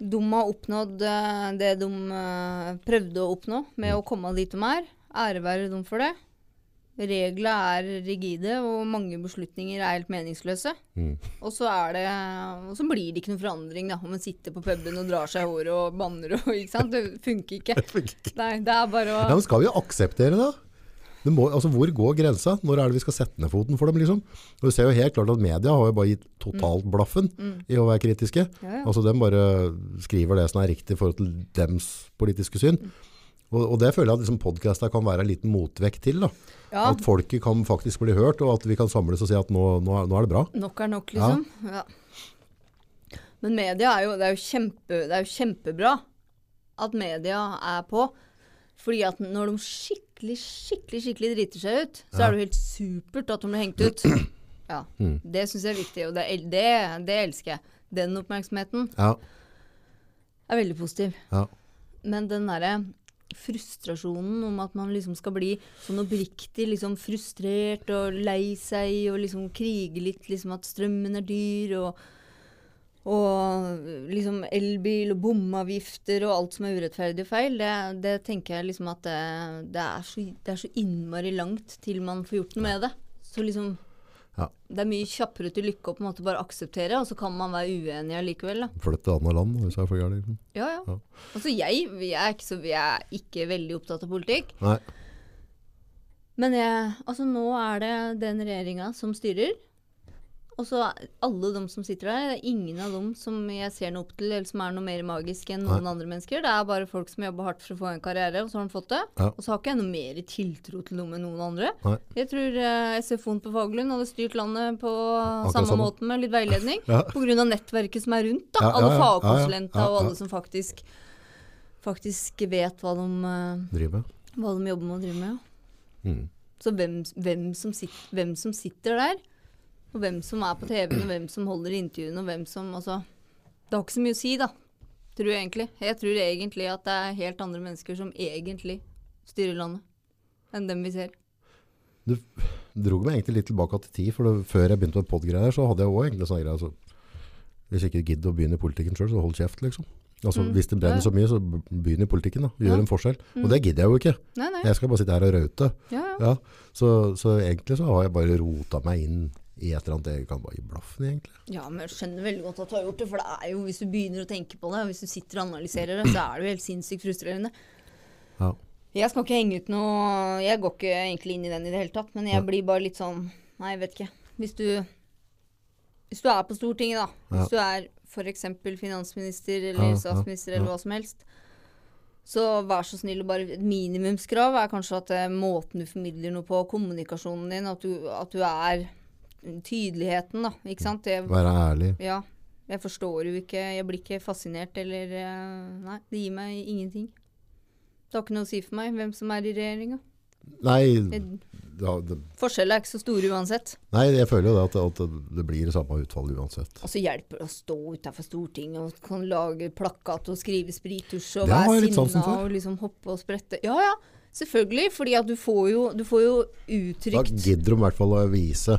Speaker 2: De har oppnådd eh, det de eh, prøvde å oppnå med
Speaker 1: Mm.
Speaker 2: å komme dit de er. Ære være dem for det. Reglene er rigide, og mange beslutninger er helt meningsløse.
Speaker 1: Mm.
Speaker 2: Og så, er det, og så blir det ikke noen forandring, da. Om en sitter på puben og drar seg i håret og banner og ikke sant. Det funker ikke. Nei, det er bare
Speaker 1: Ja,
Speaker 2: å
Speaker 1: men skal vi akseptere det? det må, altså, hvor går grensa? Når er det vi skal sette ned foten for dem? liksom? Og Du ser jo helt klart at media har jo bare gitt totalt blaffen i å være kritiske.
Speaker 2: Mm. Ja, ja.
Speaker 1: Altså, De bare skriver det som er riktig i forhold til dems politiske syn.
Speaker 2: Mm.
Speaker 1: Og, og det føler jeg at liksom, podkasta kan være en liten motvekt til. da.
Speaker 2: Ja.
Speaker 1: At folket kan faktisk bli hørt, og at vi kan samles og si at nå, nå, er, nå er det bra.
Speaker 2: Nok er nok, liksom. Ja. Men media er jo, det er jo, kjempe, det er jo kjempebra at media er på. Fordi at når de skikkelig, skikkelig skikkelig driter seg ut, så er det jo helt supert at de blir hengt ut. Ja, Det syns jeg er viktig, og det, el- det, det elsker jeg. Den oppmerksomheten
Speaker 1: Ja,
Speaker 2: er veldig positiv.
Speaker 1: ja.
Speaker 2: Men den derre frustrasjonen om at man liksom skal bli sånn oppriktig liksom frustrert og lei seg og liksom krige litt, liksom at strømmen er dyr og og liksom elbil og bomavgifter og alt som er urettferdig og feil, det, det tenker jeg liksom at det, det, er så, det er så innmari langt til man får gjort noe med det. Så liksom
Speaker 1: Ja.
Speaker 2: Det er mye kjappere til lykke å på en måte bare akseptere, og så kan man være uenig allikevel, da.
Speaker 1: Flytt til annet land hvis jeg er for gærlig, liksom.
Speaker 2: Ja, ja.
Speaker 1: Ja.
Speaker 2: Altså jeg, jeg, er ikke så, jeg er ikke veldig opptatt av politikk.
Speaker 1: Nei.
Speaker 2: Men jeg, altså nå er det den regjeringa som styrer. Og så alle de som sitter der, det er ingen av dem som jeg ser noe opp til, eller som er noe mer magisk enn noen
Speaker 1: Nei.
Speaker 2: andre mennesker. Det er bare folk som jobber hardt for å få en karriere, og så har de fått det.
Speaker 1: Ja.
Speaker 2: Og så har ikke jeg noe mer tiltro til noe med noen andre.
Speaker 1: Nei.
Speaker 2: Jeg tror eh, SFO-en på Fagerlund hadde styrt landet på samme
Speaker 1: samme.
Speaker 2: måten med litt veiledning.
Speaker 1: Ja.
Speaker 2: På grunn av nettverket som er rundt, da.
Speaker 1: Ja, ja,
Speaker 2: Alle
Speaker 1: ja, ja, ja,
Speaker 2: fagkonsulenter
Speaker 1: ja,
Speaker 2: og
Speaker 1: ja.
Speaker 2: alle som faktisk, faktisk vet hva de, eh,
Speaker 1: Driver med.
Speaker 2: hva de jobber med og driver med. Ja.
Speaker 1: Mm.
Speaker 2: Så hvem, hvem, som sit, hvem som sitter der, og hvem som er på TV-en, og hvem som holder intervjuene, og hvem som altså, Det har ikke så mye å si, da. Tror jeg egentlig. Jeg tror egentlig at det er helt andre mennesker som egentlig styrer landet, enn dem vi ser.
Speaker 1: Du drog meg egentlig litt tilbake til tid, for det, før jeg begynte med podgreier, så hadde jeg også egentlig sånne greier. Altså, hvis jeg ikke gidder å begynne i politikken selv, så hold kjeft, liksom. Altså,
Speaker 2: Mm.
Speaker 1: Hvis det brenner
Speaker 2: Ja.
Speaker 1: så mye, så b- begynn i politikken, da. Gjør
Speaker 2: Ja.
Speaker 1: en forskjell.
Speaker 2: Mm.
Speaker 1: Og det gidder jeg jo ikke.
Speaker 2: Nei, nei.
Speaker 1: Jeg skal bare sitte her og raute.
Speaker 2: Ja, ja.
Speaker 1: Ja. Så, så egentlig så har jeg bare rota meg inn i et eller annet. Jeg kan bare gi blaffen, i, egentlig.
Speaker 2: ja, men jeg skjønner veldig godt at du har gjort det, for det er jo, hvis du begynner å tenke på det, og hvis du sitter og analyserer det, så er det jo helt sinnssykt frustrerende.
Speaker 1: Ja.
Speaker 2: Jeg skal ikke henge ut noe Jeg går ikke egentlig inn i den i det hele tatt, men jeg blir bare litt sånn Nei, jeg vet ikke. Hvis du, hvis du er på Stortinget, da. Hvis du er f.eks. finansminister
Speaker 1: Ja,
Speaker 2: eller
Speaker 1: ja,
Speaker 2: statsminister
Speaker 1: ja.
Speaker 2: eller hva som helst. Så vær så snill, og bare et minimumskrav er kanskje at eh, måten du formidler noe på, kommunikasjonen din, at du, at du er Tydeligheten, da. Ikke sant? Det,
Speaker 1: Være ærlig.
Speaker 2: ja. Jeg forstår jo ikke Jeg blir ikke fascinert eller eh, Nei, det gir meg ingenting. Det har ikke noe å si for meg hvem som er i regjeringa.
Speaker 1: Nei, ja, det,
Speaker 2: Forskjellene er ikke så store uansett.
Speaker 1: nei, jeg føler jo det at, at det blir samme utfall uansett.
Speaker 2: Og så hjelper det å stå utafor Stortinget og kan lage plakat og skrive sprittusj og
Speaker 1: Det har
Speaker 2: være
Speaker 1: jeg litt sansen
Speaker 2: sinna
Speaker 1: for.
Speaker 2: og liksom hoppe og sprette. Ja ja, selvfølgelig. Fordi at du får jo, du får jo
Speaker 1: Da
Speaker 2: uttrykt
Speaker 1: gidder de i hvert fall å vise.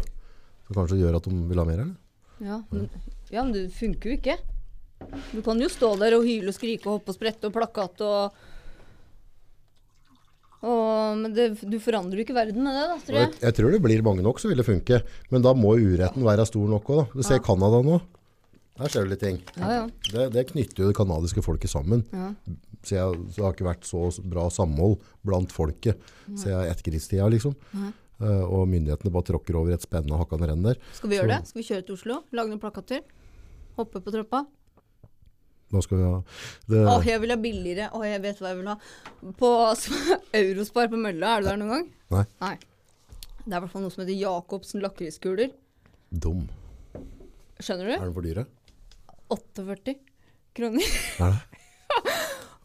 Speaker 1: Som kanskje gjør at de vil ha mer, eller?
Speaker 2: ja men, ja, men det funker jo ikke. Du kan jo stå der og hyle og skrike og hoppe og sprette og plakat og og, men det, du forandrer jo ikke verden med det, da, tror
Speaker 1: Jeg,
Speaker 2: jeg.
Speaker 1: jeg tror det blir mange nok så vil det funke, men da må uretten være stor nok òg. Du ser Canada nå. Her skjer det litt ting.
Speaker 2: Ja, ja.
Speaker 1: Det, det knytter jo det canadiske folket sammen.
Speaker 2: Ja.
Speaker 1: Så jeg, så det har ikke vært så bra samhold blant folket siden etterkrigstida, liksom. Eh, og myndighetene bare tråkker over et spennende hakkende renn der.
Speaker 2: Skal vi gjøre det? Skal vi kjøre til Oslo? Lage noen plakater? Hoppe på trappa?
Speaker 1: Da skal vi ha det,
Speaker 2: Åh, jeg vil ha billigere. Åh, jeg vet hva jeg vil ha. På Eurospar på Mølla, er du der noen gang?
Speaker 1: Nei,
Speaker 2: Nei. Det er i hvert fall noe som heter Jacobsen lakriskuler.
Speaker 1: dum.
Speaker 2: Skjønner
Speaker 1: Er
Speaker 2: du?
Speaker 1: den for dyre?
Speaker 2: 48 kroner.
Speaker 1: Er det?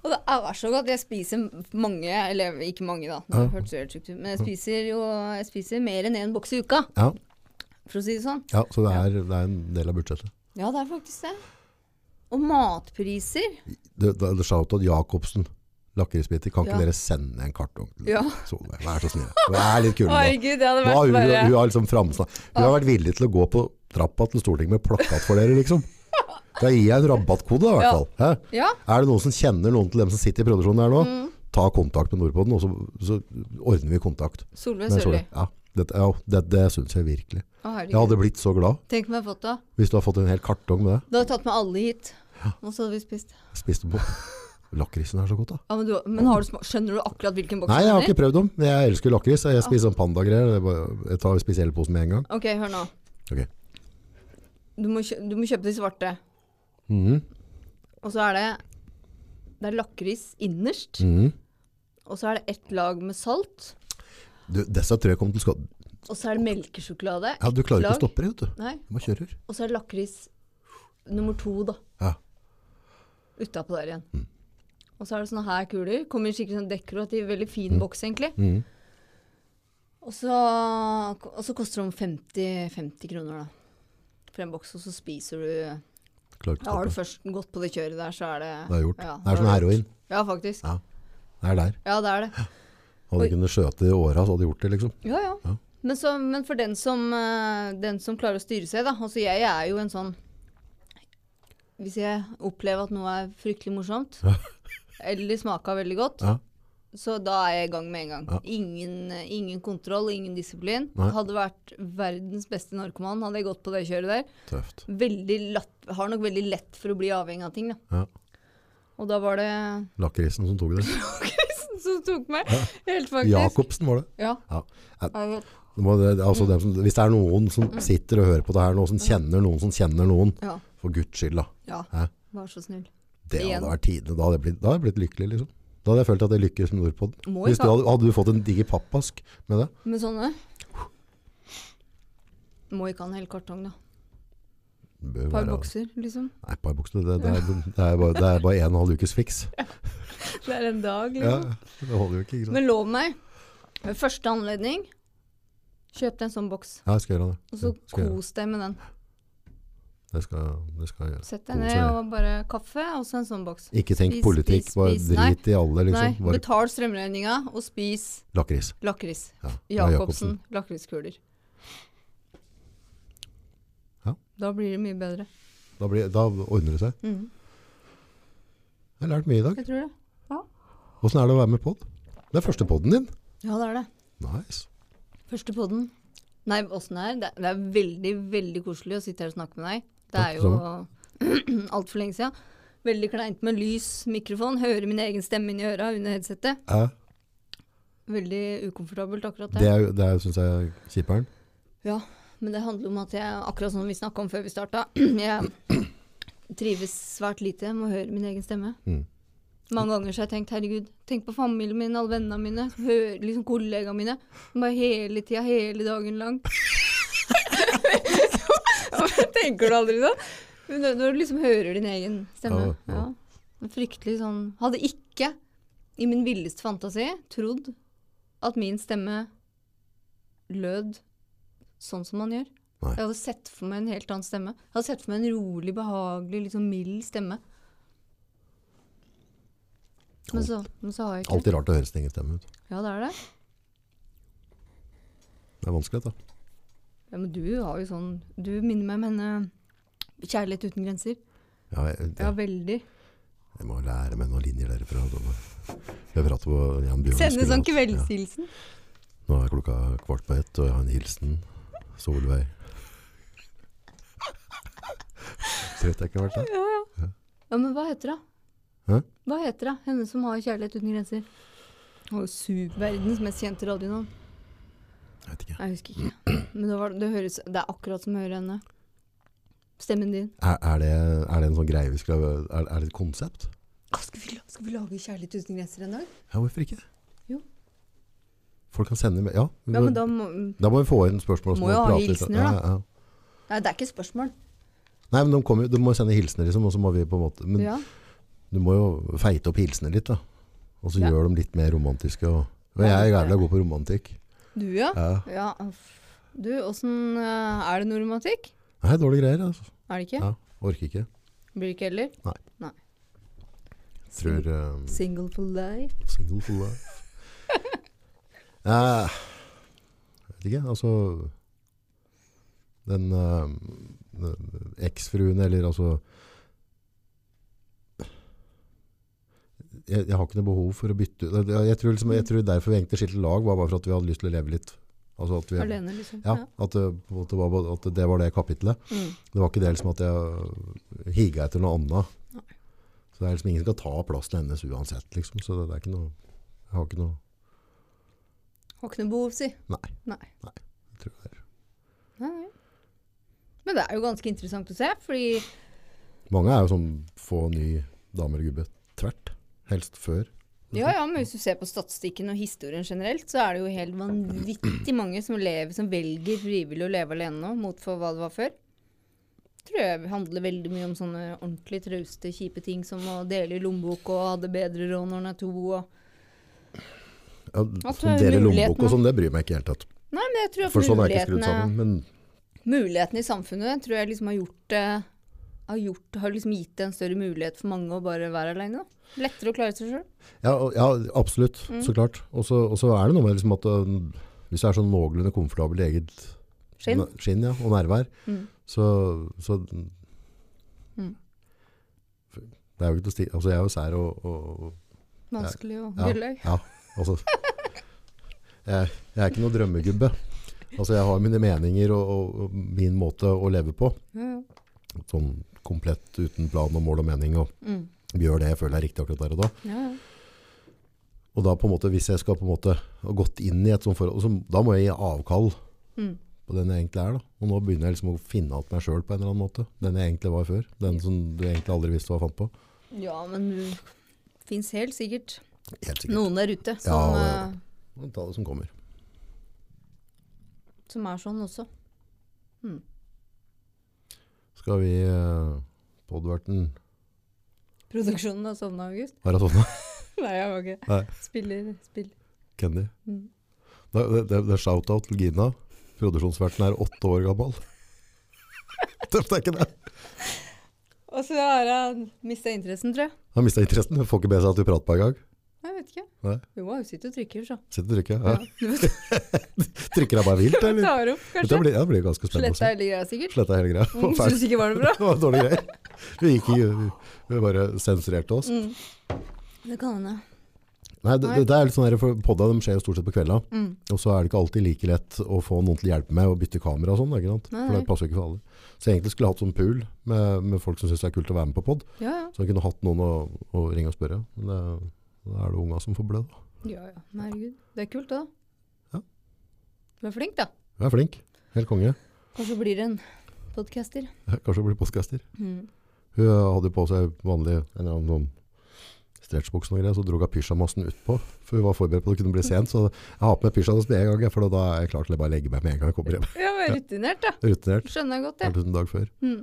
Speaker 2: Og det er så godt. Jeg spiser mange, eller ikke mange da, det
Speaker 1: Ja.
Speaker 2: hørtes jo helt sjukt ut, men jeg spiser jo jeg spiser mer enn én boks i uka,
Speaker 1: Ja,
Speaker 2: for å si det sånn.
Speaker 1: ja så det er, det er en del av budsjettet.
Speaker 2: Ja, det er faktisk det. Og matpriser.
Speaker 1: Det, det, det Shout-out Jacobsen. Lakrisbiter. Kan ikke
Speaker 2: Ja.
Speaker 1: dere sende en kartong til
Speaker 2: Ja.
Speaker 1: Solveig? Vær så snill. Vær litt kul. nå.
Speaker 2: Oi, gud, det hadde
Speaker 1: Nå har
Speaker 2: vært
Speaker 1: hun,
Speaker 2: bare
Speaker 1: hun har liksom framsnak- Hun har vært villig til å gå på trappa til Stortinget med plakat for dere, liksom. Da gir jeg en rabattkode, da, i hvert
Speaker 2: Ja.
Speaker 1: fall. Hæ?
Speaker 2: Ja.
Speaker 1: Er det noen som kjenner noen til dem som sitter i produksjonen her nå, ta kontakt med Nordpoden, og så, så ordner vi kontakt.
Speaker 2: Solveig
Speaker 1: Nei,
Speaker 2: Sørli.
Speaker 1: sorry. Ja, det, ja, det, det syns jeg virkelig.
Speaker 2: Å,
Speaker 1: Jeg
Speaker 2: herregud.
Speaker 1: hadde blitt så glad
Speaker 2: Tenk om jeg hadde fått det.
Speaker 1: hvis du hadde fått en hel kartong med det.
Speaker 2: Da hadde jeg tatt med alle hit, og så hadde vi spist.
Speaker 1: Spiste på. Lakrisen er så godt, da.
Speaker 2: Ja, men, du, men har du sma- skjønner du akkurat hvilken boks
Speaker 1: Nei,
Speaker 2: du
Speaker 1: jeg har
Speaker 2: mener?
Speaker 1: ikke prøvd dem. men Jeg elsker lakris. Jeg spiser sånn pandagreier. Det er bare- Jeg tar, spiser hele posen med en gang.
Speaker 2: Ok, hør nå.
Speaker 1: Ok.
Speaker 2: Du må, kjø du må kjøpe de svarte.
Speaker 1: Mhm,
Speaker 2: Og så er det Det er lakris innerst.
Speaker 1: mhm.
Speaker 2: Og så er det ett lag med salt.
Speaker 1: Du, disse tror jeg kommer til å skade.
Speaker 2: Og så er det melkesjokolade.
Speaker 1: Ja, du
Speaker 2: ett
Speaker 1: klarer ikke
Speaker 2: lag.
Speaker 1: å stoppe det, vet du.
Speaker 2: Nei.
Speaker 1: Du må kjøre.
Speaker 2: Og så er det lakris nummer to, da.
Speaker 1: Ja. Mm.
Speaker 2: Utapå der igjen. Og så er det sånne her kuler. Kommer i skikkelig sånn dekorativ, veldig fin boks, egentlig.
Speaker 1: Mm.
Speaker 2: Og så, og så koster det om 50, 50 kroner, da. For en boks, og så spiser du ja,
Speaker 1: Klarer ikke å
Speaker 2: Har du
Speaker 1: stoppe.
Speaker 2: først gått på det kjøret der, så er det
Speaker 1: Det er gjort.
Speaker 2: Ja,
Speaker 1: det er som
Speaker 2: da
Speaker 1: heroin.
Speaker 2: gjort. Ja, faktisk.
Speaker 1: Ja. Det er der.
Speaker 2: Ja, det er det.
Speaker 1: Hadde
Speaker 2: Oi.
Speaker 1: du kunnet skjøte i åra, så hadde du gjort det, liksom.
Speaker 2: Ja, ja.
Speaker 1: Ja.
Speaker 2: Men, så, men for den som, eh, den som klarer å styre seg, da. Altså, jeg er jo en sånn Hvis jeg opplever at noe er fryktelig morsomt, eller smaka veldig godt,
Speaker 1: Ja.
Speaker 2: så da er jeg i gang med en gang.
Speaker 1: Ja.
Speaker 2: Ingen, eh, ingen kontroll, ingen disiplin.
Speaker 1: Nei.
Speaker 2: Hadde vært verdens beste narkoman, hadde jeg gått på det kjøret der.
Speaker 1: Tøft.
Speaker 2: Veldig latt, har nok veldig lett for å bli avhengig av ting, da.
Speaker 1: Ja.
Speaker 2: Og da var det
Speaker 1: Lakrisen som tok det.
Speaker 2: Kristen som tok meg, helt faktisk.
Speaker 1: Jacobsen var det.
Speaker 2: Ja.
Speaker 1: Ja.
Speaker 2: Jeg vet.
Speaker 1: Det må, det, altså
Speaker 2: Mm.
Speaker 1: dem som, hvis det er noen som sitter og hører på det her nå, som kjenner noen som kjenner noen,
Speaker 2: Ja.
Speaker 1: for guds skyld, da.
Speaker 2: ja.
Speaker 1: Hæ?
Speaker 2: Vær så snill.
Speaker 1: Det
Speaker 2: Igjen.
Speaker 1: hadde vært tidene. Da hadde jeg blitt, da hadde jeg blitt lykkelig, liksom. Da hadde jeg følt at jeg lykkes med Nordpodden.
Speaker 2: Må
Speaker 1: Hvis
Speaker 2: ikke
Speaker 1: du
Speaker 2: ha-
Speaker 1: hadde, hadde du fått en diger pappask med det?
Speaker 2: Med sånne Må ikke ha en hel kartong, da.
Speaker 1: det bør jo
Speaker 2: Et par
Speaker 1: være-
Speaker 2: bokser, liksom.
Speaker 1: Nei, par bukser. Det, det, er, det, er bare, det er bare en og en halv ukes fiks.
Speaker 2: Det er en dag,
Speaker 1: Ja,
Speaker 2: liksom.
Speaker 1: det holder jo ikke. ikke sant?
Speaker 2: Men lov meg, ved første anledning, kjøp deg en sånn boks.
Speaker 1: Ja, jeg skal gjøre det.
Speaker 2: Og så
Speaker 1: Ja, skal jeg gjøre.
Speaker 2: kos deg med den.
Speaker 1: Det skal, det skal jeg gjøre.
Speaker 2: Sett deg
Speaker 1: Kos
Speaker 2: ned
Speaker 1: deg.
Speaker 2: og bare kaffe, og så en sånn boks.
Speaker 1: Ikke tenk
Speaker 2: Spis,
Speaker 1: politikk,
Speaker 2: spis,
Speaker 1: bare
Speaker 2: spis.
Speaker 1: drit i alle, liksom.
Speaker 2: Nei,
Speaker 1: Bare
Speaker 2: betal strømregninga og spis
Speaker 1: lakris.
Speaker 2: lakris.
Speaker 1: Ja, ja,
Speaker 2: Jacobsen lakriskuler.
Speaker 1: Ja.
Speaker 2: Da blir det mye bedre.
Speaker 1: Da, blir, da ordner det seg.
Speaker 2: Mhm.
Speaker 1: Jeg har lært mye i dag.
Speaker 2: Jeg tror det.
Speaker 1: Åssen er det å være med i pod? Det er første poden din.
Speaker 2: Ja, det er det.
Speaker 1: Nice.
Speaker 2: Første podden. Nei, åssen det er? Det, det er veldig, veldig koselig å sitte her og snakke med deg. Det
Speaker 1: Takk,
Speaker 2: er jo altfor lenge siden. Veldig kleint med lys, mikrofon, høre min egen stemme inn i øra under headsetet.
Speaker 1: Ja,
Speaker 2: Veldig ukomfortabelt akkurat
Speaker 1: det
Speaker 2: det.
Speaker 1: er, jo- det er, syns jeg er kjiperen.
Speaker 2: Ja, men det handler om at jeg, akkurat som vi snakka om før vi starta, jeg trives svært lite med å høre min egen stemme.
Speaker 1: Mm.
Speaker 2: Mange ganger så har jeg tenkt herregud, tenk på familien min, alle vennene mine, hø- liksom kollegaene mine. Bare hele tida, hele dagen lang. Hvorfor tenker du aldri sånn? Men Når når du liksom hører din egen stemme.
Speaker 1: Ja,
Speaker 2: Ja,
Speaker 1: ja.
Speaker 2: En Fryktelig sånn Hadde ikke i min villeste fantasi trodd at min stemme lød sånn som man gjør.
Speaker 1: Nei.
Speaker 2: Jeg hadde sett for meg en helt annen stemme. Jeg hadde sett for meg en rolig, behagelig, liksom mild stemme. Men så, men så har jeg ikke det.
Speaker 1: Alltid rart å høre sin egen stemme ut.
Speaker 2: Ja, det er det.
Speaker 1: Det er vanskelig, da.
Speaker 2: Ja, men du har jo sånn Du minner meg om henne eh, Kjærlighet uten grenser.
Speaker 1: Ja, jeg,
Speaker 2: Ja,
Speaker 1: jeg,
Speaker 2: veldig.
Speaker 1: jeg må lære meg noen linjer derfra. da må Jeg prater på Jan Bjørn.
Speaker 2: Sende
Speaker 1: skulle
Speaker 2: sånn
Speaker 1: hatt- ja.
Speaker 2: kveldshilsen.
Speaker 1: Nå er klokka kvart på ett, og jeg har en hilsen. Solveig. Trøtt jeg ikke har vært der.
Speaker 2: Ja, men hva heter hun?
Speaker 1: Hæ?
Speaker 2: Hva heter hun? Henne som har Kjærlighet uten grenser. Hun er jo super- verdens mest kjente radionavn.
Speaker 1: Jeg vet ikke.
Speaker 2: Jeg husker ikke. Men det, var, det, høres, det er akkurat som å høre henne. Stemmen din.
Speaker 1: Er, er, det, er det en sånn greie vi skal Er, er det et konsept?
Speaker 2: Å, Skal vi, la- skal vi lage Kjærlighet uten grenser en dag?
Speaker 1: Ja, hvorfor ikke?
Speaker 2: Jo.
Speaker 1: Folk kan sende med Ja, vi
Speaker 2: Ja,
Speaker 1: må-
Speaker 2: men da må
Speaker 1: Da må vi få inn spørsmål. så
Speaker 2: Må
Speaker 1: vi
Speaker 2: jo ha
Speaker 1: prate litt.
Speaker 2: hilsener,
Speaker 1: ja,
Speaker 2: da.
Speaker 1: ja.
Speaker 2: Nei, det er ikke et spørsmål.
Speaker 1: Nei, men de, kommer, jo- de må jo sende hilsener, liksom, og så må vi på en måte Men
Speaker 2: Ja.
Speaker 1: du må jo feite opp hilsener litt, da. Og så
Speaker 2: Ja.
Speaker 1: gjør de litt mer romantiske. Og, og
Speaker 2: Ja,
Speaker 1: jeg er
Speaker 2: det-
Speaker 1: jævla god på romantikk.
Speaker 2: Du, ja?
Speaker 1: Ja.
Speaker 2: Ja. uff. Du, åssen eh, Er det noe romantikk?
Speaker 1: Nei, dårlige greier. Altså.
Speaker 2: Er det ikke?
Speaker 1: Ja, orker ikke.
Speaker 2: Blir det ikke heller?
Speaker 1: Nei.
Speaker 2: Nei.
Speaker 1: Tror eh,
Speaker 2: Single for life.
Speaker 1: Single for life. Eh, jeg vet ikke, altså Den eh, den eksfruen, eller altså jeg, jeg har ikke noe behov for å bytte ut jeg, jeg, tror liksom, jeg tror derfor vi egentlig skilte lag, var bare for at vi hadde lyst til å leve litt. Altså at vi,
Speaker 2: Alene, liksom.
Speaker 1: Ja, at det, på en måte var, bare- at det var det kapitlet.
Speaker 2: Mm.
Speaker 1: Det var ikke det liksom at jeg higa etter noe annet. Så det er liksom ingen som skal ta plassen hennes uansett, liksom. Så det, det er ikke noe Jeg har ikke noe
Speaker 2: Har ikke noe behov, si.
Speaker 1: Nei.
Speaker 2: Nei.
Speaker 1: jeg tror det er.
Speaker 2: Nei. nei. Men det er jo ganske interessant å se, fordi
Speaker 1: Mange er jo sånn få ny damer og gubbe tvert. Helst før.
Speaker 2: Ja, ja, men hvis du ser på statistikken og historien generelt, så er det jo helt vanvittig mange som lever, som velger frivillig å leve alene nå, mot for hva det var før. Tror jeg handler veldig mye om sånne ordentlig trauste, kjipe ting som å dele i lommebok og ha det bedre råd når en er to og
Speaker 1: Ja,
Speaker 2: At
Speaker 1: sånn
Speaker 2: det er
Speaker 1: dere
Speaker 2: muligheten,
Speaker 1: lommebok
Speaker 2: da.
Speaker 1: og sånn, det bryr meg ikke i det hele tatt.
Speaker 2: Nei, men jeg tror at
Speaker 1: For sånn er ikke skrudd
Speaker 2: mulighetene,
Speaker 1: sammen. Men
Speaker 2: mulighetene i samfunnet tror jeg liksom har gjort det har, gjort, har liksom gitt det en større mulighet for mange å bare være alene. Da. Lettere å klare seg sjøl.
Speaker 1: ja, og- ja absolutt. Så klart. Og så og så er det noe med liksom at øh, hvis du er sånn noenlunde komfortabel i eget
Speaker 2: Skinn.
Speaker 1: ne- skinn ja, og nærvær,
Speaker 2: Mm.
Speaker 1: så, så Det er jo ikke til å sti... Altså, jeg er jo sær og, og, og
Speaker 2: Vanskelig å
Speaker 1: Ja,
Speaker 2: gjøre.
Speaker 1: ja altså, jeg, jeg er ikke noen drømmegubbe. Altså, jeg har mine meninger og, og, og min måte å leve på.
Speaker 2: Ja, ja.
Speaker 1: Sånn komplett uten plan og mål og mening, og
Speaker 2: Mm.
Speaker 1: gjør det jeg føler er riktig akkurat der og da.
Speaker 2: ja, ja.
Speaker 1: Og da på en måte, hvis jeg skal på en måte ha gått inn i et sånt forhold, så, da må jeg gi avkall
Speaker 2: Mm.
Speaker 1: på den jeg egentlig er. Da. Og nå begynner jeg liksom å finne alt meg sjøl på en eller annen måte. Den jeg egentlig var før. Den som du egentlig aldri visste hva jeg fant på.
Speaker 2: Ja, men du fins helt sikkert
Speaker 1: Helt sikkert.
Speaker 2: noen der ute som,
Speaker 1: det
Speaker 2: eh,
Speaker 1: er Må Ta det som kommer.
Speaker 2: som er sånn også.
Speaker 1: Skal vi uh, podverten
Speaker 2: Produksjonen har sovna, August.
Speaker 1: Har jeg sovna?
Speaker 2: Nei, jeg var ikke
Speaker 1: Nei.
Speaker 2: Spiller, spiller.
Speaker 1: Candy?
Speaker 2: Mm.
Speaker 1: Det, det, det, det er shout-out til Gina. Produksjonsverten er åtte år gammel. Tøft er ikke det?
Speaker 2: Og så har jeg mista interessen, tror jeg.
Speaker 1: Har mista interessen. Får ikke med seg at vi prater på engang.
Speaker 2: Nei, Jeg vet ikke.
Speaker 1: Nei.
Speaker 2: Jo, hun sitter og trykker, så.
Speaker 1: Sitter og trykker.
Speaker 2: Ja.
Speaker 1: Ja. Trykker jeg bare vilt, eller?
Speaker 2: Tar opp,
Speaker 1: Dette
Speaker 2: kanskje.
Speaker 1: blir, ja, det blir ganske spennende. å
Speaker 2: Sletta
Speaker 1: se.
Speaker 2: hele greia, sikkert.
Speaker 1: Sletta hele greia.
Speaker 2: Mm,
Speaker 1: Og ferdig.
Speaker 2: Syns ikke var det bra.
Speaker 1: Det var dårlige greier. Vi gikk i, vi bare sensurerte oss.
Speaker 2: Mm. Det kan hende.
Speaker 1: Nei, det, det, det er litt sånn der, for podda de skjer jo stort sett på kvelda,
Speaker 2: Mm.
Speaker 1: og så er det ikke alltid like lett å få noen til å hjelpe med å bytte kamera og sånn, ikke sant?
Speaker 2: Nei,
Speaker 1: For
Speaker 2: nei.
Speaker 1: det passer jo ikke for alle. Så egentlig skulle jeg hatt sånn pool med, med folk som synes det er kult å være med på podd,
Speaker 2: Ja, ja.
Speaker 1: så jeg kunne hatt noen å, å ringe og spørre. Men det, da er det unga som får blø da.
Speaker 2: Ja, ja. Men Herregud. Det er kult, det, da.
Speaker 1: Ja.
Speaker 2: Du er flink, da.
Speaker 1: Jeg er flink, helt konge.
Speaker 2: Kanskje blir en podcaster.
Speaker 1: Kanskje jeg blir podcaster.
Speaker 2: Mm.
Speaker 1: Hun hadde jo på seg vanlig en eller annen sånn stretchbukse og greier, så drog hun pysjamassen ut på, for hun var forberedt på at det kunne bli sent, så jeg har på meg pysjamassen med en gang, jeg, for da er jeg klar til å bare legge meg med en gang jeg kommer hjem.
Speaker 2: Ja, men rutinert, da.
Speaker 1: Rutinert,
Speaker 2: Skjønner jeg godt,
Speaker 1: vært
Speaker 2: det.
Speaker 1: uten dag før.
Speaker 2: Mm.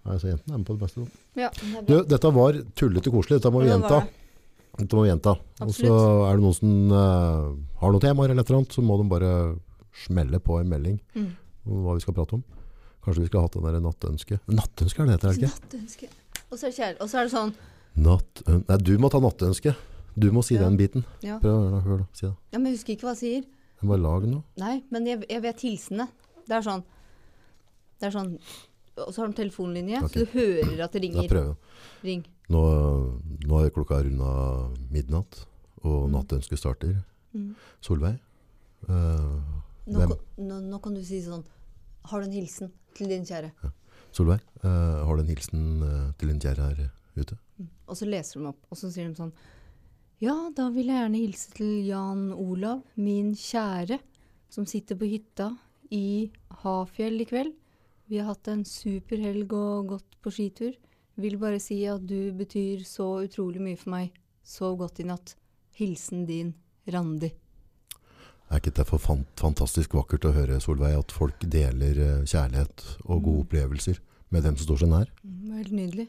Speaker 1: Nei, så jentene er med på det meste.
Speaker 2: Ja.
Speaker 1: Du, dette var tullete koselig, dette må vi
Speaker 2: Ja, det
Speaker 1: gjenta.
Speaker 2: var det.
Speaker 1: Dette må vi gjenta. Og så
Speaker 2: Absolutt.
Speaker 1: er det noen som eh, har noen temaer eller et eller annet, så må de bare smelle på en melding
Speaker 2: Mm.
Speaker 1: om hva vi skal prate om. Kanskje vi skulle hatt den der nattønske. Nattønske er det heter, er det ikke?
Speaker 2: Nattønske. Og så er det kjære. Og så er det sånn
Speaker 1: Nattøn... Nei, du må ta nattønske. Du må si
Speaker 2: Ja.
Speaker 1: den biten.
Speaker 2: ja.
Speaker 1: Prøv å høre da, hør da, si det.
Speaker 2: ja, men jeg husker ikke hva jeg sier.
Speaker 1: Jeg Bare lag noe.
Speaker 2: Nei, men jeg, jeg vet hilsene. Det er sånn Det er sånn Og så har de telefonlinje,
Speaker 1: Ok.
Speaker 2: så du hører at det
Speaker 1: Da
Speaker 2: ringer.
Speaker 1: prøver vi.
Speaker 2: Ring.
Speaker 1: Nå, nå er klokka runda midnatt, og nattønsket starter.
Speaker 2: Mm.
Speaker 1: Solveig, eh,
Speaker 2: Nå,
Speaker 1: Hvem?
Speaker 2: kan- nå, nå kan du si sånn Har du en hilsen til din kjære?
Speaker 1: Solveig, eh, har du en hilsen eh, til din kjære her ute?
Speaker 2: Og så leser de opp, og så sier de sånn Ja, da vil jeg gjerne hilse til Jan Olav, min kjære, som sitter på hytta i Hafjell i kveld. Vi har hatt en super helg og gått på skitur. Vil bare si at du betyr så utrolig mye for meg. Sov godt i natt. Hilsen din, Randi.
Speaker 1: Er ikke det for fan- fantastisk vakkert å høre, Solveig, at folk deler eh, kjærlighet og gode opplevelser med dem som står seg nær?
Speaker 2: Mm, det var Helt nydelig.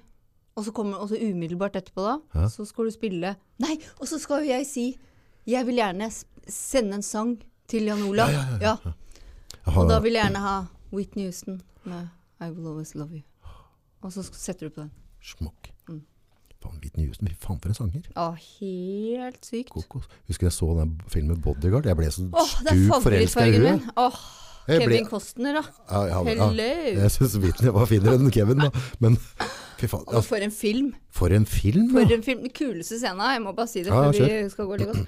Speaker 2: Og så kommer og så umiddelbart etterpå, da,
Speaker 1: Hæ?
Speaker 2: så skal du spille Nei, og så skal jo jeg si Jeg vil gjerne s- sende en sang til Jan Olav. Ja,
Speaker 1: Jeg
Speaker 2: Og
Speaker 1: har,
Speaker 2: da vil jeg gjerne ha Whitney Houston med I Will Always Love You. Og så sk- setter du på den.
Speaker 1: Smokk.
Speaker 2: Mm.
Speaker 1: Faen, Whitney Houston, fy faen for en sanger.
Speaker 2: Ja, helt sykt. Åh,
Speaker 1: Kokos. Husker jeg så den filmen Bodyguard? Jeg ble så
Speaker 2: det er
Speaker 1: sjukt forelska i
Speaker 2: favorittfargen min.
Speaker 1: henne.
Speaker 2: Åh,
Speaker 1: Jeg ble-
Speaker 2: Kevin Costner, da.
Speaker 1: Ja, ja, ja.
Speaker 2: Hello!
Speaker 1: Jeg syns Whitney var finere enn Kevin, da. Men fy faen,
Speaker 2: Og
Speaker 1: altså,
Speaker 2: for en film.
Speaker 1: for en film!
Speaker 2: For
Speaker 1: Da.
Speaker 2: en film. Den kuleste scenen, jeg må bare si det
Speaker 1: Ja,
Speaker 2: før vi
Speaker 1: kjør.
Speaker 2: skal gå litt godt.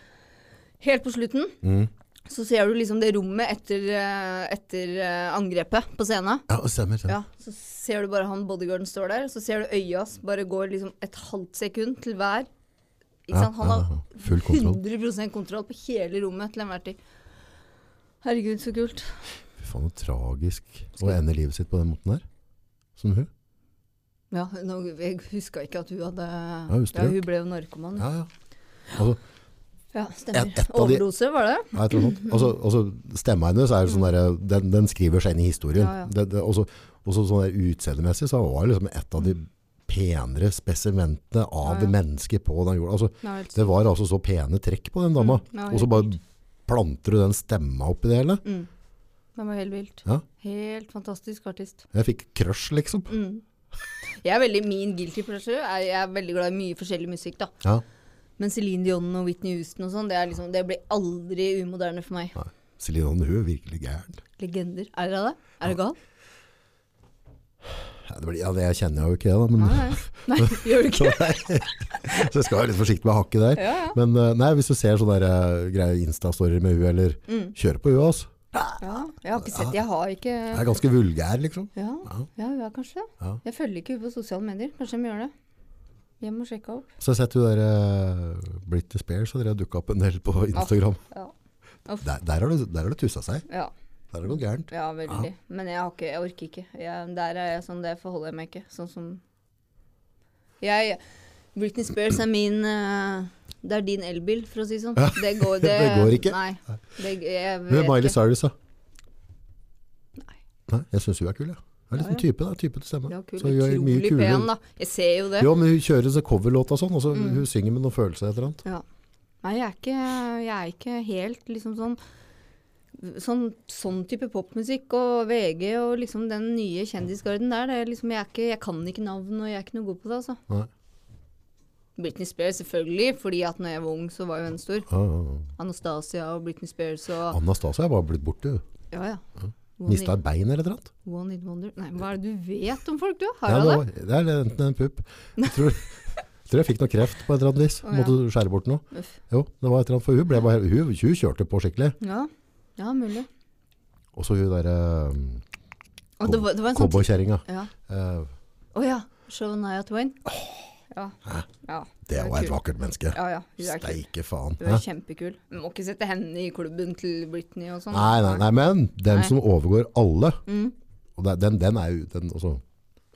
Speaker 2: Helt på slutten
Speaker 1: Mm.
Speaker 2: så ser du liksom det rommet etter, eh, etter eh, angrepet på scenen.
Speaker 1: Ja, stemmer. stemmer.
Speaker 2: Ja, så ser du bare han bodyguarden står der, så ser du øya hans bare går liksom et halvt sekund til hver. Ikke
Speaker 1: Ja,
Speaker 2: sant? Han
Speaker 1: ja,
Speaker 2: har
Speaker 1: ja. Full kontroll.
Speaker 2: 100 kontroll på hele rommet til enhver tid. Herregud, så kult.
Speaker 1: Fy faen, så tragisk å ende livet sitt på den måten der. Som hun.
Speaker 2: Ja, nå, jeg huska ikke at hun hadde
Speaker 1: hun strøk.
Speaker 2: hun ble jo narkoman. Ja,
Speaker 1: Ja, ja. Altså,
Speaker 2: stemmer.
Speaker 1: Et- et av de-
Speaker 2: Overdose, var det?
Speaker 1: Nei, et eller annet sånt. Altså, altså, stemma hennes er jo sånn der, den, den skriver seg inn i historien.
Speaker 2: Ja, ja.
Speaker 1: Det, det, også, også sånn der utseendemessig så var det liksom et av de penere spesimentene av
Speaker 2: Ja, ja.
Speaker 1: mennesker på den jorda. Altså,
Speaker 2: Ja, helt-
Speaker 1: det var altså så pene trekk på den dama.
Speaker 2: Mm, ja,
Speaker 1: og så
Speaker 2: helt
Speaker 1: bare planter du den stemma oppi det hele.
Speaker 2: Mm. Det var helt vilt.
Speaker 1: Ja.
Speaker 2: Helt fantastisk artist.
Speaker 1: Jeg fikk crush, liksom.
Speaker 2: Mm. Jeg er veldig min guilty pleasure. Jeg jeg er veldig glad i mye forskjellig musikk, da.
Speaker 1: Ja.
Speaker 2: Men Celine Dion og Whitney Houston og sånn, det, er liksom, det blir aldri umoderne for meg.
Speaker 1: Nei. Celine Dion, hun er virkelig gæren.
Speaker 2: Legender. Er dere det? Er det gal?
Speaker 1: Ja, det blir, ja, det jeg kjenner jeg jo ikke, da. Men,
Speaker 2: Nei, nei. nei gjør du ikke?
Speaker 1: så jeg skal være litt forsiktig med hakket der.
Speaker 2: Ja, ja.
Speaker 1: Men eh, nei, hvis du ser sånne der, eh, greie Insta-storyer med hun, eller
Speaker 2: Mm.
Speaker 1: kjører på hun, altså.
Speaker 2: Ja, jeg har ikke sett Jeg har ikke
Speaker 1: Hun er ganske vulgær, liksom.
Speaker 2: Ja, ja hun er kanskje det.
Speaker 1: Ja.
Speaker 2: Jeg følger ikke henne på sosiale medier. Kanskje de gjør det. Jeg må sjekke opp.
Speaker 1: Så jeg har sett hun der eh, Britney Spears, og dere har dukket opp en del på Instagram.
Speaker 2: Ja.
Speaker 1: Der, der, har det, der har det tussa seg.
Speaker 2: ja.
Speaker 1: Der er det noe gærent.
Speaker 2: Ja, veldig. Men jeg, har ikke, jeg orker ikke. Jeg, der er jeg sånn, det forholder jeg meg ikke. Sånn som jeg Britney Spears er min eh, Det er din elbil, for å si det sånn. Det går, det,
Speaker 1: Det går ikke.
Speaker 2: Nei. Det, jeg
Speaker 1: Hun er
Speaker 2: vet
Speaker 1: Miley
Speaker 2: ikke.
Speaker 1: Cyrus, da.
Speaker 2: Nei.
Speaker 1: Nei, jeg syns hun er kul, jeg. Hun er litt
Speaker 2: Ja, ja.
Speaker 1: en type, da. Type til stemme.
Speaker 2: Ja, kul.
Speaker 1: Så hun er mye
Speaker 2: Utrolig
Speaker 1: kulere.
Speaker 2: pen, da. Mm. Jeg ser jo det.
Speaker 1: Jo, men hun kjører så coverlåt og sånn, og så hun synger med noen følelser et eller annet.
Speaker 2: Ja. Nei, jeg er ikke, jeg er ikke helt liksom sånn Sånn, sånn type popmusikk og VG og liksom den nye kjendisgarden der, det er liksom, jeg, er ikke, jeg kan ikke navn og jeg er ikke noe god på det, altså.
Speaker 1: Nei.
Speaker 2: Britney Spears selvfølgelig, fordi at når jeg var ung så var jo hun stor.
Speaker 1: Ja, ja,
Speaker 2: Anastasia og Britney Spears
Speaker 1: ja.
Speaker 2: og
Speaker 1: Ah, Anastasia er bare blitt borte. hun.
Speaker 2: Ja, ja. One
Speaker 1: Mista
Speaker 2: hit,
Speaker 1: et bein eller et eller annet.
Speaker 2: one hit wonder. Nei, hva er det du vet om folk, du? Har
Speaker 1: Ja,
Speaker 2: jeg
Speaker 1: det,
Speaker 2: det?
Speaker 1: var, det er enten en pupp. Jeg tror, jeg tror jeg fikk noe kreft på et eller annet vis.
Speaker 2: Å, ja.
Speaker 1: Måtte skjære bort noe.
Speaker 2: Uff.
Speaker 1: Jo, det var et eller annet, for hun, ble bare, hun, hun kjørte på skikkelig.
Speaker 2: Ja. ja, mulig.
Speaker 1: Og så hun der eh,
Speaker 2: Og det var, det var en sånn
Speaker 1: cowboykjerringa.
Speaker 2: Ja.
Speaker 1: Eh,
Speaker 2: Å ja. Shania Twain. Ja. ja.
Speaker 1: det
Speaker 2: Hun er
Speaker 1: var et
Speaker 2: kul.
Speaker 1: vakkert menneske.
Speaker 2: Ja, ja. Hun er kul.
Speaker 1: Steike faen.
Speaker 2: Hun
Speaker 1: Hæ?
Speaker 2: er kjempekul. Vi må ikke sette henne i klubben til Britney og sånn.
Speaker 1: Nei, nei, nei, men dem
Speaker 2: Nei.
Speaker 1: som overgår alle,
Speaker 2: Mm.
Speaker 1: og det, den, den er jo den også.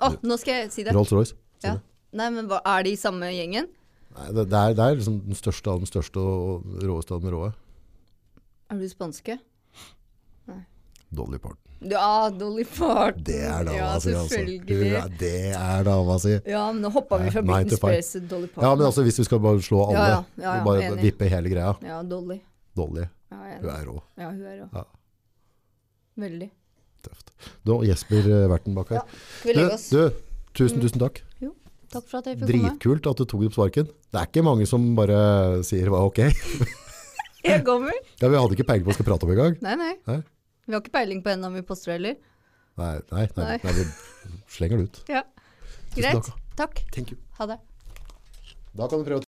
Speaker 2: Å, nå skal jeg si det.
Speaker 1: Rolls-Royce. sier
Speaker 2: Ja.
Speaker 1: du.
Speaker 2: Nei, men hva, er de i samme gjengen?
Speaker 1: Nei, Det, det, er, det er liksom den største av den største og og råeste av den råe.
Speaker 2: Er du spanske?
Speaker 1: Dolly Parton.
Speaker 2: Ja, Dolly Parton.
Speaker 1: Det er
Speaker 2: ja,
Speaker 1: dama si, altså. Du,
Speaker 2: selvfølgelig.
Speaker 1: er- det er dama si.
Speaker 2: Ja, men nå hoppa vi fra
Speaker 1: Nei,
Speaker 2: Britney
Speaker 1: til five.
Speaker 2: Spears til Dolly Parton.
Speaker 1: Ja, men altså hvis vi skal bare slå alle,
Speaker 2: Ja, ja, ja, ja,
Speaker 1: og bare
Speaker 2: enig.
Speaker 1: vippe hele greia.
Speaker 2: Ja, Dolly.
Speaker 1: Dolly,
Speaker 2: Ja, jeg er
Speaker 1: hun
Speaker 2: enig.
Speaker 1: er rå.
Speaker 2: ja hun er rå.
Speaker 1: Ja.
Speaker 2: Veldig.
Speaker 1: Tøft. Da, Jesper eh, Verten bak her.
Speaker 2: Ja, Skal vi legge oss?
Speaker 1: Du, du, tusen, tusen takk.
Speaker 2: Takk for at jeg fikk komme.
Speaker 1: Dritkult at du tok opp sparken. Det er ikke mange som bare sier hva ok.
Speaker 2: Jeg kommer.
Speaker 1: Ja, vi hadde ikke peiling på hva vi skal prate om i gang.
Speaker 2: Nei, nei.
Speaker 1: Nei.
Speaker 2: Vi har ikke peiling på enda om vi poster heller.
Speaker 1: Nei, nei, nei,
Speaker 2: Nei.
Speaker 1: nei vi slenger det ut.
Speaker 2: Ja.
Speaker 1: Tusen
Speaker 2: Greit.
Speaker 1: takk.
Speaker 2: Takk.
Speaker 1: Thank you.
Speaker 2: Ha det.
Speaker 1: Da kan du prøve å